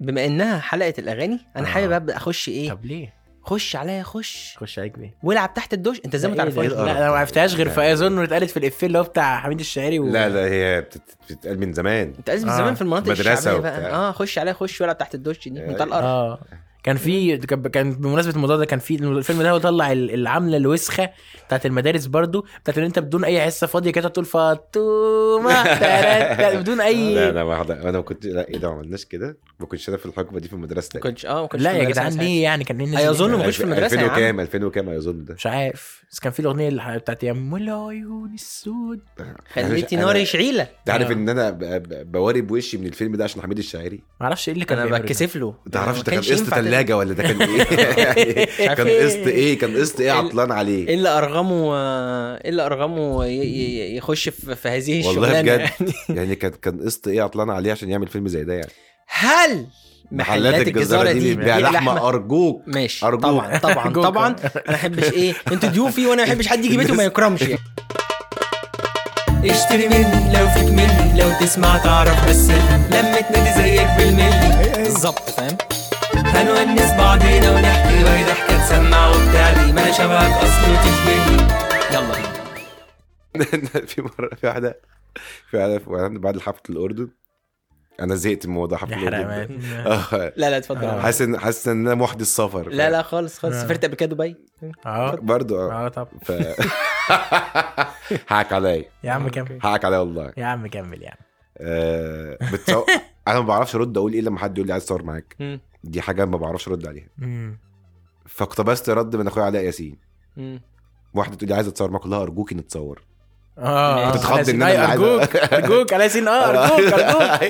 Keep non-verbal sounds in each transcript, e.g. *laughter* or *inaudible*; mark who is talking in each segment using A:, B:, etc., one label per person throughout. A: بما انها حلقه الاغاني انا
B: آه.
A: حابب ابدا اخش ايه
B: طب ليه؟
A: خش عليا خش
B: خش عليك بيه
A: والعب تحت الدش انت ازاي ما
B: ده إيه ده؟
A: تعرفهاش
B: لا انا ما عرفتهاش غير في اظن إنه اتقالت في الافيه اللي هو بتاع حميد الشاعري و...
C: لا لا هي بتت- بتتقال من زمان
A: انت لازم
B: آه.
A: زمان في المناطق
C: مدرسة
A: الشعبيه بقى
C: وبتاع.
A: اه خش عليا خش والعب تحت الدش دي منطقه الارض
B: اه كان في كان كان بمناسبه الموضوع ده كان في الفيلم ده هو طلع ال- العامله الوسخه بتاعت المدارس برضو بتاعت ان انت بدون اي حصه فاضيه كده تقول فاطمه تلاتة، بدون
A: إيه.
B: اي
C: لا انا ما حد- انا ما كنت لا ايه ده ما عملناش كده ما كنتش انا في الحقبه دي في المدرسه
A: ما
C: كنت
A: كنتش اه ما كنتش
B: لا
A: في
B: يا
A: المدرسة
B: جدعان
A: ساعتها.
B: ليه يعني كان ايه الناس
A: أي
B: دي؟
A: أظن ما كنتش في المدرسة يا
C: 2000
A: عم.
C: وكام 2000 وكام اظن ده
B: مش عارف بس كان في الاغنيه اللي بتاعت يا ام العيون السود
A: خليتي
C: أنا-
A: ناري شعيله
C: انت عارف
B: آه.
C: ان انا ب- ب- بواري بوشي من الفيلم ده عشان حميد الشاعري
B: ما اعرفش ايه اللي كان
A: انا
B: بيعمله ده.
A: بتكسف له
C: ما تعرفش
A: آه، ما
C: ده كان
A: كانش
C: قسط
A: ينفع تت-
C: ثلاجه ولا ده
A: *laughs*
C: كان ايه يعني
A: عارف
C: كان
A: إيه.
C: قسط ايه كان قسط ايه
A: ال-
C: عطلان
A: ايه
C: عليه
A: اللي ارغمه آه، ايه اللي ارغمه ي- ي- ي- يخش في في هذه الشغلانه
C: والله بجد
A: يعني.
C: يعني كان كان قسط ايه عطلان عليه عشان يعمل فيلم زي ده يعني
A: هل محلات الجزاره دي
C: بتبيع
A: بتبيع
C: لحمه ارجوك
A: ماشي
C: أرجوك.
A: طبعا طبعا
B: أرجوك.
A: طبعا انا ما احبش ايه انتوا ضيوفي وانا ما احبش حد يجي بيته ما يكرمش يعني. اشتري مني لو فيك مني لو تسمع تعرف بس لمة نادي زيك بالملي بالظبط فاهم هنونس بعضينا ونحكي وهي ضحكه تسمع وبتاع دي ما انا شبهك اصل وتشبهني يلا بينا
C: *laughs* في مره في واحده في واحده في واحدة بعد حفله الاردن انا زهقت من موضوع
B: يا
C: حفله الاردن
B: حرامان
C: *laughs* آه.
A: لا لا اتفضل
B: آه.
C: حاسس ان حاسس ان انا محدي السفر
A: لا لا خالص خالص
B: آه.
A: سافرت قبل كده دبي
B: اه
C: برضه اه
B: اه طب
C: ف *laughs* حقك عليا
B: يا عم كمل
C: حقك عليا والله
B: يا عم كمل يا عم
C: آه، بتصو... انا ما بعرفش ارد اقول ايه لما حد يقول لي عايز اتصور معاك
A: مم.
C: دي حاجه ما بعرفش ارد عليها
B: مم.
C: فاقتبست رد من اخويا علاء ياسين
A: مم.
C: واحده تقول لي عايز اتصور معاك لها ارجوكي نتصور
B: اه
A: كنت
C: بتتخض آه. ان
B: أيوة،
C: انا اللي أيوة. عايز
B: ارجوك
C: *laughs*
B: ارجوك على سين اه ارجوك ارجوك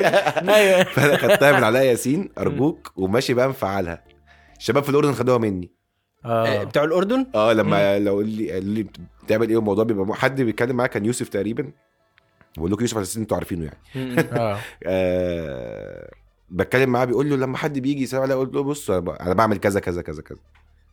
B: ايوه
C: فانا خدتها من علاء
A: *laughs*
C: ياسين ارجوك وماشي بقى مفعلها الشباب في الاردن خدوها مني
A: آه،
B: اه
A: بتوع الاردن
C: اه لما لو قال لي قال لي بتعمل ايه الموضوع بيبقى م- حد بيتكلم معايا كان يوسف تقريبا بقول لكم يوسف على اساس إن انتوا عارفينه يعني
A: مم.
B: اه
C: آه بتكلم معاه بيقول له لما حد بيجي يسلم عليا اقول له بص انا ب- أنا بعمل كذا كذا كذا كذا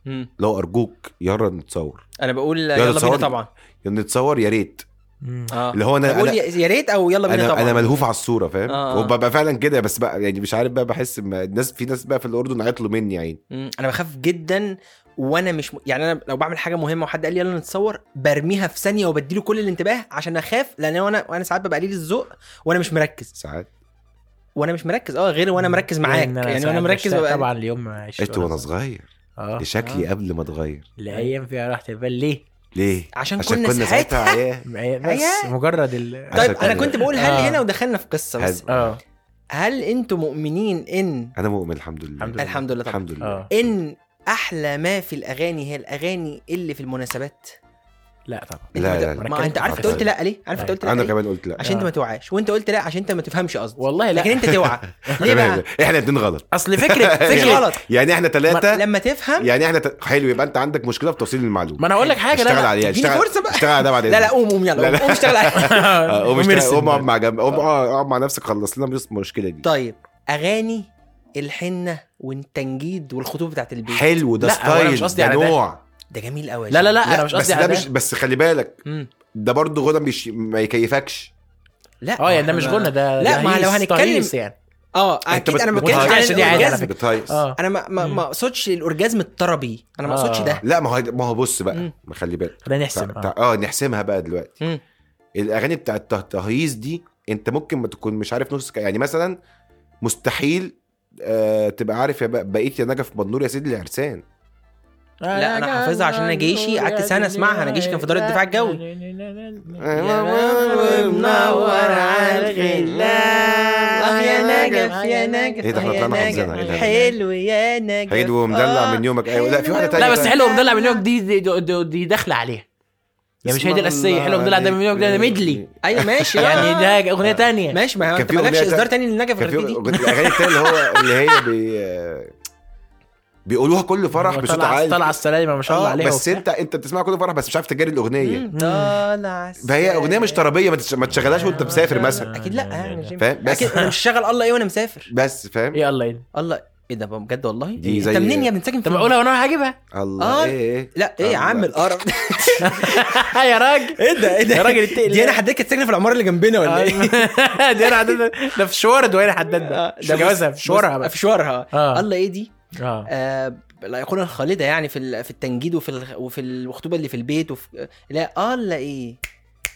A: مم.
C: لو ارجوك يلا نتصور
A: انا بقول يلا,
C: يلا
A: بينا
C: تصور.
A: طبعا
C: يعني نتصور يا ريت
B: مم.
A: اه
C: اللي هو انا
A: بقول
C: انا
A: يا يا ريت او يلا بينا
C: انا,
A: طبعا
C: أنا ملهوف على الصوره فاهم
A: إيه آه، آه.
C: وببقى فعلا كده بس بقى يعني مش عارف بقى بحس ما الناس في ناس بقى في الاردن عطلوا مني يا عيني
A: مم. انا بخاف جدا وانا مش م... يعني انا لو بعمل حاجه مهمه وحد قال لي يلا نتصور برميها في ثانيه وبديله كل الانتباه عشان اخاف لان انا وانا ساعات ببقى قليل الذوق وانا مش مركز
C: ساعات
A: وانا مش مركز اه غير وانا مركز معاك
B: لأن أنا
A: يعني وانا
B: ساعات
A: مركز
B: بشتاق
A: ببقى
B: طبعا اليوم ما عشت
C: قلت وانا صغير
B: اه
C: لشكلي قبل ما اتغير
B: الايام فيها راحه البال ليه؟
C: ليه
A: عشان,
C: عشان
A: كنا
C: كنا
A: ساعتها إيه؟
C: ساعتها عيال
B: بس مجرد ال
C: عشان
A: طيب انا
C: كنا-
A: كنت بقول هل
B: آه.
A: هنا ودخلنا في قصه بس
C: هل-
B: اه
A: هل انتوا مؤمنين ان
C: انا مؤمن الحمد لله
B: الحمد لله.
A: الحمد لله طبعا
C: الحمد لله
B: اه
A: ان احلى ما في الاغاني هي الاغاني اللي في المناسبات
B: لا طبعا
A: انت
C: لا،
A: بت-
C: لا، لا. أيوه.
A: ما انت عارف انت قلت لا ليه عارف انت قلت لا
C: انا
A: ليه؟
C: كمان قلت لا
A: عشان انت
B: آه.
A: ما توعاش وانت قلت لا عشان انت ما تفهمش قصدي
B: والله
A: لكن
B: لا
A: انت
B: *laughs*
A: توعى ليه بقى
C: احنا اتنين غلط
B: اصل فكره
C: *laughs*
A: مش
B: فكره
A: غلط
C: يعني احنا ثلاثه
A: لما تفهم
C: يعني احنا ت... حلو يبقى انت عندك مشكله في توصيل المعلومه
B: ما انا هقول لك حاجه
C: اشتغل
B: لا
C: عليها
A: اديني
B: *laughs*
C: اشتغل
A: فرصة بقى.
C: اشتغل عليها بعدين
A: لا لا قوم قوم يلا قوم، قوم اشتغل عليها.
B: لا
C: آه، قوم اشتغل-
B: وميرسي.
C: قوم اقعد مع جنب قوم اقعد اقعد مع نفسك خلص لنا بس المشكله دي
A: طيب اغاني الحنه والتنجيد والخطوط بتاعت البيت
C: حلو ده
B: لا، هو أنا مش
C: ستايل
B: قصدي
C: ده
B: على ده.
C: نوع
A: ده جميل قوي
B: لا لا لا انا مش
C: بس
B: قصدي
C: ده
B: على
C: مش
B: ده
C: بس خلي بالك
A: مم.
C: ده برضه غنى مش ما يكيفكش
A: لا
B: اه يعني ده
A: احنا
B: مش
C: آه.
A: ما-
B: غنى ده
A: لا،
B: ده
A: ما
B: هيس-
A: لو هنتكلم-
B: تهيس يعني
A: اه اكيد
C: بت-
A: انا ما
B: بتقول
A: بتكلمش
B: حاجة
A: عن
B: عشان دي عادي على
A: الأورجازم.
B: فكرة.
C: بتهيص
B: اه
A: انا ما ما ما اقصدش الأورجازم الطربي انا ما
B: آه.
A: اقصدش ده
C: لا ما هو ما هو بص
A: مم.
C: بقى ما خلي بالك
B: خلينا
C: تع-
B: نحسب
C: تع-
B: آه.
C: اه نحسمها بقى دلوقتي
A: مم.
C: الاغاني بتاع الته- التهييص دي انت ممكن ما تكون مش عارف نص يعني مثلا مستحيل آه تبقى عارف يا بق- بقيت يا نجف بدنور يا سيدي العرسان
A: لا، أنا حافظها عشان أنا جيشي، قعدت سنة أسمعها، أنا جيشي كان في دار الدفاع الجوي.
B: يا رب منور على الغلام
A: آه
B: آه
A: يا نجف يا نجف
C: ايه ده احنا
A: آه يا
C: طلعنا
A: نجف.
C: حافظينها، ايه ده؟
A: حلو يا نجف
C: حلو ومدلع
A: آه.
C: من يومك ايوه لا في واحده تانية
B: لا بس
C: بقى.
B: حلو مدلع من نيويورك دي دي, دي, دي, دي داخله عليها يعني مش هي دي الاساسيه حلو مدلع ده من نيويورك ده
C: يعني
B: ده ميدلي
A: ايو أيوة، ماشي *laughs*
C: *laughs*
B: يعني
A: آه.
B: ده اغنيه تانية
A: ماشي ما هو
C: كان
A: انت
C: في
A: مالكش
C: أغنية
A: اصدار
C: تانية-
A: تاني للنجف
C: كان
A: غير
C: في
A: في دي
C: الاغاني التانية اللي هو اللي هي بي... آه، بيقولوها كل فرح بصوت عالي
B: طلع على السلالم ما شاء الله
A: اه،
C: آه،
B: عليها
C: بس انت انت بتسمعها كل فرح بس مش عارف تجاري الاغنيه
A: مم. طالع
C: فهي اغنيه مش طربيه ما تش- ما تشغلهاش وانت مسافر مثلا
A: اكيد لا يعني مش
C: فاهم؟
A: بس
C: بس-
A: اكيد انا مش شغال الله ايه وانا مسافر
C: بس فاهم
B: يلا يلا
A: الله ايه ده بقى بجد والله
C: دي
A: إيه؟
C: زي-
A: انت منين يا ابني ساكن
B: طب
A: فين؟
B: اقولها وانا هجيبها *laughs*
C: الله
A: آه.
C: ايه ايه
A: لا ايه يا
C: الله.
A: عم
C: *laughs*
A: القرف ده؟
B: يا راجل
A: ايه ده ايه ده
B: يا راجل اتقل آه.
A: دي انا حددت ساكنه في العماره اللي جنبنا ولا ايه
B: *laughs* دي انا عدد ده في شوار دوير حداد ده
A: آه،
B: مش
A: ده بص-
B: جوازها في
A: بص-
B: شوارها بقى
A: في شوارها
B: آه.
A: الله ايه دي
B: اه
A: آه، الايقونه الخالده يعني في ال- في التنجيد وفي ال- وفي الخطوبه اللي في البيت وفي لا الله ايه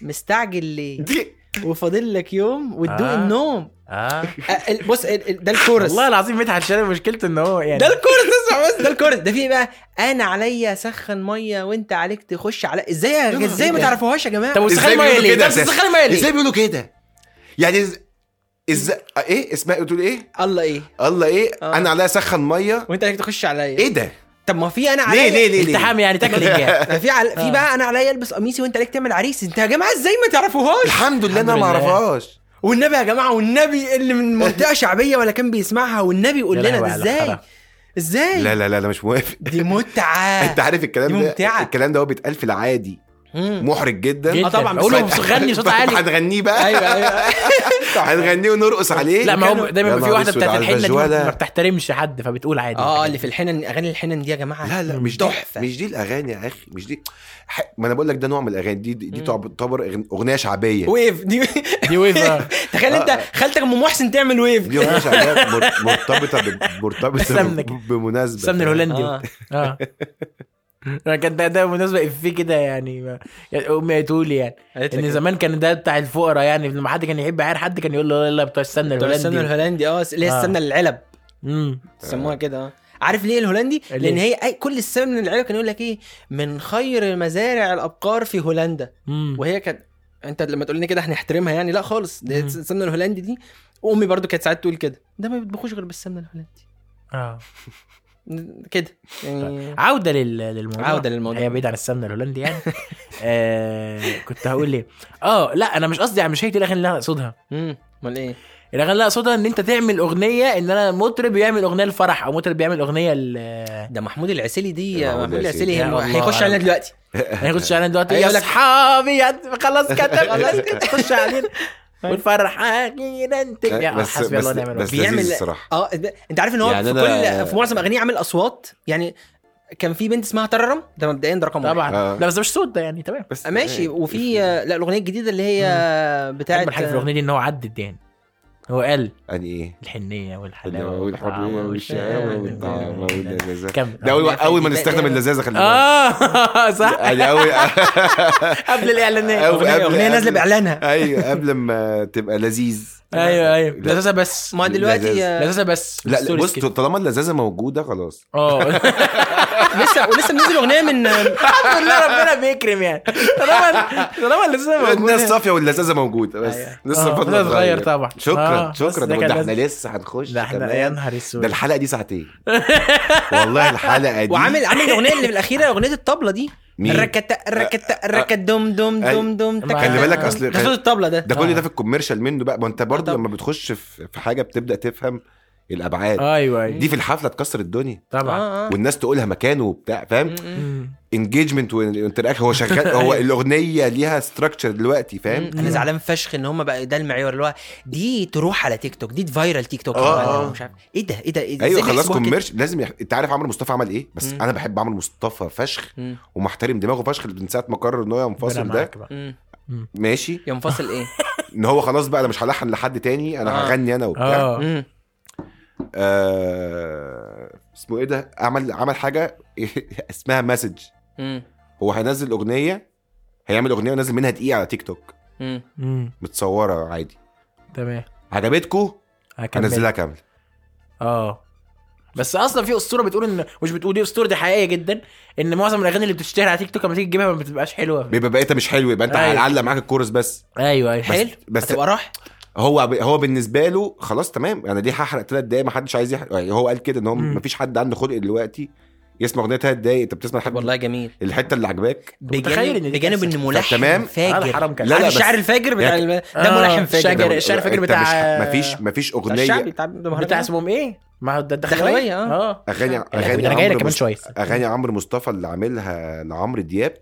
A: مستعجل ليه
C: دي
A: وفاضل لك يوم وتدوق
B: آه.
A: النوم
B: اه
A: آه، ال- بص ال- ال- ده الكورس
B: والله العظيم مدحت شلبي مشكلته ان هو يعني
A: ده الكورس اسمع بس ده الكورس ده في ايه بقى انا عليا اسخن ميه وانت عليك تخش على ازاي يا- ازاي ما تعرفوهاش يا جماعه
B: إيه طب وسخان
C: إزاي
B: ميه
C: بيقولوا
B: ليه؟
C: كده
B: طب
C: أساساً؟
B: وسخان ميه
C: ازاي
B: ليه؟
C: بيقولوا كده يعني إز- ازاي ايه اسمها بتقول ايه
A: الله ايه
C: الله ايه
A: آه.
C: انا عليا اسخن ميه
A: وانت عليك تخش عليا
B: إيه؟
C: ايه ده
A: طب ما في انا عليا
C: ليه ليه ليه ليه
B: التحام يعني تاكل
A: *laughs*
B: رجال
A: ده في عل... في
B: آه.
A: بقى انا عليا البس قميصي وانت عليك تعمل عريس انت يا جماعه ازاي ما تعرفوهاش
C: الحمد لله
B: الحمد
C: انا ما
B: لله.
C: اعرفهاش
A: والنبي يا جماعه والنبي اللي من منطقه شعبيه ولا كان بيسمعها والنبي يقول
B: يا
A: لنا
B: لهوي
A: ده
B: على
A: ازاي
B: الخرا. إيه؟
A: ازاي
C: لا لا لا لا مش موافق
A: دي متعه
B: آه.
C: *laughs* انت عارف الكلام
A: دي
C: ده
A: ممتعة.
C: الكلام ده هو بيتقال في العادي *laughs*
A: مم.
C: محرج جدا
A: آه طبعاً،
B: قول له
C: بس-
B: غني
C: *laughs*
B: بصوت عالي أيوه.
C: هنغنيه بقى
A: ايوه ايوه
C: هنغنيه ونرقص عليه
B: لا ما هو دايما
C: يا
B: بيبقى في
C: نهار
B: واحده
C: أسود
B: بتاعت
C: على
B: الحنه دي
C: الفجوالة.
B: ما بتحترمش حد فبتقول عادي
A: اه اللي في الحنن اغاني الحنن دي يا جماعه
C: لا لا مش دي
A: تحفه
C: مش دي الاغاني يا اخي مش دي ح- ما انا بقول لك ده نوع من الاغاني دي دي
A: مم.
C: تعتبر أغن- اغنيه شعبيه
A: ويف دي
B: *laughs*
A: *laughs*
B: دي ويف آه.
A: تخيل انت خالتك ام محسن تعمل ويف
C: *laughs* دي اغنيه شعبيه مر- مرتبطه ب- مرتبطه
B: السمنة
C: ب-
B: كده.
C: بمناسبه
B: السمن الهولندي
A: آه.
B: اه انا كان ده ده بالمناسبه افيه كده يعني ما- يعني امي تقول يعني
A: قالت لك إيه؟
B: ان زمان كان ده بتاع الفقراء يعني لما حد كان يحب يعير حد كان يقول له يلا بتوع السمنه
A: بتوع السمنه
B: الهولندي
A: الهولندي اه اللي هي
B: آه.
A: السمنه العلب
B: امم
A: سموها كده اه عارف ليه الهولندي؟
B: ليه؟
A: لان هي أي كل السمنه العلب كان يقول لك ايه من خير مزارع الابقار في هولندا
B: امم
A: وهي كانت انت لما تقول لي كده هنحترمها يعني لا خالص دي
B: مم.
A: السمنه الهولندي دي وامي برضو كانت ساعات تقول كده ده ما بيطبخوش غير بالسمنه الهولندي
B: اه
A: كده يعني
B: عوده لل... للموضوع
A: عودة للموضوع.
B: هي بعيد عن السمنه الهولندي يعني *laughs* آه... كنت هقول ليه اه لا انا مش قصدي على- مش هي دي الاغاني اللي انا اقصدها
A: امم امال ايه
B: الاغاني اللي أنا اقصدها ان انت تعمل اغنيه ان انا مطرب يعمل اغنيه للفرح او مطرب يعمل اغنيه ل
C: *laughs*
A: ده محمود العسيلي دي
C: يا
A: يا
C: محمود
A: محمود العسيلي
B: العسيلي.
A: هي-
B: يا الله
A: هيخش علينا
B: أعلم.
A: دلوقتي
B: هنخش يعني علينا دلوقتي يا
A: هيقول لك-
B: اصحابي يا- خلاص
C: *laughs*
B: كده خلاص كده خش علينا والفرح
C: *laughs*
B: اخيرا تك- يا
C: لا، بس
B: حسبي الله
C: بس
B: ونعم الوكيل.
C: بس
A: بيعمل-
C: لذيذ الصراحه
A: اه ده- انت عارف ان هو
C: يعني
A: في
C: أنا-
A: كل في معظم اغانيه عامل اصوات يعني كان في بنت اسمها تررم ده مبدئيا ده رقم واحد آه،
B: طبعا
C: آه.
B: لا بس ده مش صوت ده يعني تمام
C: بس
A: ماشي وفي
C: إيه.
A: آه، لا الاغنيه الجديده اللي هي بتاعت
B: اجمل حاجه في الاغنيه دي ان هو عدد يعني هو قال
C: يعني ايه
B: الحنيه والحلاوه
C: والحريه
B: والطعام
C: والشهامه
B: والشهامة
C: والطعامه
B: والنعمة. *laughs*
C: واللذاذه
B: كمل
C: ده اول
A: الأغنية
C: اول ما
A: دي
C: نستخدم
A: بقى-
C: اللذاذه خلي بالك
B: اه *laughs* صح
C: يعني اول *laughs*
B: قبل الاعلانات
C: أو-
A: اغنيه
C: قبل-
A: اغنيه نازله
C: قبل-
A: باعلانها
C: ايوه قبل ما تبقى لذيذ
B: ايوه ايوه
C: لا
B: لذاذه بس
A: ما دلوقتي
C: لذاذ.
B: لذاذه بس
C: أيوة. لا, لا
B: ستوريز
C: بص
B: كده.
C: طالما اللذاذه موجوده خلاص
B: اه
A: آه، لسه ولسه منزل اغنيه من
B: *laughs* الحمد لله ربنا بيكرم يعني طالما طالما اللذاذه موجودة.
C: الناس الصافيه واللذاذه موجوده بس
B: إيه؟ أيوة.
C: لسه
B: آه،
C: فاضل
B: فضل صغير طبعا. آه،
C: شكرا
B: بس
C: شكرا
B: ده
C: ده,
B: كان
C: ده احنا
B: لازم.
C: لسه هنخش
B: ده احنا يا
C: كمان.
B: نهار
C: ده
B: اسود
C: الحلقه
B: *laughs*
C: دي ساعتين والله الحلقه دي
A: وعامل عامل الاغنيه اللي في الاخيره اغنيه الطبله دي
C: مين؟
A: الركت الركت الركت دم دم
C: أي-
A: دم دم
B: ما-
A: تك-
B: خلي
C: بالك
A: تك-
C: أصل-
A: ده صوت الطبله ده
C: ده كل
B: آه.
C: ده في الكوميرشال منه بقى ما انت برضه
A: طبعا.
C: لما بتخش في في حاجه بتبدا تفهم الابعاد
B: ايوه ايوه
C: دي في الحفله تكسر الدنيا
B: طبعا
A: آه، آه.
C: والناس تقولها مكانه وبتاع فاهم
A: م- م.
B: مم. أيوة.
C: انجيجمنت وانتراكشن
B: *laughs*
C: هو شغال هو الاغنيه ليها ستراكشر دلوقتي فاهم
A: انا زعلان فشخ ان هم بقى ده المعيار اللي هو دي تروح على تيك توك دي فايرال تيك توك
C: آه، آه.
A: مش عارف ايه ده ايه ده إيه ده؟
C: ايوه
A: إزاي
C: خلاص
A: بيحسبوها كده؟
C: كوميرش لازم يح... انت عارف عمرو مصطفى عمل ايه بس
A: مم.
C: انا بحب عمرو مصطفى فشخ
A: مم.
C: ومحترم دماغه فشخ من ساعه ما قرر ان هو ينفصل
B: ربنا
C: ده
B: معاك بقى.
A: مم.
C: ماشي
A: ينفصل ايه
C: ان هو خلاص بقى انا مش هلحن لحد تاني انا
A: آه.
C: هغني انا وبتاع
B: اه
A: مم.
C: آه... اسمه ايه ده عمل عمل حاجه *laughs* اسمها مسج
A: مم.
C: هو هينزل اغنيه هيعمل اغنيه ونزل منها دقيقه على تيك توك
A: مم.
B: مم.
C: متصوره عادي
B: تمام
C: عجبتكم
B: هكمل.
C: هنزلها كامله
B: اه بس اصلا في اسطوره بتقول ان مش بتقول دي اسطوره دي حقيقيه جدا ان معظم الاغاني اللي بتشتهر على تيك توك لما تيجي تجيبها ما بتبقاش حلوه
C: بيبقى بقيتها مش حلو يبقى انت
A: أيوه.
B: أيوة.
C: هتعلق معاك الكورس بس
B: ايوه ايوه
A: حلو
C: بس-
A: بس هتبقى راح
C: هو ب... هو بالنسبه له خلاص تمام انا دي هحرق ثلاث دقايق ما حدش عايز يحرق يعني هو قال كده ان هو
B: مم.
C: مفيش حد عنده خلق دلوقتي يسمع اغنيه ثلاث دقايق انت بتسمع حد
A: والله جميل
C: الحته اللي عجباك
B: متخيل
A: بجانب
B: إن دي
A: بجانب
B: تحصل.
A: ان ملحن
C: فتمام.
B: على
A: فاجر
B: حرام كده
C: لا،
A: عارف
C: لا، بس-
A: الشاعر الفاجر بتاع
C: يعني-
A: الم- ده
B: آه،
A: ملحن
B: شاعر-
A: فاجر
B: الشعر فاكر
C: أنت
B: بتاع-
C: مش... مفيش مفيش
A: بتاع الشعبي
C: اغنيه
A: بتاع المهرجان.
B: بتاع اسمهم ايه؟ ما هو ده الدخلويه
A: الدخلوية، آه.
B: اه
C: اغاني اغاني
B: انا جاي لك
C: عمرو
B: كمان
C: مصطفى
B: شويه
C: اغاني عمرو مصطفى اللي عاملها لعمرو دياب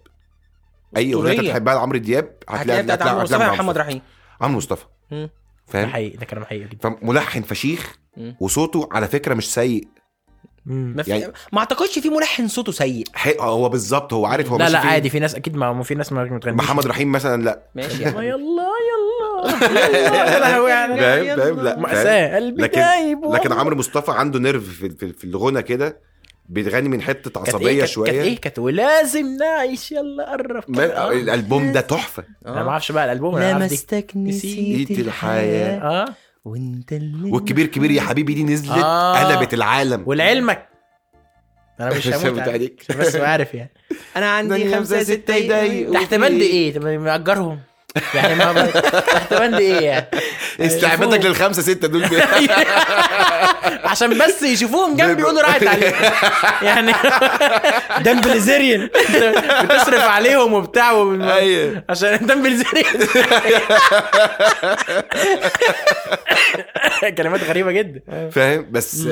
C: اي اغنيه انت
A: أسطورية.
C: بتحبها لعمرو دياب
A: هتلاقيها بتاعت
C: هتلاقي-
A: عمرو
C: هتلاقي
A: مصطفى محمد رحيم
C: عمرو مصطفى
A: مم.
B: ده
C: فاهم
B: حقيقي ده كلام حقيقي جدا
C: فملحن فشيخ
A: مم.
C: وصوته على فكره مش سيء
B: مم.
A: ما, في...
C: يعني-
A: ما اعتقدش في ملحن صوته سيء
C: حي... هو بالظبط هو عارف هو
B: لا
C: ماشي
B: لا
C: فين.
B: عادي في ناس اكيد ما ما في ناس ما بتغنيش
C: محمد رحيم مثلا لا *laughs*
A: ماشي
B: *laughs* ما
A: يعني.
B: يلا يلا يلا يا لهوي على
C: فاهم فاهم لا فاهم.
B: مأساة قلبي
C: لكن-
B: جايب
C: لكن عمرو مصطفى عنده نيرف في, في, في الغنى كده بيتغني من حته
B: كانت
C: عصبيه
B: إيه؟ آه. كانت-
C: شويه
B: كانت ايه كانت ولازم نعيش يلا قرب
C: ما... إيه؟ الالبوم ده تحفه
B: انا ما
A: آه.
B: اعرفش بقى الالبوم انا عارف دي
A: لمستك نسيت
C: نسيت الحياة.
A: الحياة
B: اه
A: وانت اللي
C: والكبير كبير يا حبيبي دي نزلت
B: آه.
C: قلبت العالم *laughs*
B: ولعلمك انا مش هموت
C: فهمت
B: عليك
C: *laughs* عليك.
B: عشان بس ما عارف يعني
A: انا عندي خمسة ستة يضايقوا
B: تحت
C: *laughs*
B: بند ايه طب مأجرهم يعني ما ما- تحت بند ايه يعني
C: استعمالك للخمسه سته
B: *laughs*
C: دول بي-
B: عشان بس يشوفوهم جنبي يقولوا راحت عليهم *laughs* يعني
A: دمبلزيريان
B: *laughs* بتصرف عليهم وبتاع وب-
C: أيوه.
B: عشان دمبلزيريان *laughs* كلمات غريبه جدا
C: *laughs* فاهم بس ف-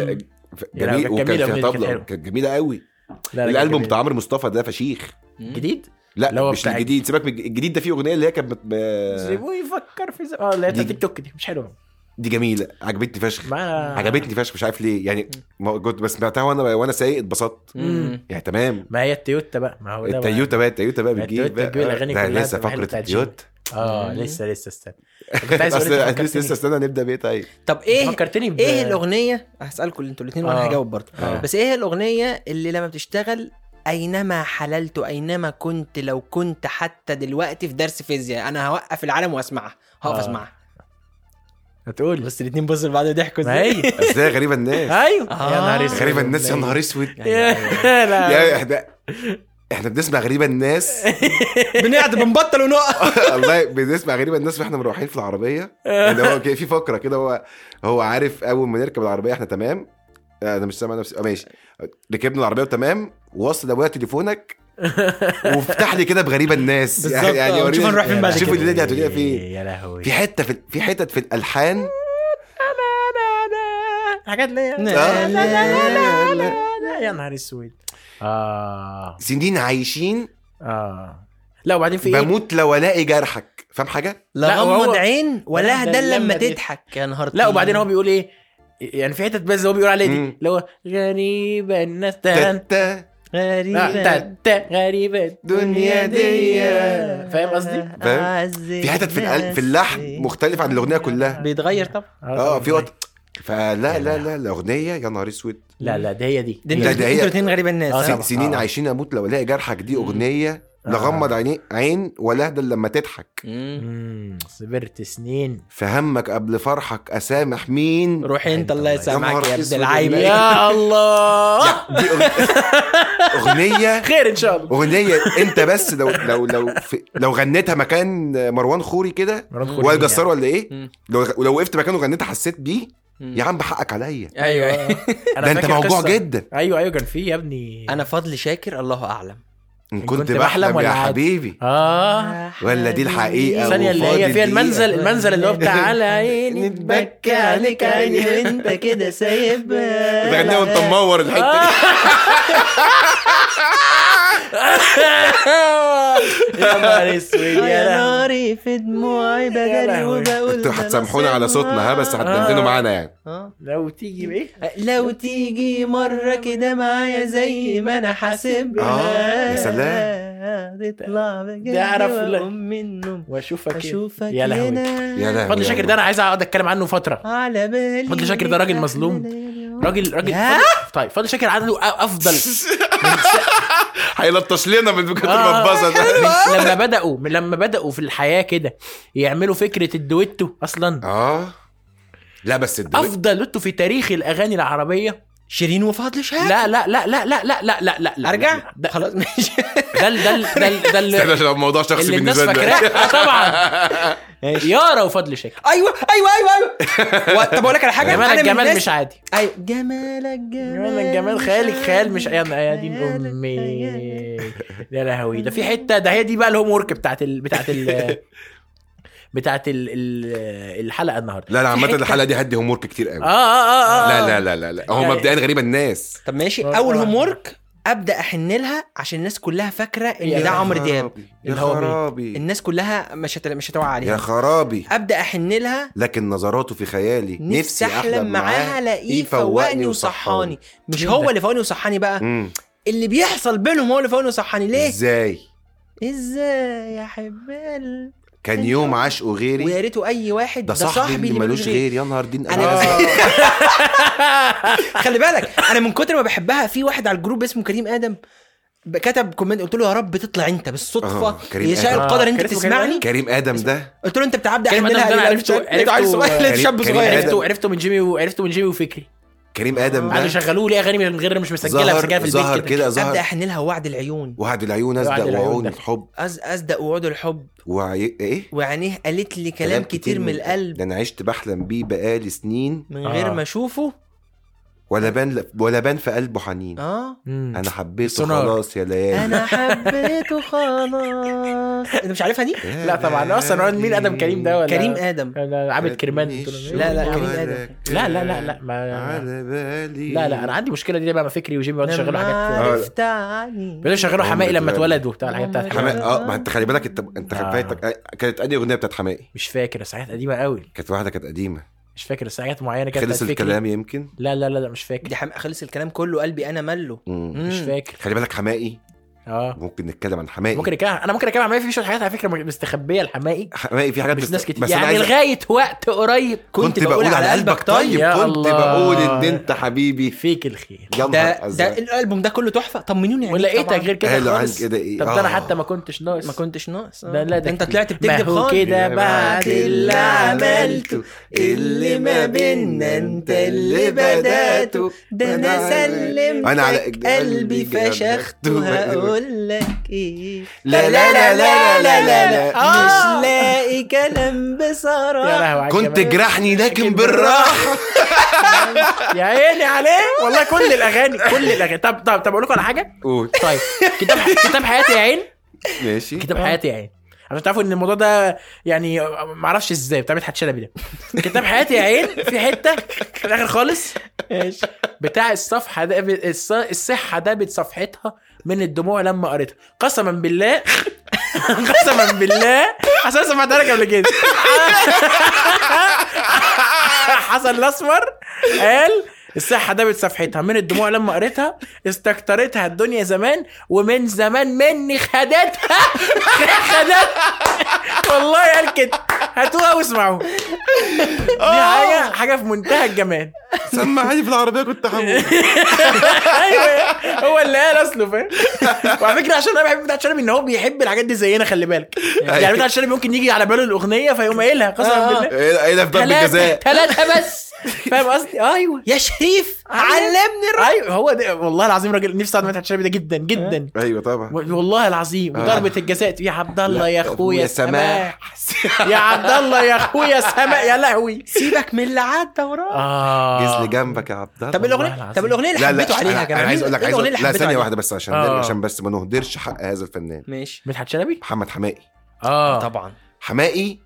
B: يا لهوي،
C: جميل
B: كانت جميلة أغنية دي، كانت
C: وكان فيها طبله
B: حلوة.
C: كانت جميله قوي
B: لا، لا،
C: الالبوم
B: جميل.
C: بتاع عمرو مصطفى ده فشيخ
B: جديد اللي
C: لا
B: هو
C: مش
B: بتاع-
C: الجديد سيبك من الج- الجديد ده فيه اغنيه اللي هي كانت بت- ب-
B: سيبوه يفكر في زم... اه لا
C: دي-
B: تيك توك دي مش حلوه
C: دي جميله عجبتني فشخ
B: ما
C: عجبتني فشخ مش عارف ليه يعني ما كنت بس سمعتها وانا وانا سايق اتبسطت يعني تمام
B: ما هي التويوتا بقى ما هو ده بقى.
C: التويوتا بقى التويوتا بقى بتجيب
B: التويوتا
C: بقى
B: بتجيب الأغاني
C: ده
B: كلها
C: لسه
B: بتبقى حلوة
C: فقره
B: بتاعت
C: التويوتا
B: اه
A: مم.
B: لسه لسه استنى كنت *laughs* عايز اقول
C: اصل
B: لك
C: أصل لسه استنى نبدا بايه طيب
A: طب ايه
B: فكرتني ب...
A: ايه الاغنية هسألكم انتوا الاتنين وانا
B: آه.
A: هجاوب برضه
B: آه.
A: بس ايه الاغنية اللي لما بتشتغل اينما حللت اينما كنت لو كنت حتى دلوقتي في درس فيزياء انا هوقف العالم واسمعها هقف
B: آه.
A: اسمعها
B: هتقول
A: بس الاتنين بصوا لبعض وضحكوا
B: ما هي *laughs*
A: *laughs*
C: ازاي غريبه الناس
B: ايوه
A: آه.
B: يا نهار اسود
C: غريبه الناس يعني يا نهار اسود
B: *laughs* يا-
C: يا
B: لا
C: احنا احنا بنسمع غريبة الناس *laughs*
A: بنقعد بنبطل ونقف
C: والله بنسمع غريبة الناس واحنا مروحين في العربية اللي هو كان في فقرة كده هو هو عارف أول ما نركب العربية احنا تمام آه، أنا مش سامع نفسي آه، ماشي ركبنا العربية وتمام وصل
A: *laughs*
C: أبويا تليفونك وافتح لي كده بغريبة الناس يعني-
A: بالظبط، آه،
C: وريني-
A: نشوف هنروح فين بعد
C: شوف
A: كده.
C: الليلة دي هتودينا فين
B: يا لهوي
C: في حتة في في حتت في الألحان
B: حاجات ليه
A: لا، لا، لا، لا،
B: يا نهار اسود اه
C: سنين عايشين
B: اه لا وبعدين في ايه
C: بموت لو ألاقي جرحك فاهم حاجة؟
B: لا،
A: لا
B: وهو-
A: غمض عين ولا
B: ولا
A: اهدى
B: اهدى
A: لما
B: لما تضحك.
A: تضحك يا نهار
B: لا
A: طيب.
B: وبعدين هو بيقول ايه يعني في حتت بس هو بيقول عليها دي
C: مم.
B: اللي هو غريبة الناس تهان
C: تتا
B: آه، تا-
A: غريبة
B: تا- غريبة الدنيا دي فاهم قصدي؟
C: في حتت في الأل- في اللحن مختلف عن الأغنية كلها
A: بيتغير طبعا
B: آه،
C: اه في وقت
B: يا
C: فلا لا
B: لهوي.
C: لا الاغنيه يا نهار اسود
B: لا لا ده هي دي
A: ده
C: ده-
A: انتوا
C: ده هي-
A: انتوا الاتنين غريبة
B: آه،
A: الناس
B: طبعا.
C: سنين عايشين اموت لو الاقي جرحك دي اغنيه
B: آه.
C: لا غمض عيني عين ولا اهدى لما تضحك
B: مم، صبرت سنين
C: فهمك قبل فرحك اسامح مين
A: روح انت الله
B: يا
A: يسامحك
C: نهار
A: يا ابن
C: اسود.
A: العايبة
B: يا الله
C: دي أغ- *laughs* اغنيه
B: خير ان شاء الله
C: اغنيه انت بس لو لو لو في لو غنيتها مكان مروان خوري كده
B: مروان خوري
C: وائل
B: مين يعني.
C: جسار ولا ايه
A: مم.
C: لو لو وقفت مكانه وغنيتها حسيت بيه
A: مم.
C: يا عم حقك عليا
A: ايوه
B: آه. أنا
C: ده انت
B: فاكر
C: موجوع
B: قصة-
C: جدا
B: ايوه ايوه كان في يا ابني
A: انا فضل شاكر الله اعلم
C: ان
B: كنت
C: كنت
B: بحلم
C: بحلم
B: ولا
C: يا
B: عادي؟
C: حبيبي
B: اه
A: آه،
C: ولا دي الحقيقة؟
B: الثانية اللي
C: وفاضل
B: هي فيها
C: دقيقة.
B: المنزل المنزل اللي هو بتاع على عيني اتبكى عليك عيني
A: انت كده
B: *laughs*
A: سايب
C: بتغنيها وانت منور الحته
B: يا نهار اسود يا
D: أيوة.
B: لهوي.
A: ناري في دموعي
B: لهوي.
C: انتوا هتسامحونا على صوتنا ها بس هتدندنوا معانا يعني
B: لو تيجي بايه
A: لو تيجي مرة كده معايا زي ما انا حاسبها
C: آه، يا
A: تطلع بجد
B: ده أعرف لا.
A: وأقوم من النوم
B: واشوفك
A: اشوفك
B: يا لهوي.
C: يا لهوي
B: فضل شاكر ده انا عايز اقعد اتكلم عنه فتره
A: على بالي
B: فضل شاكر ده راجل مظلوم. راجل راجل
A: يا.
B: فضل- طيب فضل شاكر عنده أ-
C: *laughs*
B: افضل
C: هيلطش لنا من كتر
B: آه.
C: ما اتبسط
B: من- لما بداوا من لما بداوا في الحياه كده يعملوا فكره الدويتو اصلا
C: اه لا بس الدويتو
B: افضل دويتو في تاريخ الاغاني العربيه
A: شيرين وفضل شاكر
B: لا لا لا لا لا لا لا لا لا
A: ارجع
B: ده
A: خلاص ماشي
B: ده ال- ده ال- ده ال- ده
C: استنى
B: ال-
C: عشان الموضوع شخصي
B: اللي الناس
C: بالنسبه لنا
B: فاكراه آه، طبعا يارا وفضل شاكر
A: ايوه ايوه ايوه ايوه و- طب اقول لك على حاجه
B: جمال
A: أنا من
B: الجمال
A: الناس-
B: مش عادي
A: ايوه جمالك جمال
B: جمال جمال خيالك خيال مش يا يا دين
A: خيالك
B: امي
A: خيالك.
B: يا لهوي ده في حته ده هي دي بقى الهوم ورك بتاعت ال... بتاعت ال... بتاعت ال... ال- الحلقه النهارده
C: لا لا عامه الحلقه دي هدي هوم ورك كتير
B: اه
C: قوي
B: اه اه, آه.
C: لا لا لا لا لا هو
B: يعني-
C: مبدئيا غريبه الناس
A: طب ماشي
B: آه،
C: اه.
A: اول
B: طبعاً.
A: هوم ورك ابدا احن لها عشان الناس كلها فاكره
B: يا
A: ان ده عمرو دياب
C: خرابي، يا
B: اللي هو مين؟
C: خرابي
A: الناس كلها مش هت... مش هتوعى
C: يا
A: عليها
C: خرابي
A: ابدا احن لها
C: لكن نظراته في خيالي
A: نفسي احلم معاها الاقيه
C: إيه
A: فوقني وصحاني مش
B: مين
A: هو
B: ده؟
A: اللي فوقني وصحاني بقى
C: مم.
A: اللي بيحصل بينهم هو اللي فوقني وصحاني ليه
C: ازاي
A: ازاي يا حبال
C: كان يوم عشقه
A: ويا
C: غيري
A: ريته اي واحد
C: إيه؟ ده صاحبي اللي ملوش غير يا نهار دين
A: أنا
C: أبيض.
A: إيه؟ خلي بالك انا من كتر ما بحبها في واحد على الجروب اسمه كريم ادم ب- كتب كومنت قلت له يا رب تطلع انت بالصدفه
C: آه، كريم
A: يشاء
C: آدم.
A: القدر انت
B: كان اسمه كريم آدم؟
A: تسمعني
C: كريم ادم ده
A: قلت له انت بتعبد
B: كريم
A: احنا
B: آدم ده أنا عرفته-
A: لقيته عيل
B: عرفته- آه،
A: صغير لقيته
C: كريم-
A: شاب
C: كريم
A: صغير
C: آدم.
B: عرفته عرفته من جيمي و- عرفته من جيمي وفكري
C: كريم ادم
B: قعدوا
C: ده
B: يشغلوا لي اغاني من غير مش مسجله مسجله في
C: ظهر
B: البيت
C: ظهر كده
A: ابدا
C: ظهر
A: احن لها وعد العيون
C: وعد العيون
B: وعد
C: ازدق
B: العيون
C: وعون
B: ده.
C: الحب
A: أز أصدق وعود الحب
C: وعي... ايه
A: وعينيه قالت لي كلام كتير من القلب
C: ده انا عشت بحلم بيه بقالي سنين
A: من غير
B: آه.
A: ما أشوفه
C: ولا بان ولا بان في قلبه حنين
A: آه
B: مم.
C: انا حبيته
B: سونار.
C: خلاص يا
B: *laughs*
C: ليالي
A: أنا حبيته خلاص أنت مش عارفها دي؟
B: لا طبعا اصلا هو مين ادم كريم ده ولا
A: كريم آدم
B: انا عابد كرمان
A: لا، لا، كريم
B: لا
A: آدم.
B: لا لا لا ما
C: على بالي
B: لا لا انا عندي مشكله دي بقى مع فكري وجيمي بيقعدوا يشغلوا
A: لما
B: حاجات
A: عرفت عني
B: بيقعدوا يشغلوا حماقي لما
C: بتبقى-
B: اتولد وبتاع الحاجات
A: آه.
B: بتاعت
C: حماقي
B: حماقي
C: اه ما انت خلي بالك انت انت
B: آه.
C: آه. فايتك آه، كانت انهي اغنيه بتاعت حماقي
B: مش فاكر بس حاجات قديمه قوي
C: كانت واحده كانت قديمه
B: مش فاكر بس حاجات معينه كانت
C: خلص
B: بتاعت فكري.
C: الكلام يمكن
B: لا لا لا لا مش فاكر
A: دي حم... خلص الكلام كله قلبي أنا مله
C: مم.
B: مش
A: مم.
B: فاكر
C: خلي بالك حماقي
B: اه
C: ممكن نتكلم عن حماقي
B: ممكن اتكلم انا ممكن اتكلم عن حماقي في شويه حاجات على فكره مستخبيه لحماقي
C: حماقي في حاجات
B: مش
C: بت-
B: ناس كتير
C: بس انا
B: يعني
C: عايز
B: لغايه وقت قريب
C: كنت, بقول على قلبك طيب
B: يا
C: كنت
B: الله.
C: بقول ان انت حبيبي
B: فيك الخير
C: يا
A: ده
C: نهار
A: ده
C: ازرق
A: الالبوم ده كله تحفه طمنوني عليه
B: ولقيتك
A: طبعاً.
B: غير كده
C: قالوا عن
B: خالص
C: كده ايه
B: طب ده انا
C: آه.
B: حتى يعني ما كنتش ناقص
A: ما كنتش ناقص آه.
B: لا، لا، ده
A: انت طلعت
B: ما
A: بتكذب
B: هو
A: خالص
B: كده بعد اللي عملته
A: اللي ما بينا انت اللي بدأته ده انا
C: أنا على
A: سلمتك
C: إجدال
A: قلبي
C: جنبك *laughs*
A: فشخته
C: وبقلبك.
A: هقول لك ايه
C: لا لا لا لا لا لا لا
B: آه.
A: مش لاقي كلام
B: يا
A: بصراحه
B: لهوي على
C: كنت
B: الجمال.
C: جرحني لكن
B: لكن
C: بالراحه
B: يا عيني عليه والله كل الاغاني كل الاغاني طب طب طب اقول لكم على حاجه
C: قول
B: طيب كتاب كتاب حياتي يا عين
C: ماشي
B: كتاب حياتي يا عين عشان تعرفوا ان الموضوع ده يعني ما اعرفش ازاي بتاع مدحت شلبي ده كتاب حياتي يا عين في حته في الاخر خالص بتاع الصفحه ده الص- الصحه ده صفحتها من الدموع لما قريتها قسما بالله قسما بالله عشان أنا سمعتها لك قبل كده *laughs* حسن الاسمر قال الصحة دابت صفحتها من الدموع لما قريتها استكترتها الدنيا زمان ومن زمان مني خدتها *laughs* خدتها والله قال كده هاتوها واسمعوها دي حاجة حاجة في منتهى الجمال *laughs*
C: سمعني في العربيه كنت حمود
B: ايوه هو اللي قال اصله فاهم وعلى فكره عشان انا بحب مدحت شلبي ان هو بيحب الحاجات دي زينا خلي بالك يعني مدحت شلبي ممكن يجي على باله الاغنيه فيقوم قايلها قسما
A: آه.
B: بالله
C: ايه إيه ده في ضرب الجزاء
B: ثلاثة بس فاهم قصدي؟ ايوه
A: يا شريف علمني الرقص.
B: ايوه هو ده والله العظيم راجل نفسي اقعد مع مدحت شلبي ده جدا جدا
C: ايوه طبعا
B: والله العظيم
C: آه.
B: وضربة الجزاء يا عبد الله يا اخويا
C: يا
B: سماح
C: سماح. *laughs*
B: يا عبد الله يا اخويا سماح يا لهوي
A: سيبك من اللي عدى وراك
B: اه
C: جزلي جنبك يا عبد الله
A: طب
B: والله
A: الاغنيه
B: العظيم.
A: طب الاغنيه اللي
C: لا لا
A: حبيتوا عليها يا
C: انا
A: جماعه
C: أنا عايز
A: مين-
C: اقول لك
A: إيه
C: عايز
A: الاغنيه اللي
C: لا
A: حبيتوا
C: ثانيه
A: عليها؟
C: واحده بس عشان
B: آه.
C: عشان بس ما نهدرش حق هذا الفنان
A: ماشي
B: مدحت شلبي؟
C: محمد حماقي آه،
B: اه
A: طبعا
C: حماقي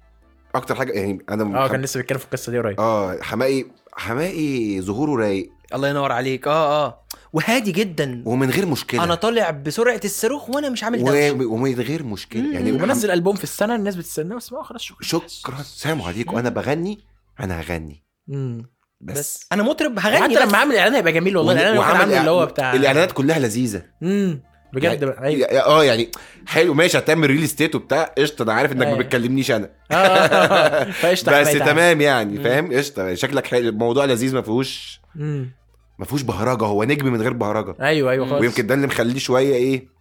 C: اكتر حاجه يعني انا
B: اه
C: محمد-
B: كان لسه بيتكلم في القصه دي قريب
C: اه حماقي حماقي ظهوره رايق
A: الله ينور عليك اه اه وهادي جدا
C: ومن غير مشكله
A: انا طالع بسرعه الصاروخ وانا مش عامل دوشه
C: و... ومن غير مشكله يعني
B: ومنزل البوم في السنه الناس بتستناه واسمعه خلاص شكرا
C: شكرا سلام عليكم انا بغني انا هغني
B: امم
C: بس,
A: بس انا مطرب هغني
B: يعني حتى
A: بس
B: لما عامل اعلان هيبقى جميل والله الاعلان اللي كان عامله اللي هو بتاع
C: الاعلانات كلها لذيذه
B: امم بجد بقى، ايوه
C: يعني- اه يعني حلو ماشي هتعمل ريل استيت وبتاع قشطه انا عارف انك ما
B: أيوة.
C: بتكلمنيش انا
B: آه، آه، *laughs* آه. فقشطه
C: بس
B: حماية تعالى.
C: تمام يعني
B: مم.
C: فاهم قشطه شكلك حلو الموضوع لذيذ ما فيهوش
B: مم.
C: ما فيهوش بهرجه هو نجم من غير بهرجه
B: ايوه ايوه
A: مم.
B: خالص
C: ويمكن ده اللي مخليه شويه ايه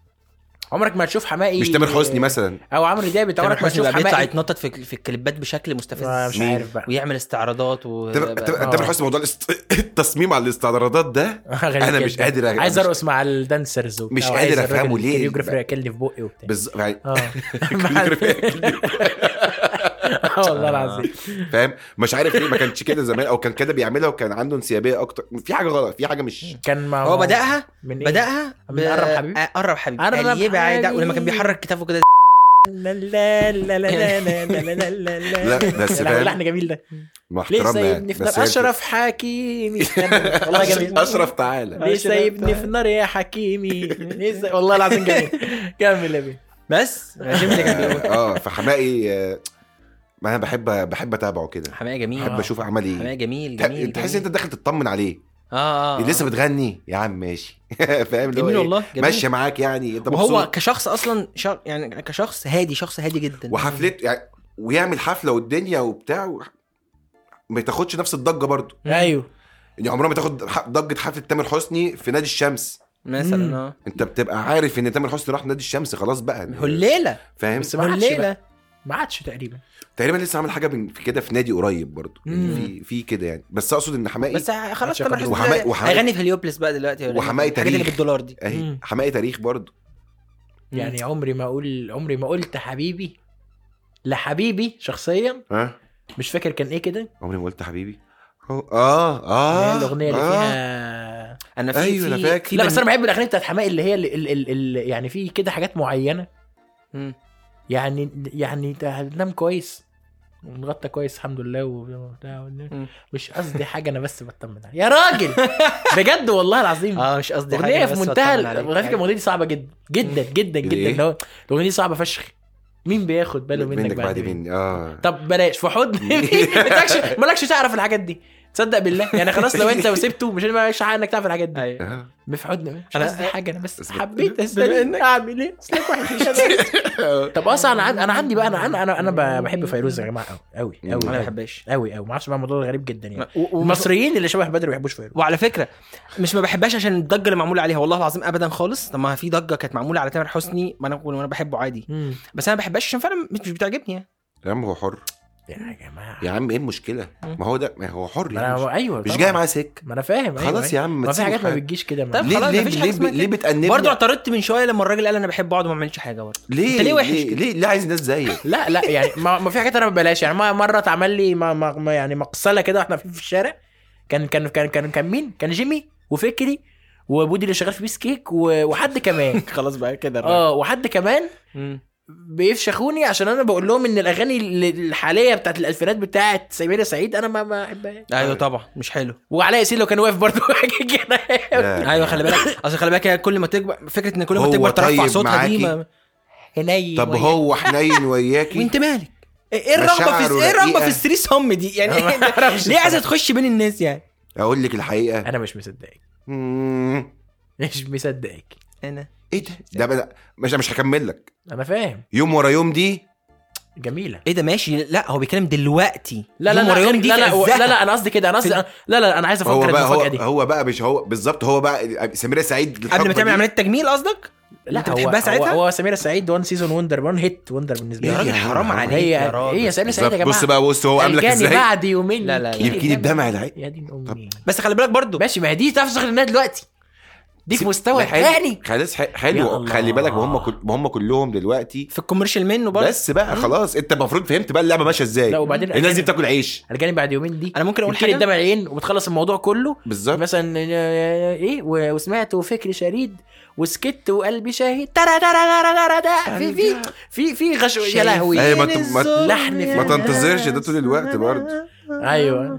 B: عمرك ما هتشوف حماقي
C: مش تامر حسني مثلا
B: او عمرو دياب انت
A: تامر
B: عمرك ما
A: حسني
B: هتشوف
A: بقى بيطلع
B: حماقي
A: يتنطط في في الكليبات بشكل مستفز
B: آه، مش عارف بقى
A: ويعمل استعراضات و
C: تامر
A: بقى-
B: آه.
C: تامر- تامر حسني موضوع الاست- التصميم على الاستعراضات ده
B: *laughs* غريب
C: أنا مش
B: جدا.
C: قادر أ-
B: عايز
C: مش-
B: ارقص مع الدانسرز وبتاع،
C: مش
B: وعايز
C: قادر أفهمه
B: الراجل
C: ليه
B: الكوريوجرافر
C: بقى.
B: ياكلني في بقي وبتاع *laughs*
C: بالظبط يعني
B: اه آه، والله العظيم
C: فاهم مش عارف ليه ما كانش كده زمان او كان كده بيعملها وكان عنده انسيابيه اكتر في حاجه غلط في حاجه مش
B: كان مع
A: هو بداها
B: من إيه؟
A: بداها
B: من قرب حبيبي؟
A: آه، قرب حبيبي
B: قرب
A: قرب بعيد
B: حبيبي.
A: ولما كان بيحرك كتافه كده
B: لا لا لا لا لا لا لا لا لا لا
C: لا، بس *laughs*
B: لا،
C: فاهم.
B: لحن جميل ده
C: مع
B: ليه
C: احترامنا
B: سايبني
C: يعني
B: في
C: بس
B: النار
C: هي
B: اشرف
C: *laughs*
B: حكيمي والله جميل
C: اشرف
B: *laughs*
C: تعالى
B: ليه سايبني في النار يا حكيمي ليه سايب- والله العظيم
C: *laughs*
B: جميل كمل يا بيه
A: بس الرجيم اللي *laughs* كان بيقول
C: اه فحمائي آه، ما انا بحب بحب اتابعه كده
A: حماية جميل
B: آه.
C: بحب اشوف عمل
A: حماية
C: ايه
A: جميل
C: تح-
A: جميل
C: تحس
A: جميل.
C: انت داخل تطمن عليه
A: اه اه
C: اللي لسه
A: آه.
C: بتغني يا عم ماشي *laughs* فاهم اللي هو
A: جميل
C: إيه؟
A: والله جميل
C: ماشيه معاك يعني انت
A: وهو
C: مبسوط
A: كشخص اصلا شا... يعني كشخص هادي شخص هادي جدا
C: وحفلته يعني ويعمل حفله والدنيا وبتاع و... ما تاخدش نفس الضجه برضه
B: ايوه
C: يعني عمرها ما تاخد ح- ضجه حفله تامر حسني في نادي الشمس
B: مم.
A: مثلا اه
C: انت بتبقى عارف ان تامر حسني راح نادي الشمس خلاص بقى
A: هو الليله
C: فاهم
B: بس ما عادش بقى.
A: الليله
B: ما عادش تقريبا
C: تقريبا لسه عامل حاجه من- في كده في نادي قريب برضه يعني
B: مم.
C: في في كده يعني بس اقصد ان حماقي
A: بس خلاص
B: ماشي
A: تامر
B: يا
A: حسني
C: وحماية-
A: ده
C: وحماية-
A: هيغني في اليوبلس بقى دلوقتي ولا
C: وحماية
A: الحاجات اللي
C: تاريخ.
A: بالدولار دي
C: اهي
B: مم.
C: حماقي تاريخ برضه
B: يعني عمري ما اقول عمري ما قلت حبيبي لحبيبي شخصيا
C: ها
B: مش فاكر كان ايه كده اللي
C: عمري ما قلت حبيبي اه
B: هي
C: اه
B: الاغنيه اللي
C: آه.
B: فيها
A: انا في
C: أيوة،
A: في
C: أنا فاكر.
A: في
B: لا بس
A: بن-
B: انا بحب الاغاني بتاعت حماقي اللي هي ال ال ال ال يعني في كده حاجات معينه
A: مم.
B: يعني يعني ت- هننام كويس ونغطى كويس الحمد لله وبتاع مش قصدي حاجه انا بس بطمن عليك. يا راجل بجد والله العظيم
C: آه،
A: اه مش قصدي حاجه
B: اغنيه
A: بس
B: في منتهى
A: بطمن عليك.
B: الغرافيك
A: أيوة.
B: الاغنيه دي صعبه جدا جدا جدا جدا
C: ليه؟
B: اللي هو الاغنيه دي صعبه فشخ مين بياخد باله منك,
C: منك بعد
B: مين
C: مني اه
B: طب بلاش في
C: *laughs*
B: حضن مين؟ مالكش مالكش تعرف الحاجات دي تصدق بالله يعني خلاص لو انت وسبته مش مالكش حق انك تعرف الحاجات دي
A: أيوة.
C: آه.
B: ما في حضن مش
A: أنا-
B: قصدي حاجه انا بس
C: بس-
B: حبيت استنى اعمل ايه اصلك
C: *laughs*
B: واحد طب اصلا انا عن- انا عندي بقى انا انا انا, أنا ب- بحب فيروز يا جماعه قوي قوي
A: انا ما
B: قوي
A: بحبهاش
B: قوي قوي ما اعرفش بقى الموضوع ده غريب جدا يعني
A: و- و-
B: المصريين اللي شبه بدر ما بيحبوش فيروز
A: وعلى فكره مش ما بحبهاش عشان الضجه اللي معموله عليها والله العظيم ابدا خالص طب ما في ضجه كانت معموله على تامر حسني ما انا بقول وانا بحبه عادي
B: مم.
A: بس انا ما بحبهاش عشان فعلا مش مش بتعجبني يعني
C: يا عم هو حر
B: يا جماعه
C: يا عم ايه المشكله ما هو ده ما هو حر
B: ما
C: يعني مش,
B: انا ايوه
C: مش
B: طبعاً.
C: جاي معاه سكه
B: ما انا فاهم أيوة،
C: خلاص
B: أيوة.
C: يا عم
B: ما في
C: تسيبه
B: حاجات
C: في
B: ما
C: حاجة.
B: بتجيش كده ما-
A: طب
C: ليه
A: خلاص،
C: ليه
A: مفيش حاجة
C: ليه
A: اسمها كده.
C: ليه بتأنبني
A: برضه اعترضت من شويه لما الراجل قال انا بحبه اقعد وما اعملش حاجه برضه
C: ليه
A: أنت ليه وحش
C: ليه,
A: كده؟
C: ليه, ليه عايز ناس زيك
A: *laughs*
B: لا لا يعني ما, ما في حاجات انا ما ببلاش يعني ما- مره اتعمل لي ما ما ما يعني مقصله كده واحنا في في الشارع كان كان كان كان كان مين؟ كان جيمي وفكري وبودي اللي شغال في بيس كيك و- وحد
C: *laughs*
B: كمان
A: خلاص بقى كده
B: اه وحد كمان
A: آه. مم.
B: بيفشخوني عشان انا بقول لهم ان الاغاني ال- الحاليه بتاعت الالفينات بتاعت سمير يا سعيد انا ما ما احبهاش
A: ايوه طبعا مش حلو
B: وعلاء ياسين لو كان واقف برضه *laughs* حاجه كده
C: لا.
A: ايوه خلي بالك اصل خلي بالك هي كل ما تكبر فكره ان كل ما
C: آه. هو
A: تكبر ترفع
C: طيب
A: صوتها دي
C: معاكي. *laughs*
A: ما... *laughs* إيه؟
B: هني
C: طب هو حنين وياكي
A: وانت مالك ايه الرغبه في
C: مشاعره
A: ايه الرغبه
C: رقيقة.
A: في الثريس هم دي يعني *laughs*
B: ما أعرفش
A: ليه عايزه تخش بين الناس يعني
C: اقول لك الحقيقه
B: انا مش مصدقك
C: مم.
B: مش مصدقك
A: انا
C: ايه ده ده بقى مش مش هكمل لك
B: انا فاهم
C: يوم ورا يوم دي
B: جميله
A: ايه ده ماشي لا هو بيتكلم دلوقتي
B: لا لا
A: يوم ورا
B: لا
A: يوم
B: لا
A: دي
B: لا
A: في
B: لا, لا,
A: عزها.
B: لا انا قصدي كده انا قصدي أنا- لا لا انا عايز
C: هو
B: افكر
C: بقى هو,
B: المفاجاه دي
C: هو بقى مش هو بالظبط هو بقى سمير سعيد
A: قبل
C: الحقبة
A: ما تعمل
C: دي.
A: عمليه تجميل قصدك
B: لا
A: انت
B: هو-
A: بتحبها ساعتها؟
B: هو, هو سمير السعيد وان سيزون وندر وان هيت وندر بالنسبه
C: يا
B: لي يعني
C: راجل حرام عليك
B: هي
A: يا راجل.
B: هي سمير السعيد يا
C: بالظبط
B: جماعه
C: بص بقى بص هو قام لك
B: ألجاني
C: ازاي
B: بعدي ومني
A: لا، لا، لا.
C: يبكي لي بدمع العين.
B: يا دين امي
A: بس خلي بالك برضو
B: ماشي ما هي دي تعرف تشتغل النادي دلوقتي دي في مستوى
C: لا، حلو.
B: تاني
C: خلاص ح-
B: يا
C: حلو
B: الله.
C: خلي بالك ما هم كل... ما هم كلهم دلوقتي
A: في الكوميرشال منه برضه
C: بس بقى خلاص انت المفروض فهمت بقى اللعبه ماشيه ازاي
B: لا، وبعدين
C: الناس دي
B: أكيد.
C: بتاكل عيش
B: الجاني بعد يومين دي
A: انا ممكن اقول
B: يبكي لي
A: حاجه
B: دمع العين وبتخلص الموضوع كله
C: بالظبط
B: مثلا ايه و- وسمعت وفكري شريد وسكت وقلبي شهيد ترى ترى ترى ترى ده في في في في غش يا لهوي
C: أيوة، ما ت- ما ت-
B: لحن في-
C: ما تنتظرش ده طول الوقت برضه
B: ايوه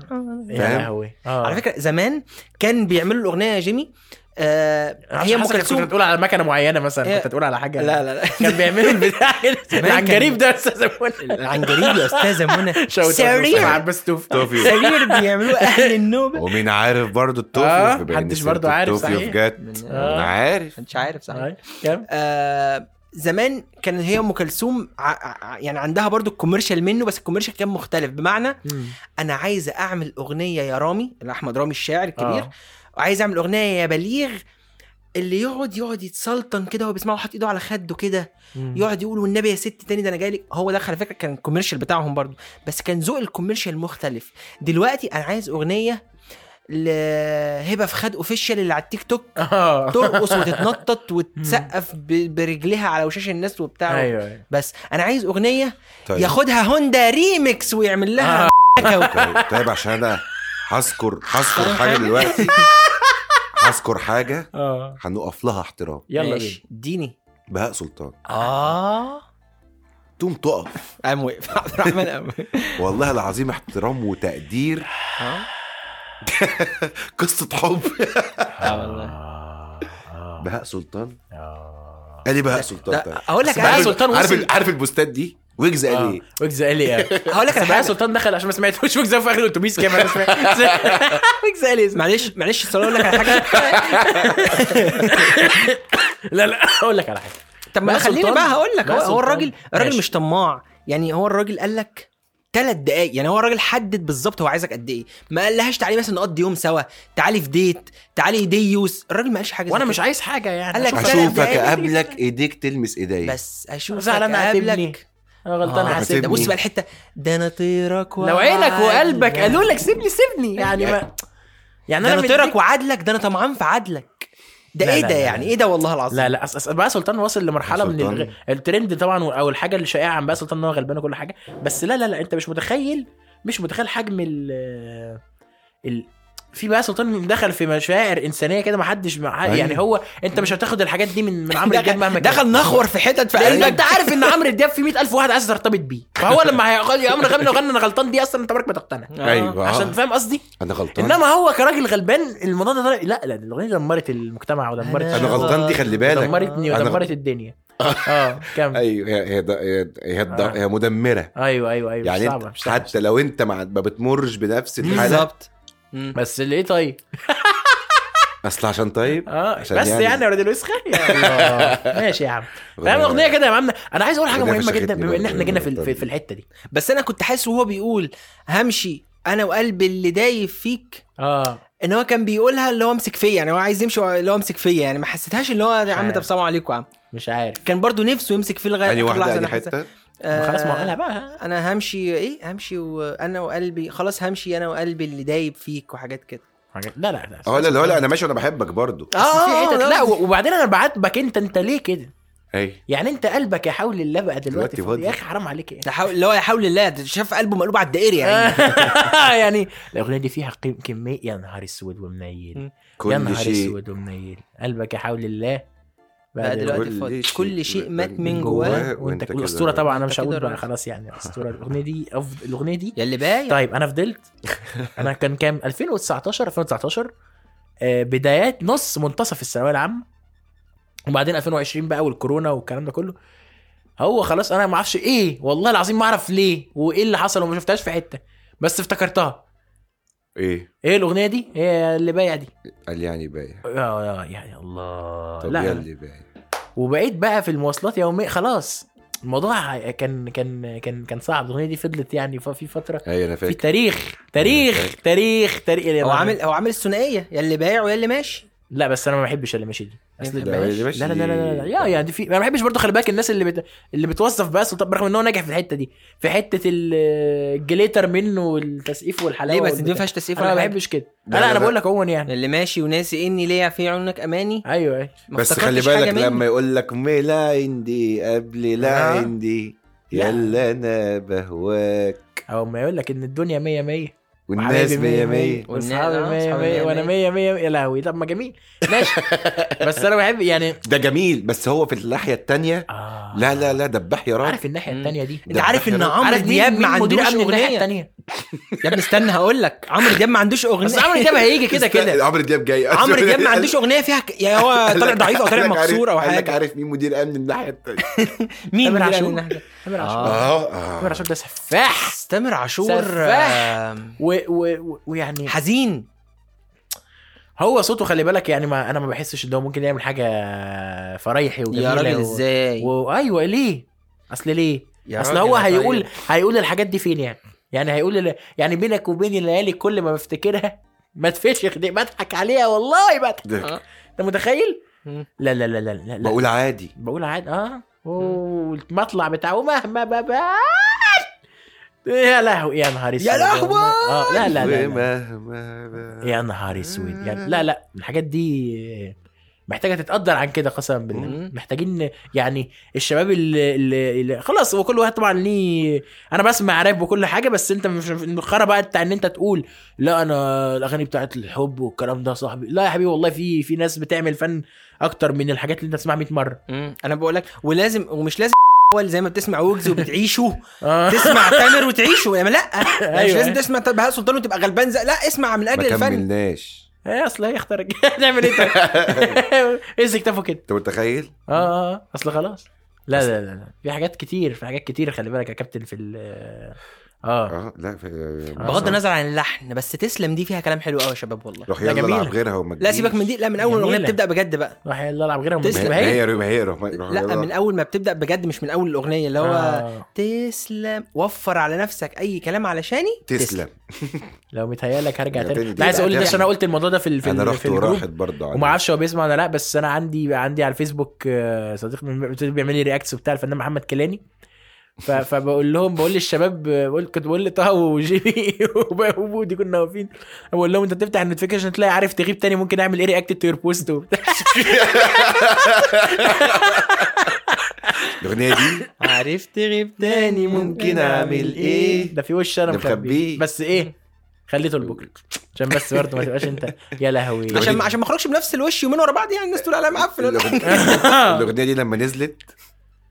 B: يا
C: فاهم؟
B: لهوي آه.
A: على فكره زمان كان بيعملوا الاغنيه يا جيمي آه هي ام
B: كنت
A: كلثوم
B: بتقول على مكنه معينه مثلا
A: هي-
B: كنت تقول على حاجه
A: لا لا لا
B: *laughs* كان بيعملوا البتاع
A: *laughs* كان-
B: العجريب ده يا استاذ منى
A: *laughs* العنجريب يا استاذه
B: *laughs*
A: منى
B: سريع
A: سرير
B: بس توف
C: توفيو
A: سرير
B: *laughs*
A: بيعملوا اهل النوبه
C: ومين عارف برضه التوفيو
B: آه،
C: بما إن
B: محدش
C: سيرة
B: برضه عارف،
C: التوفيو
B: صحيح.
C: في جت
B: آه.
C: انا عارف
A: مش عارف صح
B: *laughs* أي، كم؟
A: آه زمان كان هي ام كلثوم ع- ع- يعني عندها برضو الكوميرشال منه بس الكوميرشال كان مختلف بمعنى انا عايزه اعمل اغنيه يا رامي اللي احمد رامي الشاعر الكبير
B: آه.
A: وعايز اعمل اغنيه يا بليغ اللي يقعد يقعد يتسلطن كده وهو بيسمعه حاطط ايده على خده كده يقعد يقول والنبي يا ست تاني ده انا جايلك هو ده على فكره كان الكوميرشال بتاعهم برضو بس كان ذوق الكوميرشال مختلف دلوقتي انا عايز اغنيه لهبه في خد اوفيشال اللي على التيك توك
B: اه
A: ترقص وتتنطط وتسقف ب- برجليها على وشاش الناس وبتاع
B: ايوه أيوة.
A: بس انا عايز اغنيه
C: طيب
A: ياخدها هوندا ريميكس ويعمل لها
C: طيب- طيب عشان انا هذكر هذكر
B: آه.
C: حاجه
B: *laughs*
C: دلوقتي هذكر حاجه
B: اه
C: هنقف لها احترام
B: يلا بينا
A: ماشي، اديني
C: بهاء سلطان
A: اه
C: تقوم تقف
A: قام وقف *laughs* عبد الرحمن قام وقف.
C: والله العظيم احترام وتقدير *laughs*
A: اه
C: قصه حب *laughs* آه.
A: آه والله
C: بهاء سلطان
B: آه.
C: قال ايه بهاء سلطان
A: ده-
C: طيب؟
A: اقول لك
C: أصل
B: بهاء
C: عارف-
B: سلطان
C: عارف
B: وصل-
C: عارف البوستات دي ويجز قال
B: آه.
C: ايه
B: ويجز قال لي ايه
A: *laughs* هقول لك
B: بس
A: على
B: بقى
A: حاجه
B: سلطان دخل عشان ما سمعتوش ويجز في اخر الاتوبيس كام انا سمعت
A: *laughs*
B: ويجز قال لي
A: معلش معلش اصل اقول لك على حاجه
B: *laughs* لا لا اقول لك على حاجه
A: طب ما
B: بقى
A: خليني
B: سلطان.
A: بقى هقول لك
B: بقى
A: هو- هو
B: سلطان.
A: الراجل الراجل
B: ماشي.
A: مش طماع يعني هو الراجل قال لك ثلاث دقايق يعني هو الراجل حدد بالظبط هو عايزك قد ايه ما قالهاش تعالي مثلا نقضي يوم سوا تعالي في ديت تعالي ديوس الراجل ما قالش حاجه زي
B: وانا
A: كده.
B: مش عايز حاجه يعني
A: قال لك
B: أشوف-
A: أشوف.
C: اشوفك
A: دقايق.
C: اقابلك ايديك تلمس ايديا
A: بس اشوف
B: زعلان هتبني.
A: قبلك
B: انا غلطان
C: آه،
B: حاسبني
A: ده بص بقى الحته ده انا طيرك
B: لو عينك وقلبك
A: وعدلك.
B: قالوا لك سيبني سيبني يعني ما يعني
A: ده انا طيرك
B: مديك-
A: وعدلك ده انا طمعان في عدلك ده
B: لا،
A: ايه
B: لا،
A: ده
B: لا،
A: يعني
B: لا.
A: ايه ده والله العظيم
B: لا لا أص... أص... بقى سلطان واصل لمرحله من
C: سلطان.
B: الغ... الترند طبعا او الحاجه الشائعه عن بقى سلطان ان هو غلبان وكل حاجه بس لا لا لا انت مش متخيل مش متخيل حجم ال ال في بقى سلطان دخل في مشاعر انسانيه كده ما حدش مع...
C: أيوة.
B: يعني هو انت مش هتاخد الحاجات دي من من عمرو دياب مهما كان
A: دخل نخور في حتت في
B: لان
A: قلبك
B: انت عارف ان عمرو دياب في 100000 واحد عايز ترتبط بيه فهو لما هيقول يا عمرو غني لو غنى انا غلطان دي اصلا انت عمرك ما تقتنع
A: آه.
C: ايوه
B: آه. عشان
C: عشان
B: فاهم قصدي
C: انا غلطان
B: انما هو كراجل غلبان الموضوع ده طلع- لا لا الاغنيه دمرت المجتمع ودمرت
A: أنا
C: انا
B: الشعب.
C: غلطان دي خلي بالك
B: دمرتني
C: أنا-
B: ودمرت
C: *laughs*
B: الدنيا اه كمل
C: ايوه هي هي هي- هي
B: آه.
C: هي مدمره
B: ايوه ايوه ايوه
C: يعني
B: مش
C: انت
B: صعبه مش صعبه
C: حتى لو انت مع- ما بتمرش بنفس الحاله
A: بالظبط مم.
B: بس اللي ايه طيب
C: اصل عشان طيب
B: اه بس
C: عشان
B: يعني,
C: يعني-
B: يا ولاد الوسخه يا
C: *laughs*
B: الله ماشي يا عم فاهم اغنيه كده يا عمنا انا عايز اقول حاجه
C: أغنية
B: مهمه جدا
C: فشختني
B: بما ان احنا
C: برضه
B: جينا في
C: الوقت
B: في,
C: ده.
B: في الحته دي
A: بس انا كنت حاسس وهو بيقول همشي انا وقلبي اللي دايب فيك
B: اه
A: ان هو كان بيقولها اللي هو امسك فيا يعني هو عايز يمشي اللي هو امسك فيا يعني ما حسيتهاش اللي هو يا عم
B: عارف.
A: طب سلام عليكم يا عم
B: مش عارف
A: كان برضو نفسه يمسك فيه لغايه
C: يعني
A: آخر لحظة
C: واحده
A: أنا
C: دي
A: حاسسها.
C: حته
B: ما
A: آه،
B: خلاص ما هو قالها بقى
A: انا همشي ايه همشي وانا وقلبي خلاص همشي انا وقلبي اللي دايب فيك وحاجات كده
B: حاجات- لا لا لا
C: اه لا آه. لا لا انا ماشي وانا بحبك برضو
B: بس في حتت لا
A: لا و-
B: وبعدين انا بعاتبك انت انت ليه كده
C: اي
B: يعني انت قلبك يا حول الله بقى
C: دلوقتي
B: دلوقتي فاضي
C: فاضي.
B: يا اخي حرام عليك يعني
A: ده حاول- اللي هو لا حول الله ده شاف قلبه مقلوب على الدائري يعني
B: آه.
A: *laughs*
B: *laughs* يعني الاغنيه دي فيها قيم- كميه يا نهار اسود ومنيل يا
C: كل
B: نهار
C: شيء
B: اسود ومنيل قلبك يا حول الله
A: بقى دلوقتي
C: كل
A: فاضي
C: شيء
A: كل شيء مات من
C: من
A: جواه
C: جواه.
B: وانت
C: وانت كده
B: الاسطوره طبعا انا
A: انت
B: مش
A: كده
B: هقول بقى
A: راجل. *laughs*
B: خلاص يعني الاسطوره الاغنيه دي أفضل- الاغنيه دي
A: يا اللي باين
B: طيب انا فضلت
C: *laughs*
B: انا كان كام 2019 2019 آه، بدايات نص منتصف الثانويه العامه وبعدين 2020 بقى والكورونا والكلام ده كله هو خلاص انا ما اعرفش ايه والله العظيم ما اعرف ليه وايه اللي حصل وما شفتهاش في حته بس افتكرتها
C: ايه
B: ايه الاغنيه دي هي اللي بايع دي
C: قال يعني بايع
B: آه، آه، يعني الله
C: طب
B: لا
C: يلي بايع
B: وبقيت بقى في المواصلات يوميا خلاص الموضوع كان كان كان كان صعب الاغنيه دي فضلت يعني ف- في فتره
C: اي انا
B: في
C: فاكر
B: تاريخ تاريخ تاريخ تاريخ
A: هو عامل هو عامل الثنائيه يا اللي بايع ويا اللي ماشي
B: لا بس انا ما بحبش اللي ماشي دي
A: ما
B: اصل
A: بحبهاش.
B: لا لا لا لا لا, لا. يا يعني في انا ما بحبش برضه خلي بالك الناس اللي بت... اللي بتوصف بقى سلطان برغم ان هو ناجح في الحته دي في حته ال- الجليتر منه والتسقيف والحلاوه
A: ليه بس دي
B: والبتاع.
A: ما فيهاش تسقيف
B: انا
A: ولا
B: ما
A: حاجة.
B: بحبش كده
C: لا،
B: لا
C: لا،
B: انا
C: لا.
B: بقول لك عموما يعني
A: اللي ماشي وناسي اني ليا في عيونك اماني
B: ايوه ايوه
A: ما
C: بس خلي
A: افتكرتش حاجة
C: بالك
A: منه.
C: لما يقول لك ملا عندي قبل لا
B: آه.
C: عندي يلا انا بهواك
B: او ما يقول لك ان الدنيا 100 100
C: والناس مية مية
B: واصحابي
A: والناس- آه،
B: 100
A: أصحابي
B: 100 وانا 100 100 يا لهوي طب ما جميل
A: *laughs*
B: ماشي بس انا بحب يعني
C: ده جميل بس هو في الناحية التانية
B: آه.
C: لا لا لا دبح يا راجل
B: عارف الناحيه
A: مم.
B: الثانيه دي
A: انت عارف ان عمرو
B: عارف
A: دياب ما عندوش اغنيه
B: الثانيه
A: يا ابني استنى هقول لك عمرو دياب ما عندوش اغنيه
B: بس عمرو دياب هيجي كده كده
C: عمرو دياب جاي
A: عمرو دياب ما عندوش اغنيه فيها ك... يا هو طالع ضعيف او طالع
C: قال لك عارف-
A: مكسور او
C: قال لك
A: حاجه
C: عارف مين مدير امن الناحية التانية
A: مين
B: تامر
A: اللي قال
B: عاشور.
A: إنها كده؟
B: تامر
A: آه.
B: عاشور
C: اه
B: تامر
C: اه
B: عاشور ده سفاح
A: بس آه، تامر عاشور
B: سفاح.
A: آم،
B: و- و- و- ويعني
A: حزين
B: هو صوته خلي بالك يعني ما انا ما بحسش ان هو ممكن يعمل حاجه فرايحي وجميله
A: يا راجل
B: و-
A: ازاي
B: وايوه ليه اصل ليه
A: يا
B: اصل
A: راجل
B: هو
A: يا طيب.
B: هيقول هيقول الحاجات دي فين يعني يعني هيقول ال- يعني بينك وبين الليالي كل ما بفتكرها *laughs* ما تفشخ دي بضحك عليها والله بضحك
C: ده-
A: آه.
B: انت متخيل
A: مم.
B: لا لا لا لا لا, لا.
C: بقول عادي
B: بقول عادي اه والمطلع بتاعه مهما بابا يا لهوي يا نهار اسود
A: يا لهوي!
B: اه لا لا, لا, لا.
C: ومهما
B: يا نهار اسود يعني لا لا الحاجات دي محتاجه تتقدر عن كده قسما بالله
A: مم.
B: محتاجين يعني الشباب اللي, اللي, اللي خلاص هو كل واحد طبعا ليه انا بسمع راب وكل حاجه بس انت مش الخرا بقى بتاع ان انت تقول لا انا الاغاني بتاعت الحب والكلام ده يا صاحبي لا يا حبيبي والله في في ناس بتعمل فن اكتر من الحاجات اللي انت بتسمعها 100 مره
A: مم. انا بقول لك ولازم ومش لازم اول زي ما بتسمع ويجز
B: *laughs*
A: وبتعيشه
B: آه.
A: تسمع تامر وتعيشه يعني لا يعني مش
B: أيوة.
A: لازم تسمع بهاء سلطان وتبقى غلبان زي لا اسمع من
C: ما
A: اجل الفن
C: كملناش
B: ايه اصل هيخترق نعمل ايه طيب؟ امسك تافه كده
C: انت متخيل؟
B: اه اه آه، اصل خلاص لا لا لا لا في حاجات كتير في حاجات كتير خلي بالك يا كابتن في ال
A: آه.
B: اه
C: اه لا في
A: بغض النظر عن اللحن بس تسلم دي فيها كلام حلو قوي يا شباب والله
C: روح
B: لا
C: يلا
B: جميلة.
C: العب غيرها وما
A: لا سيبك من دي لا من اول الاغنيه
B: جميلة.
A: بتبدا بجد بقى
B: راح يلا العب غيرها
C: ما هي
A: تسلم.
B: ما
C: ما
B: هي
C: هي ما هي روح روح
A: لا
C: يلا.
A: من اول ما بتبدا بجد مش من اول الاغنيه اللي هو
B: آه.
A: تسلم وفر على نفسك اي كلام علشاني
C: تسلم
B: لو متهيألك هرجع
C: يا
B: تاني
C: تاني
B: انت
C: دي
B: عايز
C: بقى
B: اقول لي
C: دي
B: بس انا قلت الموضوع ده في ال- في
C: انا
B: ال-
C: رحت
B: في الجروب.
C: وراحت برضه عادي.
B: وما اعرفش هو بيسمع ولا لا بس انا عندي عندي على الفيسبوك آه، صديق من- بيعمل لي رياكتس وبتاع الفنان محمد كيلاني ف- فبقول لهم بقول للشباب آه، بقول كنت بقول لطه وجيمي *laughs* وب- وبودي كنا واقفين بقول لهم انت تفتح النوتيفيكيشن تلاقي عارف تغيب تاني ممكن اعمل ايه رياكت تو يور بوست وبتاع
C: الاغنيه دي
A: عرفت غيب *laughs* تاني ممكن اعمل ايه
B: ده في وش انا
C: ده
B: مخبيه
C: مخبيه.
B: بس ايه خليته لبكره عشان بس برضه ما تبقاش
A: *laughs*
B: انت يا لهوي
A: عشان عشان ما اخرجش بنفس الوش يومين ورا بعض يعني الناس تقول عليا
C: *laughs*
A: معفن *laughs* ولا حاجة. آه.
C: الأغنية- *laughs* الاغنيه دي لما نزلت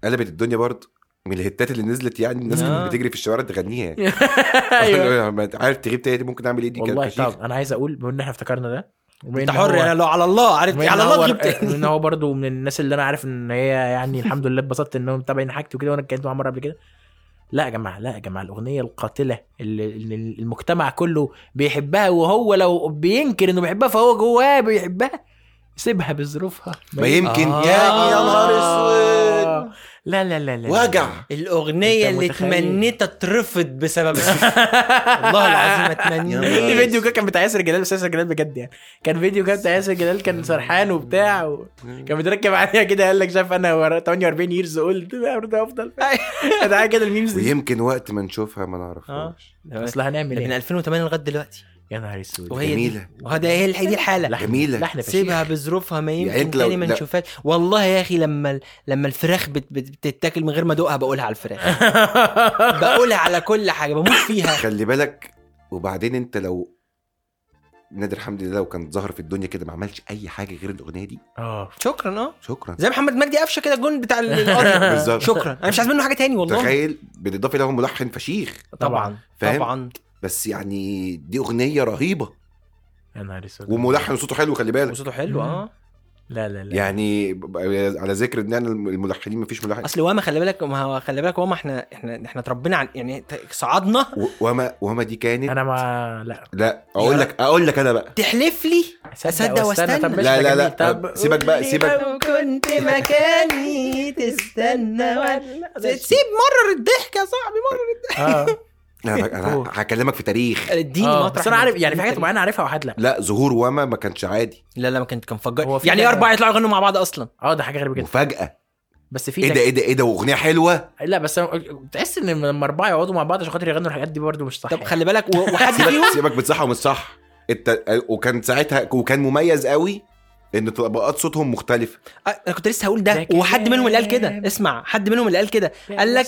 C: قلبت الدنيا برضه من الهتات اللي نزلت يعني الناس
A: آه. أيوه.
C: كانت بتجري في الشوارع
A: *laughs*
C: تغنيها *laughs*
B: ايوه
C: ما أنت عارف تغيب تاني ممكن اعمل ايه دي كانت
B: والله
C: فشيخة.
B: طب انا عايز اقول بما ان احنا افتكرنا ده وبما
A: انت
B: إن
A: حر
B: هو-
A: يعني لو على الله عرفت
B: بما إن
A: على
B: هو-
A: الله إيه؟ غيب تاني *laughs*
B: بما ان هو برضه من الناس اللي انا عارف ان هي يعني الحمد لله اتبسطت انهم متابعين حاجتي وكده وانا اتكلمت معاهم مره قبل كده لا يا جماعه لا يا جماعه الاغنيه القاتله اللي اللي المجتمع كله بيحبها وهو لو بينكر انه بيحبها فهو جواه بيحبها سيبها بظروفها
C: ما يمكن
A: آه.
C: يعني يا نهار اسود
B: لا لا لا لا
C: وجع
A: الاغنيه
B: أنت
A: اللي
B: متخيل؟
A: تمنيت اترفض بسببها والله العظيم اتمنيت
B: *laughs* في فيديو كده كان بتاع ياسر جلال بس ياسر جلال بجد يعني كان فيديو كده بتاع ياسر جلال كان سرحان وبتاع و... كان متركب عليها كده قال لك شاف انا ورا 48 يرز اولد ده
C: *laughs*
B: افضل
C: أيوه.
B: *laughs* كانت حاجه كده الميمز دي
C: ويمكن وقت ما نشوفها ما نعرفهاش
B: اصل هنعمل
A: من
B: ايه
A: 2008 لغايه دلوقتي
B: يا نهار اسود
A: آه. وهي دي
C: جميلة.
A: وهذا هي الح- دي الحاله
C: جميلة.
B: لحن *laughs* فشيخ
A: سيبها بظروفها ما يمكن
C: يعني
A: يعني
C: انت لو-
A: تاني ما
C: لا.
A: نشوفهاش والله يا اخي لما ال- لما الفراخ بت- بت- بتتاكل من غير ما ادوقها بقولها على
C: *laughs*
A: الفراخ بقولها على كل حاجه بموت فيها
C: خلي بالك وبعدين انت لو نادر حمدي ده لو كان ظهر في الدنيا كده ما عملش اي حاجه غير الاغنيه دي
B: اه
A: شكرا اه
C: شكرا
A: زي محمد مجدي قفشه كده الجون بتاع ال- القرن
C: *laughs* بالظبط.
A: شكرا انا مش عايز منه حاجه تاني والله
C: تخيل بالاضافه له ملحن فشيخ
A: طبعا
C: فاهم؟
A: طبعا
C: بس يعني دي اغنيه رهيبه
B: يا نهار اسود
C: وملحن صوته حلو خلي بالك
A: وصوته حلو اه
B: لا لا لا
C: يعني ب- ب- على ذكر ان احنا الملحنين مفيش ملحن
A: اصل واما خلي بالك ما هو خلي بالك واما احنا احنا احنا اتربينا عن يعني ت- صعدنا
C: و- وما وما دي كانت
B: انا ما لا
C: لا اقول لك اقول لك انا بقى
A: تحلف لي أصدق واستنى.
B: طب ماشي،
C: لا،
B: ده
C: لا، لا.
B: جميل. طب
C: طب سيبك بقى،
B: قولي
C: سيبك.
B: لو
A: كنت مكاني تستنى *laughs*
B: ولا-
A: سيب مرر الضحك يا صاحبي
B: اه
C: انا أنا هكلمك في تاريخ
A: مرر اديني
B: آه،
A: مطرح
B: بس انا
A: ما-
B: عارف يعني في حاجات معينه عارفها وحاجات لا
C: لا ظهور وما ما كانش عادي
A: لا لا ما كانت كان فجر
B: هو في-
A: يعني ايه اربعه يطلعوا يغنوا مع بعض اصلا
B: اه ده حاجه غريبه جدا
C: مفاجاه
B: بس في
C: ايه ده ايه ده ايه ده واغنيه حلوه
B: لا بس أنا- تحس ان لما اربعه يقعدوا مع بعض عشان خاطر يغنوا الحاجات دي برضه مش صح
A: طب خلي بالك و- وحد
C: *laughs*
A: فيهم
C: سيبك سيبك من صح ومن صح الت... وكان ساعتها وكان مميز قوي ان طبقات صوتهم مختلفه
A: آه، انا كنت لسه هقول ده
B: ده
A: وحد منهم اللي قال كده
B: كلام.
A: اسمع حد منهم اللي قال كده قال لك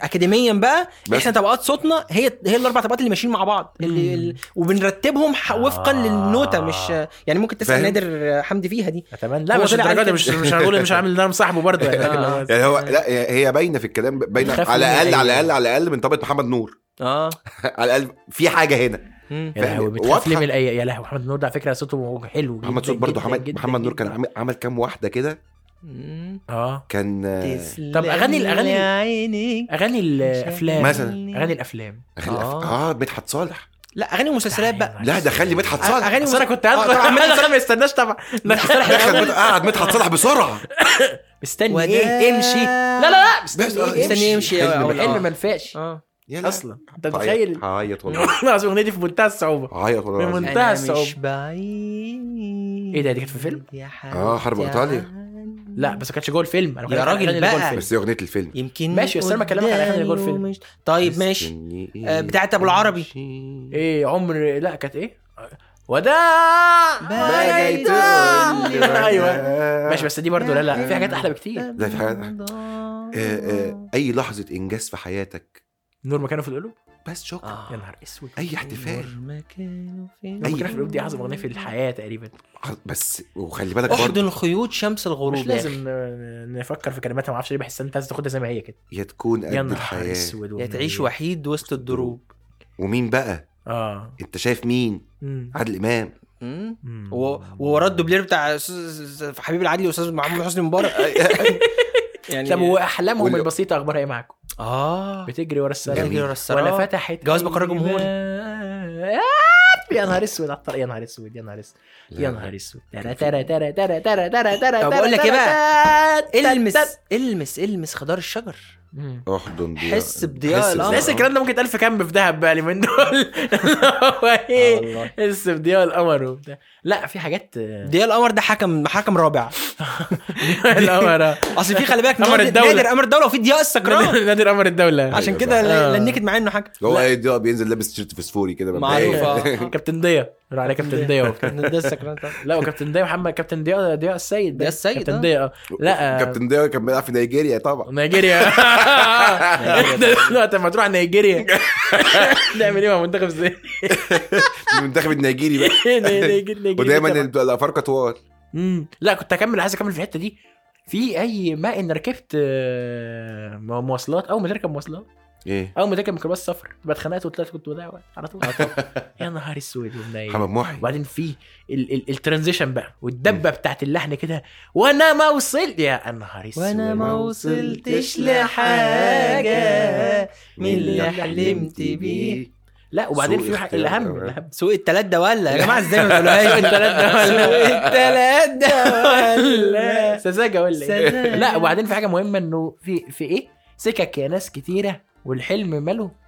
A: اكاديميا بقى
C: بس.
A: احنا طبقات صوتنا هي هي الاربع طبقات اللي ماشيين مع بعض اللي ال- وبنرتبهم ح- وفقا
B: آه.
A: للنوته مش يعني ممكن تسال
C: فاهم؟
A: نادر حمدي فيها دي
B: اتمنى لا
A: هو
B: مش
A: طلع
B: الدرجه
A: قال
B: دي
A: كده.
B: مش مش هقول مش عامل ان انا مصاحبه برضه
C: *laughs*
B: يعني
C: يعني هو لا هي- هي باينه في الكلام باينه
B: خاف
C: على
B: مني
C: الاقل
B: أي-
C: على الاقل على الاقل من طبقه محمد نور
A: اه
C: على الاقل في حاجه هنا
A: مم.
B: يا لهوي
C: فاهم؟
B: بتخاف
C: واضحة.
B: ليه من الايه يا لهوي محمد نور ده على فكره صوته حلو جدا
C: محمد صوت برضه
B: جدا
C: محمد
B: جدا
C: محمد نور كان
B: جدا.
C: عامل عمل كام واحده كده
A: مم.
B: اه
C: كان آه،
B: طب أغاني- الأغاني-
A: يا عينيك
B: اغاني الافلام
C: مثلا.
B: اغاني الافلام
C: أغلى-
A: آه.
C: اه مدحت صالح
A: لا اغاني
B: أيوة،
A: ومسلسلات بقى
C: لا ده خلي مدحت صالح
A: أغاني
B: بس انا
A: ومس-
B: كنت
A: آه،
B: هدخل
A: طبعاً
B: عمال
C: *laughs*
B: انا ما استناش طبعا مدحت صالح
C: دخل
B: الأول.
C: مد- قعد مدحت صالح بسرعه
B: مستني
A: وده-
B: ايه امشي لا لا لا مستني
C: بس- آه،
B: ايه
A: مستني
B: امشي
A: يمشي
C: حلم
A: أو-
C: من-
A: أو-
B: الحلم ما نفعش
A: اه
B: اصلا انت
C: تخيل
B: متخيل *laughs*
C: هعيط طيب، والله
B: اصل الاغنيه دي في منتهى الصعوبه
C: هعيط والله
B: من-
C: العظيم.
B: منتهى
A: أنا مش
B: الصعوبة.
A: بعيد
B: ايه
A: إيه
B: ده، دي كانت في فيلم؟
A: يا حبيبي
C: آه، حرب إيطاليا.
A: عني.
B: لا بس ما كانتش جوه الفيلم انا
A: يا
B: بتكلم عن
A: راجل
B: الأغاني اللي جوه
A: بقى.
B: الفيلم.
C: بس دي اغنيه الفيلم
A: يمكن
B: ماشي، بس أنا بكلمك على أغاني اللي جوه
A: قدامي
B: الفيلم.
A: ومش- طيب ماشي آه، بتاعت أبو العربي.
B: ايه عمر لا كانت ايه وداع
A: بقى جاي تقول لي أيوة.
B: ايوه ماشي بس دي برضه لا لا في حاجات احلى بكتير
C: إيه، لا، في حاجات- آه، آه، اي لحظه انجاز في حياتك
B: نور ما كانوا في القلوب
C: بس شكرا
A: آه.
B: يا نهار اسود
C: اي احتفال
B: نور ما
C: أي-
B: كانوا في القلوب دي اعظم اغنيه في الحياه تقريبا
C: بس وخلي بالك برضه
A: احضن خيوط شمس الغروب
B: مش لازم آه، نفكر في كلماتها ما اعرفش ليه بحس ان انت عايز تاخدها زي ما هي كده
C: يا تكون
B: يا
C: قد
B: نهار
C: الحياه
B: اسود
A: يا
B: والنبي.
A: تعيش وحيد وسط الدروب
C: ومين بقى
B: اه
C: انت شايف مين
B: مم.
C: عادل امام
A: مم.
B: مم.
A: و- ووراه الدوبلير بتاع أستاذ- حبيب العدلي واستاذ محمود حسني *laughs* مبارك يعني
B: طب واحلامهم
C: وال-
B: البسيطه اخبارها ايه معاكم؟
A: اه
B: بتجري ورا السلام
C: بتجري
A: ورا
B: ولا
A: السراب.
B: فتحت
A: جواز مقر جمهوري.
B: آه، يا نهار اسود على الطريق، يا نهار اسود يا نهار اسود يا نهار اسود ترى ترى ترى ترى ترى ترى ترى
A: طب
B: ترى
A: أقول لك
B: ترى
A: إيه
B: ترى ترى
A: المس
B: ترى.
A: المس المس خضار الشجر
B: مم.
C: احضن ضياء
A: حس بضياء
C: حس
A: القمر.
B: بس
A: آه.
B: الكلام ده ممكن يتقال في كامب في دهب بقى اليومين دول هو *laughs* ايه
A: والله.
B: لسه في ضياء القمر وبتاع لا في *laughs* حاجات
A: ضياء القمر ده حكم حكم رابع
B: القمر
A: اصل في خلي بالك
B: قمر
A: نادر-
B: الدولة.
A: نادر قمر الدوله وفي ضياء السكران
B: نادر نادر قمر الدوله
A: *laughs* عشان كده
B: آه.
A: ل- لنكت معاه انه *laughs* حكم
C: هو ايه ضياء بينزل لابس تيشيرت فسفوري كده
A: معروف
C: مبدئياً. *laughs*
A: آه.
B: كابتن ضياء راح على كابتن ضياء وبتاع.
A: ده السكران طبعا
B: لا وكابتن ضياء محمد كابتن ضياء ضياء السيد
A: ضياء السيد،
B: كابتن
A: آه.
B: ضياء اه لا آه،
C: كابتن ضياء كان بيلعب في نيجيريا
B: *laughs*
C: طبعا
B: نيجيريا انت وقت ما تروح نيجيريا *laughs* نعمل ايه مع منتخب *laughs* ازاي؟
C: المنتخب النيجيري بقى ودايما الافارقه طوال
B: لا كنت هكمل عايز اكمل في الحته دي في اي ما ان ركبت آه، مو- مواصلات اول ما تركب مواصلات
C: ايه
B: اول ما تركب ميكروباص سفر يبقى اتخنقت وطلعت كنت بضيع وقت *laughs* على طول يا نهار اسود ومنيل
C: محمد محي
B: وبعدين في ال- ال- الترانزيشن بقى والدبه بتاعت اللحن كده وانا ما وصلت يا نهار اسود
A: وانا ما وصلتش لحاجه
B: لحاجة
A: من اللي حلمت بيه
B: لا وبعدين
C: سوء
B: في واحد-
C: اختيار
B: الاهم
C: كمان.
A: *laughs*
B: الاهم
A: سوق التلات ده ولا يا جماعه ازاي ما تقولوهاش
B: سوق التلات ده ولا.
A: سوق التلات ده *laughs*
B: *laughs*
A: ولا
B: سذاجه ولا ايه
A: سذاجة.
B: *laughs* لا وبعدين في حاجه مهمه انه في في ايه سكك يا ناس كتيره والحلم ماله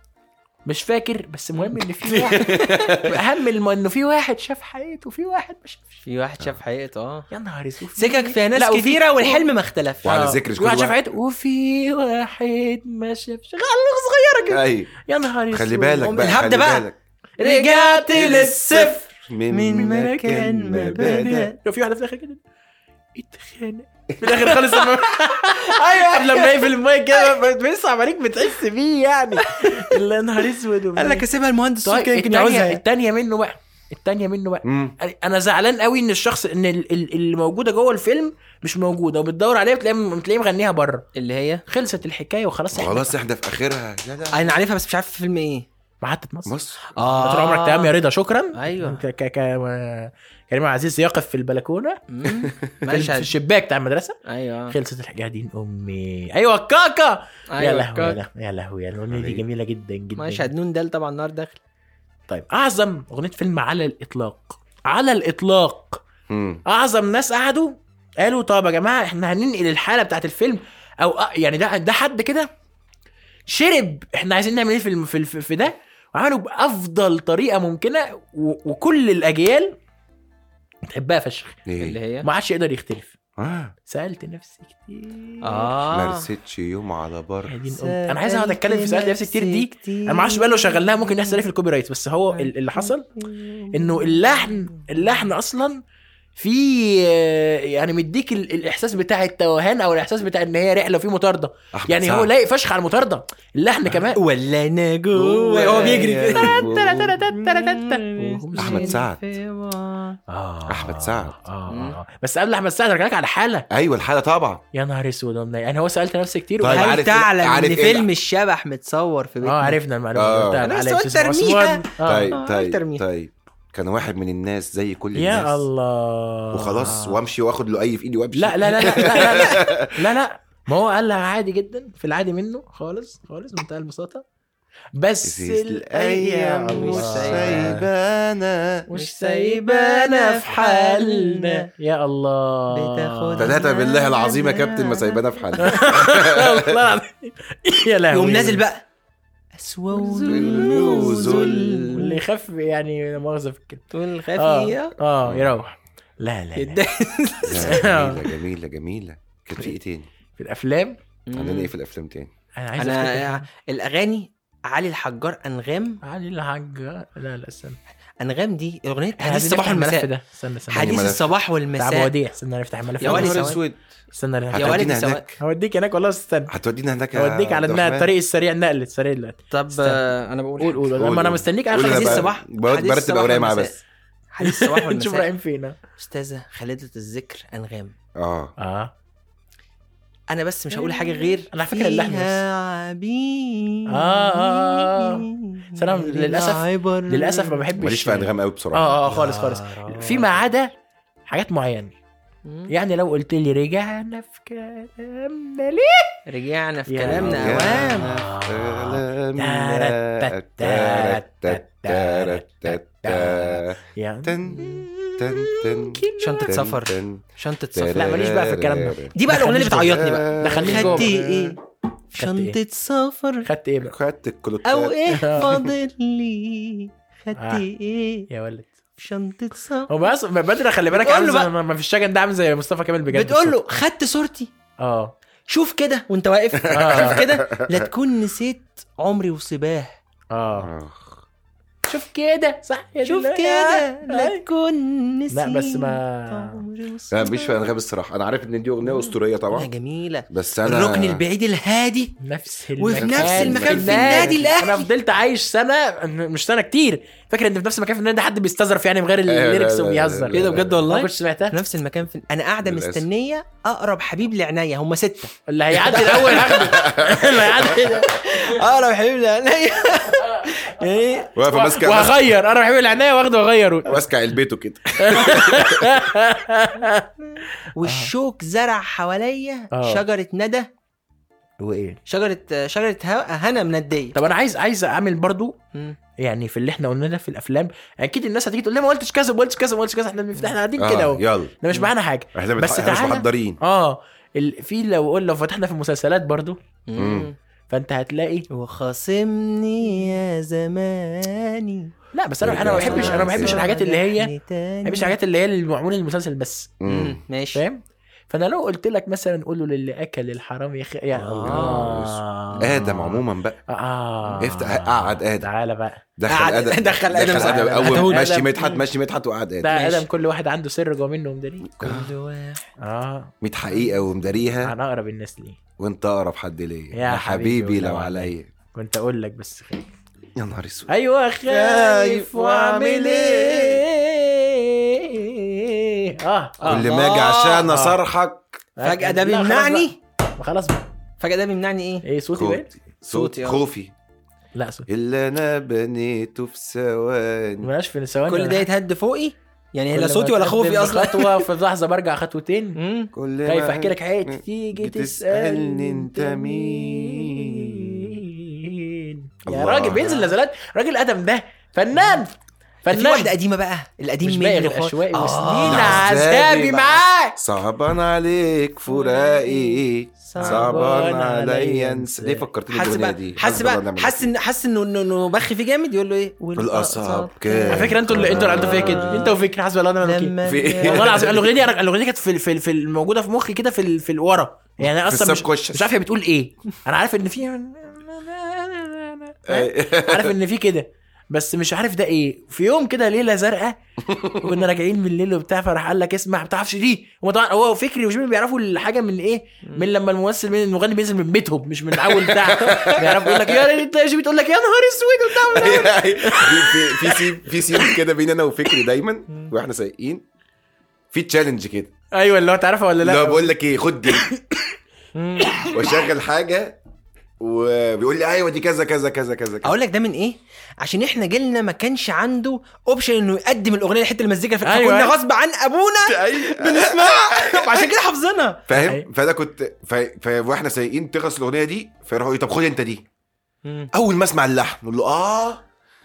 B: مش فاكر بس مهم ان في
A: *laughs*
B: واحد اهم الم... انه في واحد شاف حقيقته وفي واحد ما شافش
A: في واحد شاف حقيقته اه
B: يا نهار اسود
A: سكك فيها ناس
B: لا، وفي-
A: كتيره والحلم ما اختلفش
C: وعلى
B: آه.
C: ذكر
B: في
C: كل
B: واحد شاف
C: واحد-
B: حياته وفي واحد ما شافش غلغ صغيره كده
C: ايوه
B: يا نهار اسود
C: خلي بالك
A: أم
C: بقى
A: الهبدة
C: خلي
A: بقى.
C: بالك
A: رجعت
B: *laughs*
A: للصفر
C: من مكان ما بدا
B: لو في واحده في الاخر كده
A: *laughs*
B: اتخانق في الاخر خالص لما
A: أيوه.
B: ايوه لما يقفل المايك كده بيصعب عليك بتحس بيه يعني يا نهار اسود
A: قال لك اسيبها المهندس
B: طيب
A: سوكي يمكن
B: التانية,
A: يعوزها
B: التانية منه بقى التانية منه بقى
C: مم.
B: انا زعلان قوي ان الشخص ان ال- ال- اللي موجوده جوه الفيلم مش موجوده وبتدور عليها بتلاقيه بتلاقيه مغنيها بره
A: اللي هي
B: خلصت الحكايه وخلاص يعني احنا
C: خلاص احنا في اخرها لا لا
A: انا عارفها بس مش عارف فيلم ايه
B: محطه مصر
C: مصر
A: اه
B: طول عمرك تمام يا رضا شكرا
A: ايوه
B: ك ك ك كريم عبد العزيز يقف في البلكونه
A: مم.
B: في في
A: مشهد
B: الشباك بتاع المدرسه
A: ايوه
B: خلصت الحكايه دي امي ايوه الكاكا يا
A: أيوة،
B: لهوي يا
A: كات.
B: لهوي، يا لهوي الاغنيه دي
C: حبيبي.
B: جميله جدا جدا
A: مشهد نون دال طبعا نار داخل
B: طيب اعظم اغنيه فيلم على الاطلاق على الاطلاق
C: مم.
B: اعظم ناس قعدوا قالوا طب يا جماعه احنا هننقل الحاله بتاعت الفيلم او أ- يعني ده ده حد كده شرب احنا عايزين نعمل ايه في الم- في الف- في ده وعملوا بافضل طريقه ممكنه و- وكل الاجيال تحبها فشخ
A: اللي
C: ايه
A: هي
B: ما عادش يقدر يختلف
C: آه.
B: سالت نفسي كتير
C: ما
A: اه
C: رستش يوم على
A: يعني
C: بر
B: هادين أم- انا عايز اقعد اتكلم في سالت نفسي كتير دي انا ما اعرفش بقى لو شغلناها ممكن يحصل ايه في الكوبي رايت بس
D: أيوة.
B: هو ال- اللي حصل انه اللحن اللحن اصلا في يعني مديك ال- الاحساس بتاع التوهان او الاحساس بتاع ان هي رحله وفي مطارده
C: أحمد
B: يعني
C: سعد.
B: هو لايق فشخ على المطارده اللحن كمان
A: ولا انا جوه هو
C: *laughs*
A: بيجري كده
C: أحمد سعد.
B: آه.
C: أحمد سعد.
B: آه.
A: مم.
B: بس قبل احمد سعد رجعلك على حاله
C: ايوه الحاله طبعا
B: يا نهار اسود ومنيل. يعني هو سالت نفسي كتير
C: طيب،
B: وقال-
A: هل
C: عارف-
A: تعلم
C: عارف
A: ان
C: إيه
A: فيلم الشبح متصور في بيت
B: اه عرفنا المعلومه
C: آه.
B: اللي قلتها
A: أنا
B: على
A: لسه قلت
B: أستاذ
A: أرميها.
B: عثمان. آه.
C: طيب طيب
A: ترميها.
C: طيب كان واحد من الناس زي كل الناس
B: يا الله
C: وخلاص وامشي واخد له اي في ايدي وامشي
B: لا لا لا لا لا لا, لا, لا. ما هو قال لها عادي جدا في العادي منه خالص خالص منتهى البساطه بس الأيام
A: مش
C: سايبانا
B: مش سايبانا في حالنا يا الله
A: بتاخد-
C: ثلاثة بالله العظيم يا كابتن ما سايبانا في حالنا
B: *laughs* والله العظيم. *laughs* يا لهوي
A: يقوم نازل بقى اسوأ
B: واللي
A: نزل
B: يخاف يعني لا مؤاخذه في الكلمه
A: والخفية
B: اه اه يروح لا لا, لا.
A: يتضايق.
C: لا، جميلة جميلة جميلة كان
B: طيب.
C: في ايه تاني؟
B: في الافلام
C: عندنا ايه في الافلام تاني؟
B: انا عايز
A: انا
B: أفتكر.
A: الاغاني علي الحجار انغام
B: علي الحاج لا لا استنى
A: انغام دي الاغنيه بتاعت
B: احنا
A: حديث الصباح
B: الملف
A: والمساء
B: ده استنى استنى
C: حديث
A: حديث
C: الملف.
A: الصباح
B: تعب
A: والمساء
B: وديع استنى نفتح الملف
A: يا
B: ده.
A: ولد
C: نهار
A: سواق.
C: اسود
B: استنى نفتح.
A: يا ولد
C: هتودينا
A: سواق.
C: هناك
B: هوديك هناك والله استنى
C: هتودينا هناك يا
B: هوديك على
C: عبد
B: انها
C: الرحمن.
B: الطريق السريع نقل السريع دلوقتي
A: طب
B: استنى.
A: آه، انا بقول
B: قول قول
C: قول.
B: ما انا مستنيك
C: قول
B: اخر
C: لنا
A: حديث
C: بقى.
B: حديث
A: الصباح
C: برد-
A: حديث
C: برتب
A: الصباح
C: أوراقي معاه
A: والمساء.
C: بس.
A: حديث
B: *laughs*
A: الصباح
B: نشوف
A: والمساء
B: رايحين فين آه.
A: استاذه خالده الذكر انغام
C: اه
B: اه
A: انا بس مش هقول حاجه غير
B: أنا على فكرة اللحن بس.
A: فيها عبير
B: آه، آه، آه. سلام، للأسف-
A: العبر.
B: للاسف ما بحبش
C: ماليش في انغام قوي بسرعه
B: اه اه خالص خالص
A: يا
B: فيما عدا حاجات معينه
A: آه، مم.
B: يعني لو قلت لي رجعنا في كلامنا ليه
A: رجعنا في
B: يا
A: كلامنا
C: يا
A: اوام
C: *laughs*
B: يعني
A: شنطة سفر. شنطه سفر
B: لا، ماليش بقى في الكلام ده.
A: دي بقى الأغنية اللي بتعيطني
C: بقى
B: دخلني جوه
A: خدت ايه
B: خدت إيه؟
A: شنطه سفر
B: خدت ايه بقى
C: خدت الكلوتات
A: او ايه فاضل لي خدت
B: آه.
A: ايه
B: يا ولد
A: شنطة سفر
B: هو بس بدر خلي بالك
A: بتقول
B: عامل
A: له
B: زي- ما ما فيش شجن ده عامل زي مصطفى كامل بجد
A: بتقول له خدت صورتي
B: اه
A: شوف كده وانت واقف *laughs*
B: آه.
A: شوف كده لا تكون نسيت عمري وصباه
B: اه
C: آه.
A: شوف كده
B: صح يا
A: شوف
B: دلوقتي.
A: كده لا
B: لا
A: تكون نسيت
B: لا بس ما
A: عمري *laughs*
C: انا
A: وصباه
C: مش في انغام الصراحه انا عارف ان دي اغنيه اسطوريه
A: أغنية
C: طبعا
A: جميلة
C: بس انا
A: الركن البعيد الهادي
B: نفس
A: وفي
B: المكان
A: نفس المكان في النادي الأهلي.
B: انا فضلت عايش سنه مش سنه كتير فاكر ان في نفس المكان في النادي ده حد بيستظرف يعني من غير
C: إيه، لا،
B: الليركس
C: لا، لا،
B: وبيهزر
C: لا، لا. إيه ده بجد
B: والله
A: والله؟
B: ما كنتش سمعتها
A: في نفس المكان في انا قاعده
C: للأسف.
A: مستنيه اقرب حبيب لعينيا هم سته
B: اللي هيعدي الاول
C: *laughs*
B: هاخده اللي هيعدي
D: آه،
A: اقرب حبيب لعينيا ايه
C: واقفه ماسكه ماسكه-
B: وهغير انا بحب العنايه واخده واغيره
C: ماسكه علبته كده
A: والشوك زرع حواليا
B: آه.
A: شجره ندى
B: وايه
A: شجره شجره ه- هنا منديه
B: طب انا عايز عايز اعمل برضو
A: مم.
B: يعني في اللي احنا قلناه ده في الافلام اكيد الناس هتيجي تقول لي ما قلتش كذا ما قلتش كذا ما قلتش كذا احنا بنفتح احنا قاعدين كده
C: آه،
B: اهو
C: يلا
B: ده مش معانا حاجه
C: احنا
B: بس
C: بس مش
B: تعالى.
C: محضرين
B: اه ال... في لو قول لو فتحنا في المسلسلات برضو
C: مم.
B: فانت هتلاقي
A: وخاصمني يا زماني
B: لا بس انا انا ما بحبش انا ما بحبش الحاجات اللي هي ما
A: ما
B: بحبش الحاجات اللي هي اللي معموله للمسلسل بس
C: مم.
A: ماشي
B: فاهم فانا لو قلت لك مثلا قولوا للي اكل الحرام يا اخي يا الله
C: ادم عموما بقى
B: اه
C: آه. افتح قعد ادم
B: تعالى بقى
C: دخل
A: قعد-
C: ادم
A: دخل آدم.
C: دخل ادم
B: آدم.
C: اول مشي
B: آدم.
C: مدحت مشي مدحت وقعد ادم
B: ده
A: ماشي.
B: ادم كل واحد عنده سر جوه منه ومداريه
A: كل واحد
B: اه
C: 100 حقيقه ومداريها
B: انا اقرب الناس ليه
C: وانت اقرب حد ليا
B: آه. يا حبيبي
C: حبيبي لو
B: ولو
C: عليا
B: كنت اقول لك بس خير
C: يا نهار اسود
B: ايوه خايف واعمل إيه؟ ايه اه اه
C: كل ما اجي عشان اصرحك
A: فجاه ده
B: لا، خلاص
A: بيمنعني
B: بقى. ما خلاص بقى
A: فجاه ده بيمنعني ايه
B: ايه صوتي
C: خوف-
B: بقى
C: صوت
A: صوتي، آه.
C: خوفي
B: لا صوتي
C: اللي انا بنيته في ثواني
B: مالهاش في ثواني
A: كل
B: ولا
A: ده
B: حاجة.
A: يتهد فوقي يعني
B: كل
A: لا
B: ما
A: صوتي ولا
B: أتقدم
A: خوفي اصلا
B: خطوه في لحظه برجع خطوتين
A: مم.
C: كل ما
B: خايف احكي لك حياتي تيجي
C: بتسألني
B: تسالني انت
C: أنت
B: مين يا
C: الله.
B: راجل بينزل نزلات راجل ادم ده فنان
A: في واحدة
B: فنان
A: قديمة بقى القديم
B: مش باقي
A: منه
B: غير
A: خالص.
B: أشواقي
A: آه.
B: وسنين
C: عذابي
B: عذابي معاك
C: صعبان عليك فراقي صعبان عليا انسى ليه فكرتني
A: حاسس
C: بالاغنيه
A: بقى
C: دي
A: حاسس
C: الله
A: بقى
C: نعم
A: حاسس ان حاسس انه انه إنه بخ فيه جامد يقول له ايه
C: الأصعب كان.
B: على
A: كده
B: فكره انتوا اللي انتوا اللي عملتوا فيا كده انت وفكر حسبي الله ونعم الوكيل
A: لما
C: في إيه؟
A: جاء-
B: والله العظيم الاغنيه دي انا الاغنيه دي كانت في ال- في ال- في ال- موجوده في مخي كده في ال- في الورا يعني انا
C: في
B: اصلا مش,
C: السبكونشس.
B: مش عارف هي بتقول ايه انا عارف ان في عارف ان في كده بس مش عارف ده ايه في يوم كده ليله
C: *laughs*
B: زرقاء وكنا راجعين بالليل وبتاع فراح قال لك اسمع ما بتعرفش دي هو طبعا هو فكري وشبيبي بيعرفوا الحاجه من ايه من لما الممثل من المغني بينزل من بيتهم مش من اول بتاع
C: *laughs*
B: بيعرف يقول لك يا ريت شبيبي تقول لك يا نهار اسود وبتاع ومش عارف
C: *laughs* في في سين في سين كده بين انا وفكري دايما واحنا سايقين في تشالنج كده
B: ايوه اللي هو تعرفها ولا
C: لا
B: لا
C: بقول لك ايه خد دي واشغل حاجه وبيقول لي ايوه دي كذا كذا كذا كذا كذا
A: اقول لك ده من ايه عشان احنا جيلنا ما كانش عنده اوبشن انه يقدم الاغنيه لحته المزيكا
B: أيوة.
A: فكنا غصب عن
B: *laughs*
A: ابونا بنسمعها وعشان كده حافظينها
B: أيوة.
C: فاهم فانا كنت ف... ف... واحنا سايقين تخلص الاغنيه دي فيروحوا يقولوا طب خد انت دي اول ما اسمع اللحن اقول له
A: *laughs*
C: آه.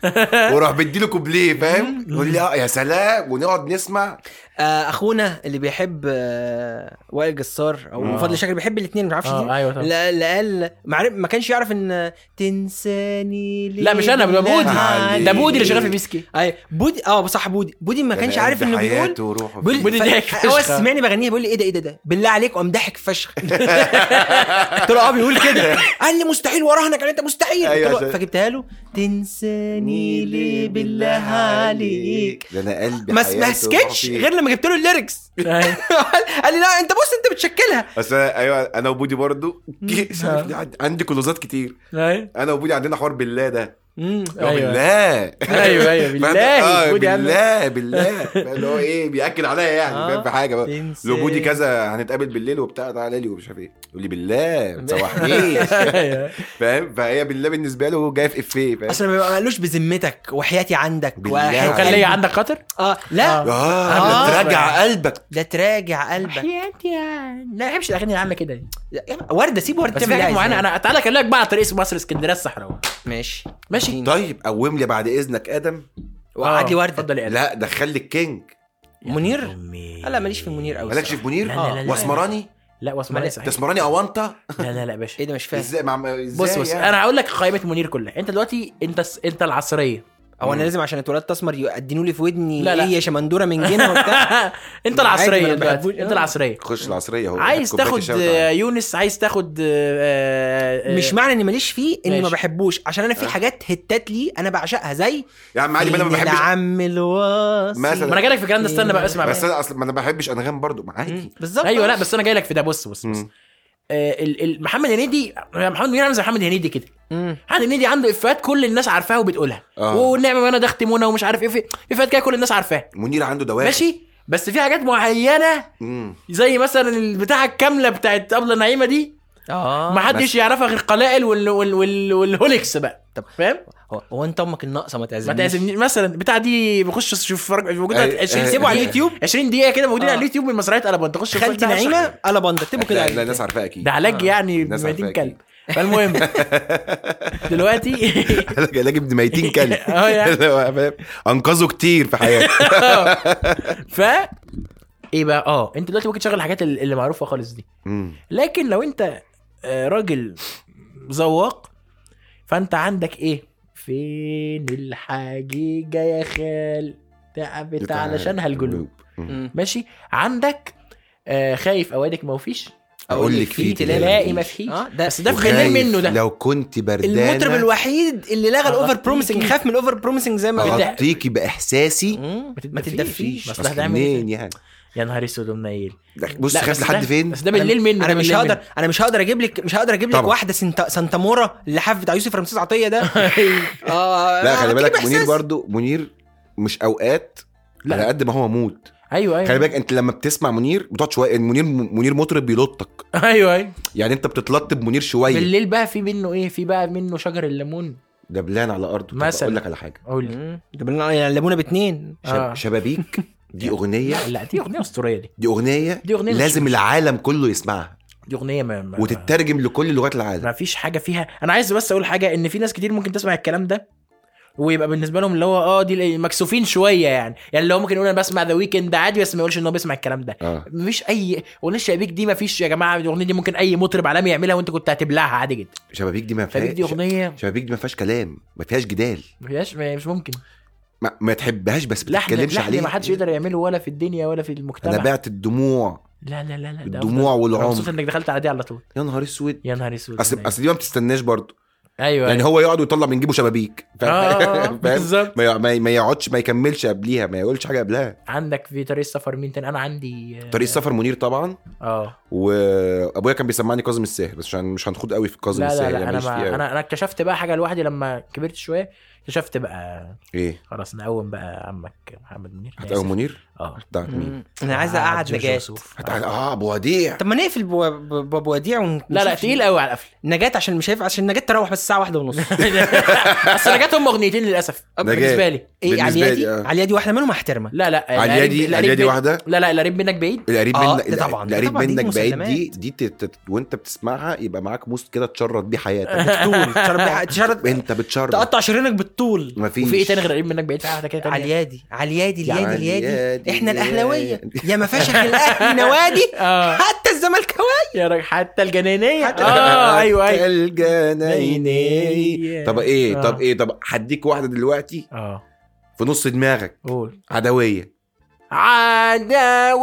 C: اه وراح بديله كوبليه فاهم يقول لي اه يا سلام آه، ونقعد نسمع
A: آه، اخونا اللي بيحب آه، وائل جسار او
B: آه.
A: فضل شاكر بيحب الاثنين ما اعرفش
B: اه
A: ليه.
B: ايوه طبعا
A: لا- لا قال ما عرف- ما كانش يعرف ان تنساني ليه
B: لا مش انا ده بودي
C: عليك.
B: ده بودي اللي شغال في بيسكي
A: اي بودي اه صح بودي بودي ما كانش عارف انه بيقول بيقول
C: *laughs*
A: *laughs*
C: بيقول
B: بودي
A: ف-
B: ضحك
A: هو
B: فشخ.
A: سمعني بغنيها بيقول لي ايه ده ايه ده ده بالله عليك قام ضحك فشخ قلت له اه بيقول كده قال لي مستحيل وراهنك على انت مستحيل قلت
C: أيوة،
A: له
C: عشان-
A: فجبتها له تنساني ليه بالله عليك
C: ده انا قلبي
A: ما
C: حياته
A: ما سكتش
C: وروحي.
A: غير لما جبت له الليركس *laughs* قال لي لا انت بص انت بتشكلها
C: اصل أنا- ايوه انا وبودي برضو مش عارف ليه عندي- *laughs* عندي كلوزات كتير
B: ايوه
C: انا وبودي عندنا حوار بالله ده
A: مم.
C: هو
B: أيوة.
C: بالله
A: أيوة،
B: ايوه
C: *laughs*
B: ايوه
C: فاهم؟
B: بالله
C: آه
B: بودي قال له.
C: بالله بالله فاهم اللي هو ايه بياكد عليا يعني
A: آه.
C: فاهم في حاجه بقى
A: تنساني.
C: لو بودي كذا هنتقابل بالليل وبتاع تعالى لي ومش عارف ايه يقول لي بالله
A: *laughs*
C: ما تسوحنيش
B: أيوة.
C: فاهم فهي بالله بالنسبه له جايه في افيه فاهم
A: اصل ما قالوش بذمتك وحياتي عندك
C: بالله
A: وحياة
C: عليك.
B: وكان ليا
A: قلبي.
B: عندك خاطر
A: اه لا
B: آه.
C: اه
A: آه.
C: ده تراجع قلبك
A: ده تراجع قلبك
B: حياتي يا- لا ما بحبش الاغاني اللي عامله كده دي
A: يا- ورده سيب ورده
B: بس
A: تعمل
B: في
A: اللي
B: حاجات
A: عايزاه.
B: معينه انا تعالى اكلمك بقى على طريق مصر اسكندريه الصحراء
A: ماشي
B: ماشي
C: طيب قوم لي بعد اذنك ادم
A: وقعد لي
B: آه،
A: ورده
B: اتفضل يا
C: لا دخل لي الكينج
A: منير
B: أمي.
A: لا ماليش في منير قوي
C: مالكش في منير
B: لا،
A: لا، لا، لا.
C: واسمراني
B: لا واسمراني
A: مالك-
B: صحيح
C: ده اسمراني اونطه
B: لا لا لا باشا
A: ايه ده مش فاهم
C: ازاي مع ازاي
B: بص بص
C: يعني؟
B: انا هقول لك قائمه منير كلها انت دلوقتي انت س... انت *laughs* العصريه
A: هو انا لازم عشان اتولدت اسمر يقدنوا لي في ودني
B: لا،
A: لا
B: لا.
A: لا. ايه يا شمندوره من جنة
B: *laughs*
A: وبتاع
B: انت
A: ما
B: العصريه
A: أنا
B: دلوقتي
A: بحبوش.
B: انت العصريه
C: خش العصريه اهو
B: عايز
C: كوباية
B: تاخد
C: الشاي وتعالى.
B: آه، يونس عايز تاخد آه، آه،
A: مش معنى اني ماليش فيه اني ما
B: ماشي.
A: بحبوش عشان انا في حاجات هتات لي انا بعشقها زي
C: يا عم عادي ما انا ما
A: فين
C: بحبش
A: العم الواصي
C: مثلا.
B: ما انا جاي لك في الكلام ده استنى بقى اسمع
C: بس
B: بقى
C: انا اصلا ما انا ما بحبش انغام برضو ما عادي
A: بالظبط
B: ايوه لا بس انا جاي لك في ده بص بص بص
C: مم.
B: آه، ال- ال- محمد هنيدي محمد منير عامل زي محمد هنيدي كده
A: مم.
B: محمد هنيدي عنده افيهات كل الناس عارفاها وبتقولها
C: آه.
B: والنعمه وانا ده اختمونا ومش عارف ايه في- افيهات كده كل الناس عارفاها
C: منير عنده دواخل
B: ماشي بس في حاجات معينه
C: مم.
B: زي مثلا البتاعه الكامله بتاعت ابله نعيمه دي
A: اه
B: ما حدش يعرفها غير قلائل وال... وال... وال... والهوليكس بقى
A: طب
B: فاهم
A: هو- هو انت امك الناقصه ما
B: ما
A: تعزمنيش
B: تعزمني مثلا البتاعه دي بخش اشوف فرق- موجوده
C: أي-
B: 20
C: أي-
B: سيبوا على اليوتيوب 20 دقيقه كده موجودين
A: آه.
B: على اليوتيوب من مسرحيه قلبان تخش
A: خالتي
B: بتاع
A: نعيمه قلب باندا اكتبوا كده
C: لا
A: على
C: لا الناس
A: اليوتيوب.
C: عارفاه اكيد *laughs*
B: ده علاج يعني
C: آه. الناس
B: بميتين
C: عارفاك.
B: كلب
C: *laughs*
B: فالمهم دلوقتي *laughs*
C: علاج ابن ميتين كلب
B: آه
C: *laughs*
B: يعني.
C: اللي هو فاهم؟ انقذه كتير في
B: *laughs*
C: حياته
B: ف ايه بقى اه انت دلوقتي ممكن تشغل الحاجات اللي اللي معروفه خالص دي
C: مم.
B: لكن لو انت آه، راجل ذواق فانت عندك ايه فين الحقيقه يا خال تعبت علشانها القلوب
A: مم.
B: ماشي عندك آه خايف اوعدك ما وفيش
C: أقول لك فيه تلاقي
B: تلاقي ما
C: ما
B: فيش
A: اه ده
B: بس ده في غنين
C: وخايف
B: منه ده
C: لو كنت بردانه
A: المطرب الوحيد اللي لغى الاوفر
B: أغطيكي.
A: بروميسنج خاف من الاوفر بروميسنج زي ما
C: اغطيكي باحساسي
A: مم. ما
B: تدفيش.
A: تدفيش
B: أصل
C: اصل
B: هتعمل إيه؟
C: منين يعني
B: يا نهار اسود ومنيل
C: ده- بص
B: لا،
C: خاف
B: بس
C: لحد
B: ده-
C: فين
B: بس ده بالليل منه
A: انا
B: ده
A: مش
B: بالليل
A: هقدر انا مش هقدر اجيب لك مش هقدر اجيب لك
C: طبعا.
A: واحده سنت سانتا مورا اللي حافظ بتاع يوسف رمسيس عطيه
B: *laughs*
A: ده اه
C: لا خلي
A: أكيد
C: بالك
A: بإحساس.
C: منير برضو منير مش اوقات
B: لا.
C: على قد ما هو مود
B: منه. ايوه ايوه
C: خلي بالك انت لما بتسمع منير بتقعد شويه منير منير مطرب بيلطك
B: ايوه ايوه
C: يعني انت بتتلطب منير شويه
B: بالليل بقى في منه ايه في بقى منه شجر الليمون
C: دبلان على ارضه طب
B: مثلا.
C: اقول لك على حاجه
B: قول لي
A: مم. ده بنقول يعني ليمونه باتنين
C: شب...
B: آه.
C: شبابيك
B: *laughs*
C: دي اغنيه
B: لا لا دي اغنيه اسطوريه دي
C: دي اغنيه
B: دي أغنية آه.
C: لازم العالم كله يسمعها
B: دي اغنيه ما, ما
C: وتترجم لكل لغات العالم
B: ما فيش حاجه فيها انا عايز بس اقول حاجه ان في ناس كتير ممكن تسمع الكلام ده ويبقى بالنسبه لهم اللي هو اه دي مكسوفين شويه يعني يعني اللي هو ممكن يقول انا بسمع ذا ويكند عادي بس ما يقولش ان هو بيسمع الكلام ده
C: اه
B: مفيش اي اغنيه شبابيك دي مفيش يا جماعه الاغنيه دي ممكن اي مطرب عالمي يعملها وانت كنت هتبلعها عادي جدا
C: شبابيك دي ما
B: شبابيك
C: فيهاش
B: دي اغنيه
C: شبابيك دي ما فيهاش كلام ما فيهاش جدال
B: مفيهاش مش ممكن
C: ما, ما تحبهاش بس ما
B: لحن
C: تتكلمش
B: لحن
C: عليها
B: ما حدش يقدر يعمله ولا في الدنيا ولا في المجتمع
C: انا بعت الدموع
B: لا لا لا لا ده
C: الدموع
B: أفضل. أنا مبسوط
C: والعمر
B: انك دخلت على دي على طول
C: يا نهار اسود
B: يا نهار اسود
C: اصل اصل دي ما بتستناش برضه
B: ايوه
C: يعني
B: يعني
C: هو يقعد ويطلع من جيبه شبابيك فاهم؟
B: آه، آه،
C: *laughs* فاهم؟
B: بالظبط.
C: ما يع- ما ي- ما يقعدش ما يكملش قبليها ما يقولش حاجه قبلها
B: عندك في طريق السفر مين تاني انا عندي
C: طريق السفر منير طبعا
B: اه
C: وابويا كان بيسمعني كاظم الساهر بس عشان مش هنخوض قوي في كاظم
B: لا لا
C: الساهر
B: لا
C: يعني
B: انا
C: ماليش فيه
B: ما
C: قوي.
B: انا انا اكتشفت بقى حاجه لوحدي لما كبرت شويه اكتشفت بقى
C: ايه
B: خلاص نقوم بقى عمك محمد منير أنا
C: هتقوم
B: آسف.
C: منير
B: اه
C: بتاع مين
A: مم. انا عايز اقعد
B: جورج
A: نجاة
B: وسوف.
C: هتقعد- اه ابو وديع
A: طب ما نقفل بو- ب- ب- بوديع ون...
B: لا لا
A: ونشوف
B: تقيل قوي على القفل
A: نجاة
B: *laughs*
A: عشان مش هينفع عشان نجاة تروح بس الساعه واحدة ونص
B: اصل نجاة هم اغنيتين للاسف
C: نجاة.
B: بالنسبه أه، لي
A: ايه على
C: بالنسبة
A: اليدي
C: لي، آه.
A: على اليدي واحده منهم هحترمها
B: لا لا
C: على
B: القريب-
C: اليدي على
B: يعني القريب
C: اليدي
B: من-
C: واحده
B: لا لا القريب منك بعيد
C: القريب
A: آه،
C: منك
A: ده طبعاً، ده
C: القريب
A: طبعاً، دي
C: منك بعيد دي
A: مسلمات.
C: دي تت- تت- وانت بتسمعها يبقى معاك موس كده تشرط بيه
B: *laughs*
C: حياتك
A: بالطول تشرب-
C: *laughs*
A: تشرب
C: انت بتشرط
A: تقطع شرايينك بالطول
C: مفيش
B: وفي ايه تاني
C: *laughs*
B: غير القريب منك بعيد في حاجه كده
A: على
B: تانية
A: اليادي على اليادي اليادي
C: على
A: اليادي
C: اليادي،
A: احنا الاهلاويه
C: اليادي.
A: يا ما فشخ
B: *laughs*
A: الاهلي نوادي
B: اه
A: حتى الزملكاويه
B: يا راجل حتى الجنينيه
A: حتى-
C: *laughs*
B: اه ايوه ايوه
C: الجنايني طب ايه
B: آه.
C: طب ايه طب هديك واحده دلوقتي
B: اه
C: في نص دماغك
B: قول
C: عدويه
B: عداوية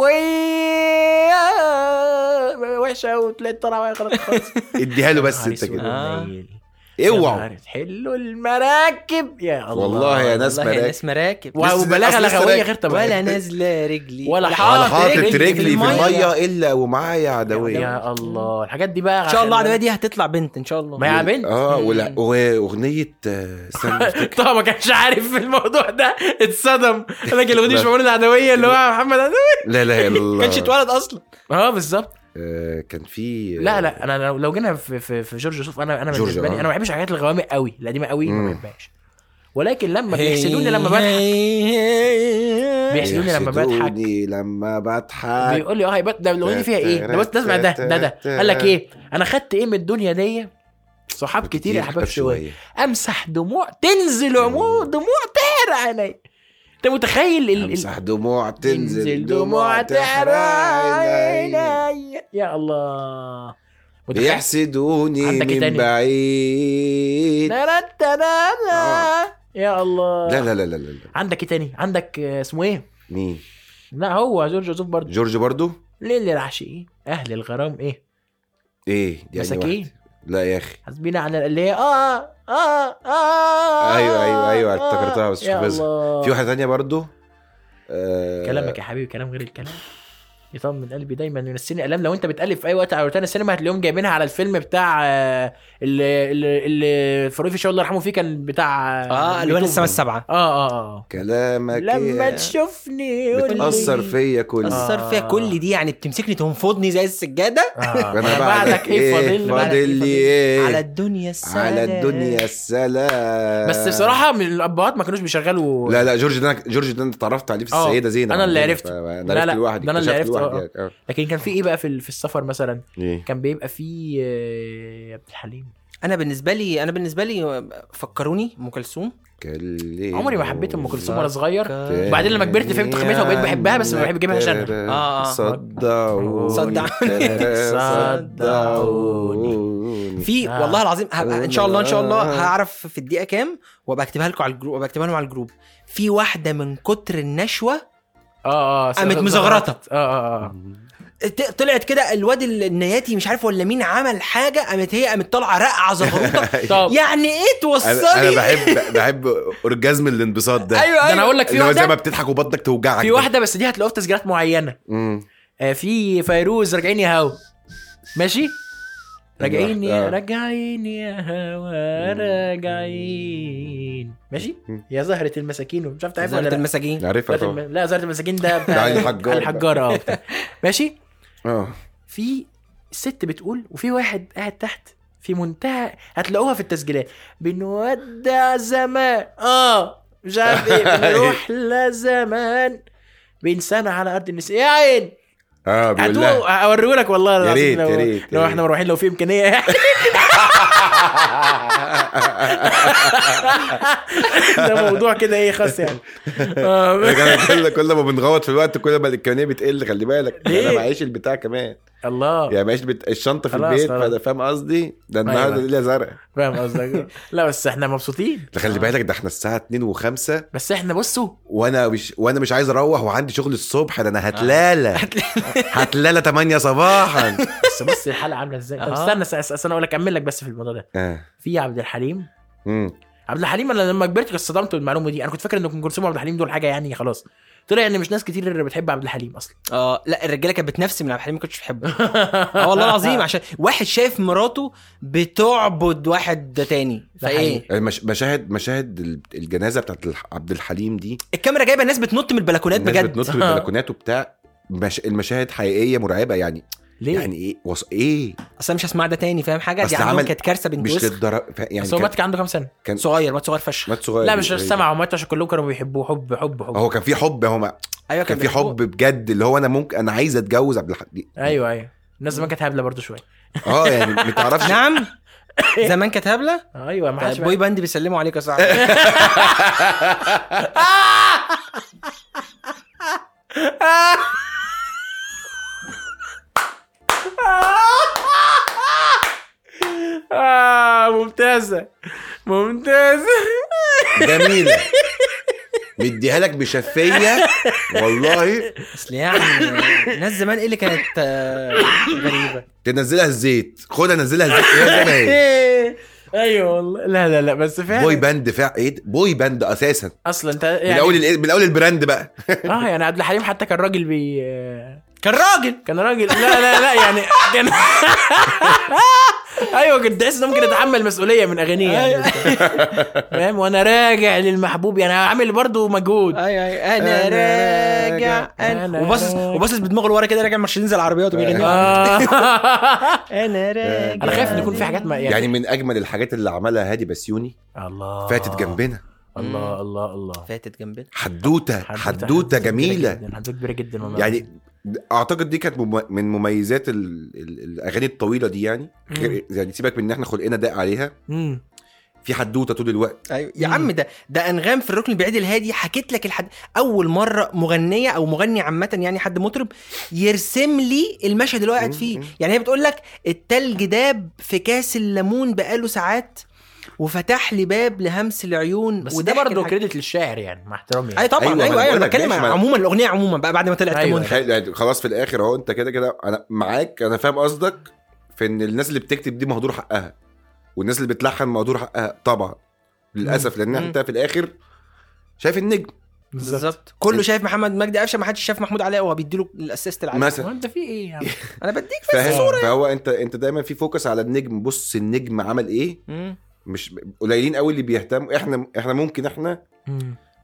B: وحشة وطلعت طالعة خلاص خلاص
C: اديها له بس
B: نهار
C: انت
B: أسود.
C: كده
A: آه.
B: قليل. يا
C: اوعى
B: نهار تحلوا المراكب يا الله
C: والله يا ناس
A: والله يا
C: مراكب.
A: ناس مراكب
C: بس ده
B: وبلاغة
C: أصل لسه
B: لغوية
C: راكب.
B: غير طبيعية
A: ولا نازله رجلي
B: ولا
C: انا
B: حاطط
C: حاطط
B: رجلي في
C: رجلي في
B: المية.
C: الميه الا ومعايا عدويه
B: يا الله الحاجات دي بقى
A: ان شاء الله على دي هتطلع بنت ان شاء الله
B: ما يا بنت
C: اه ولا- واغنيه آه،
B: *laughs*
C: استنى أفتكر.
B: طبعا ما كانش عارف في الموضوع ده اتصدم انا كان
C: *laughs*
B: الاغنيه
C: لا.
B: مش معمول العدويه اللي هو محمد عدوية
C: لا لا يا الله
A: ما كانش اتولد اصلا
B: اه بالظبط
C: آه، كان في آه،
B: لا لا انا لو- لو جينا في في, في جورج وسوف انا انا
C: جورج،
B: بالنسبه لي
C: آه.
B: انا ما بحبش الحاجات الغوامق قوي القديمه قوي ما
C: مم.
B: بحبهاش ولكن لما بيحسدوني لما بضحك بيحسدوني لما بضحك
C: يحسدوني لما بضحك
B: بيقول لي اه هيبقى ده الاغنيه دي فيها ايه؟ ده بس نسمع ده ده ده قال لك ايه؟ انا خدت ايه من الدنيا دي؟ صحاب كتير يا حباب شويه امسح دموع تنزل عمو دموع تهر علي انت متخيل ال- ال...
C: امسح دموع تنزل
B: تنزل دموع تهر
C: تحرق
B: علي يا الله متخيل
C: بيحسدوني
B: عندك إيه
C: من
B: تاني؟
C: بعيد لا
B: ترتنانا. يا الله
C: لا لا لا لا
B: عندك ايه تاني؟ عندك آه، اسمه ايه؟
C: مين
B: لا هو جورج وسوف برضه
C: جورج برضو
B: ليل العاشقين اهل الغرام ايه؟
C: ايه دي يعني
B: مساكين
C: لا يا اخي
B: حاسبين على اللي هي اه اه اه
C: أيوة، أيوة، أيوة، افتكرتها بس مش
B: يا
C: حافظها.
B: الله.
C: في واحده تانية برضو آه،
B: كلامك يعني. يا حبيبي كلام غير الكلام يطمن قلبي دايما ينسيني الام لو انت بتالف في اي وقت على روتانا السينما هتلاقيهم جايبينها على الفيلم بتاع آه، اللي اللي اللي فريد في الله يرحمه فيه كان بتاع
C: آه،
B: آه،
A: اه اللي هو لسه ما
B: بيتهوفن.
A: السبعه
B: اه اه اه
C: كلامك
B: لما
C: يا-
B: تشوفني قول لي-
C: بتاثر فيا كل
B: آه.
A: اثر فيها كل دي يعني بتمسكني تنفضني زي السجاده
C: *laughs*
B: آه.
C: انا بعدك ايه فاضل
B: بعدك إيه؟
C: فاضل لي ايه
A: على الدنيا السلام
C: على الدنيا السلام
B: بس بصراحه من الابهات ما كانوش بيشغلوا
C: لا لا جورج ده أنا- جورج ده انت اتعرفت عليه في
B: آه،
C: السيده زينب
B: أنا اللي
C: عندنا،
B: عرفته.
C: فانا
B: لا، لا،
C: عرفت لوحدي
B: ده أنا اللي
C: اكتشفت
B: عرفته، آه.
C: لوحدي. آه.
B: لكن كان في ايه بقى في في السفر مثلا
C: إيه؟
B: كان بيبقى في آه، عبد الحليم
A: انا بالنسبه لي انا بالنسبه لي فكروني ام كلثوم
C: كلمني
B: عمري ما حبيت ام كلثوم وانا صغير
A: ك-
B: وبعدين لما كبرت فهمت قيمتها وبقيت بحبها، بس ما بحب أجيبها عشانها.
A: آه، آه.
C: صدعوني
A: صدعوني.
B: *laughs*
C: صدعوني
A: في
B: آه.
A: والله العظيم هبقى ان شاء الله ان شاء الله هعرف في الدقيقه كام وابقى اكتبها لكم على الجروب وابقى اكتبها لهم على الجروب في واحده من كتر النشوه
B: اه اه
A: قامت
B: صغرت-
A: مزغرطة.
B: اه اه اه
A: ت- طلعت كده الواد ال- النياتي مش عارف ولا مين عمل حاجه قامت هي قامت طالعه رقعه زغروطه
C: *laughs*
B: طب
A: يعني ايه
C: انا أنا
A: توصلي
C: بحب بحب اورجازم الانبساط ده
A: ايوه
B: ده انا
A: ايوه
B: اقول لك في
C: اللي هو زي ما
B: واحده
C: بتضحك وبطنك توجعك
B: في
C: ده.
B: واحده بس دي هتلاقوها في تسجيلات معينه
C: مم.
B: آه، في فيروز راجعين يا هوا ماشي راجعين يا
C: آه.
B: راجعين يا هوا راجعين ماشي يا زهرة المساكين ومش عارف تعرفها ولا
A: زهرة
B: لا
A: المساكين
C: عارفها
B: زهرة
C: طبعا
B: الم- لا زهرة المساكين ده بتاع
C: *laughs* ده علي حجار ده.
B: الحجار
C: *laughs*
B: اه بتاع. ماشي
C: اه
B: في ست بتقول وفي واحد قاعد تحت في منتهى هتلاقوها في التسجيلات بنودع زمان اه مش عارف
C: *laughs*
B: ايه بنروح لزمان بنسانا على ارض النساء يا عين
C: اه بيقول لها
B: اوريهولك والله العظيم
C: ريت،
B: لو,
C: يا ريت،
B: لو
C: يا
B: احنا
C: ريت.
B: مروحين لو في امكانيه يعني *laughs* ده موضوع كده ايه خاص يعني آه.
C: يعني كل كل ما بنغوط في الوقت كل ما الامكانيه بتقل خلي بالك
B: ليه؟
C: انا معيش البتاع كمان
B: الله
C: يعني معيش بت... الشنطه في
B: خلاص،
C: البيت
B: خلاص.
C: فانا فاهم قصدي ده
B: أيوة.
C: النهارده ليله زرق
B: فاهم قصدك لا بس احنا مبسوطين
C: ده خلي بالك ده احنا الساعه 2 و5
B: بس احنا بصوا
C: وانا مش وانا مش عايز اروح وعندي شغل الصبح
B: آه.
C: ده
B: *laughs*
C: انا هتلاله هتلاله 8 صباحا
B: بس بص الحلقه عامله ازاي طب
A: آه.
B: استنى س- س- استنى اقول لك اكمل لك بس في الموضوع ده
C: آه.
B: في عبد الحليم
C: مم.
B: عبد الحليم انا لما كبرت اصطدمت بالمعلومه دي انا كنت فاكر ان ام كلثوم وعبد الحليم دول حاجه يعني خلاص طلع ان مش ناس كتير اللي بتحب عبد الحليم اصلا
A: *laughs* اه لا الرجاله كانت بتنفسي من عبد الحليم ما كنتش بحبه
C: *laughs*
A: اه والله العظيم عشان واحد شايف مراته بتعبد واحد تاني
B: ده
A: فايه
B: حقيقي.
C: المش... آه، مشاهد مشاهد ال- الجنازه بتاعت الح- عبد الحليم دي
A: الكاميرا جايبه الناس بتنط من البلكونات
B: آه.
C: الناس
A: بجد
C: بتنط بالبلكونات وبتاع مش... المشاهد حقيقيه مرعبه يعني
B: *laughs* ليه؟
C: يعني ايه وص... ايه
A: اصل انا مش هسمع ده تاني فاهم حاجه
C: أصل
A: دي عندهم
C: عمل-
A: كانت كارثه بنت
C: مش
A: وسخ
C: للدرجه ف- يعني
B: بس هو
C: كان...
B: مات كان عنده كام سنه؟
C: كان-
A: صغير مات صغير فشخ
C: مات صغير
B: لا مش
C: يعني.
B: سمع ومات عشان كلهم كانوا بيحبوه حب حب حب
C: هو كان في حب هو ما...
A: ايوه
C: كان في
A: بيحبوه.
C: حب بجد اللي هو انا ممكن انا عايز اتجوز عبد الحق
B: ايوه ايوه الناس زمان كانت هبله برضه شويه
C: اه يعني ما
B: *laughs*
C: تعرفش
A: نعم
C: *laughs*
A: زمان كانت هبله
B: ايوه ما حدش
A: طيب، بوي
B: بقى-
A: باند بيسلموا عليك يا
C: *laughs*
A: صاحبي
B: *laughs* اه ممتازه ممتازه
C: جميله مديها لك بشفيه والله
A: اصل يعني ناس زمان ايه اللي كانت آه، غريبه
C: تنزلها الزيت خدها نزلها الزيت هي زي ما هي
B: *laughs* ايوه والله لا لا لا بس فعلا
C: طيب. بوي باند فع ايه ده؟ بوي باند اساسا
B: اصلا انت يعني
C: من اول ال- من اول البراند بقى
B: اه يعني عبد الحليم حتى كان راجل بي
A: كان راجل
B: كان راجل لا لا لا يعني كان *laughs* ايوه كنت تحس انه ممكن اتحمل مسؤوليه من اغانيه يعني
C: أيوة.
B: فاهم وانا راجع للمحبوب يعني عامل
A: *laughs*
B: برضه مجهود
A: اي اي انا راجع انا
B: أنا
A: وباصص
B: راجع.
A: وباصص بدماغه لورا كده راجع ماشيين زي العربيات
C: أيوة.
A: وبيغني
B: آه.
A: انا راجع
B: انا خايف ان يكون في حاجات ما يعني, آه.
C: يعني من اجمل الحاجات اللي عملها هادي بسيوني
B: *laughs* الله
C: فاتت جنبنا
B: الله الله الله
A: فاتت جنبنا
C: حدوته حدوته جميله
B: كبيرة جداً، حدوته كبيره جدا والله
C: يعني اعتقد دي كانت مم- من مميزات ال- ال- الاغاني الطويله دي يعني غير يعني سيبك من ان احنا خلقنا ضاق عليها
B: مم.
C: في حدوته طول الوقت
A: ايوه يا
B: مم.
A: عم ده ده انغام في الركن البعيد الهادي حكيت لك الحد اول مره مغنيه او مغني عامه يعني حد مطرب يرسم لي المشهد اللي هو قاعد
C: مم.
A: فيه
C: مم.
A: يعني هي بتقول لك التلج داب في كاس الليمون بقاله ساعات وفتح لي باب لهمس العيون
B: بس ده
A: وضحك
B: برضه
A: الحاجات.
B: كريدت للشاعر يعني مع احترامي يعني.
A: ايوه طبعا
C: أيوة، ما
A: ايوه
C: أنا
A: ايوه,
C: بقول
A: انا
C: لك،
A: بتكلم
C: ماشي، ما أنا-
A: عموما الاغنيه عموما بقى بعد ما طلعت
B: أيوة.
A: كمنتج.
C: تخيل يعني خلاص في الاخر اهو انت كده كده انا معاك انا فاهم قصدك في ان الناس اللي بتكتب دي مهدور حقها والناس اللي بتلحن مهدور حقها طبعا للاسف لان
A: مم.
C: انت في الاخر شايف النجم
A: بالظبط
C: إيه.
A: كله شايف محمد مجدي قفشه ما حدش شاف محمود علاء وهو بيديله الاسيست العالي
C: مثلا
B: هو انت في ايه
C: *laughs*
B: يعني
A: انا بديك
C: فاهم
A: يعني.
C: فهو انت انت دايما في فوكس على النجم بص النجم عمل ايه مش قليلين قوي اللي بيهتموا احنا احنا ممكن احنا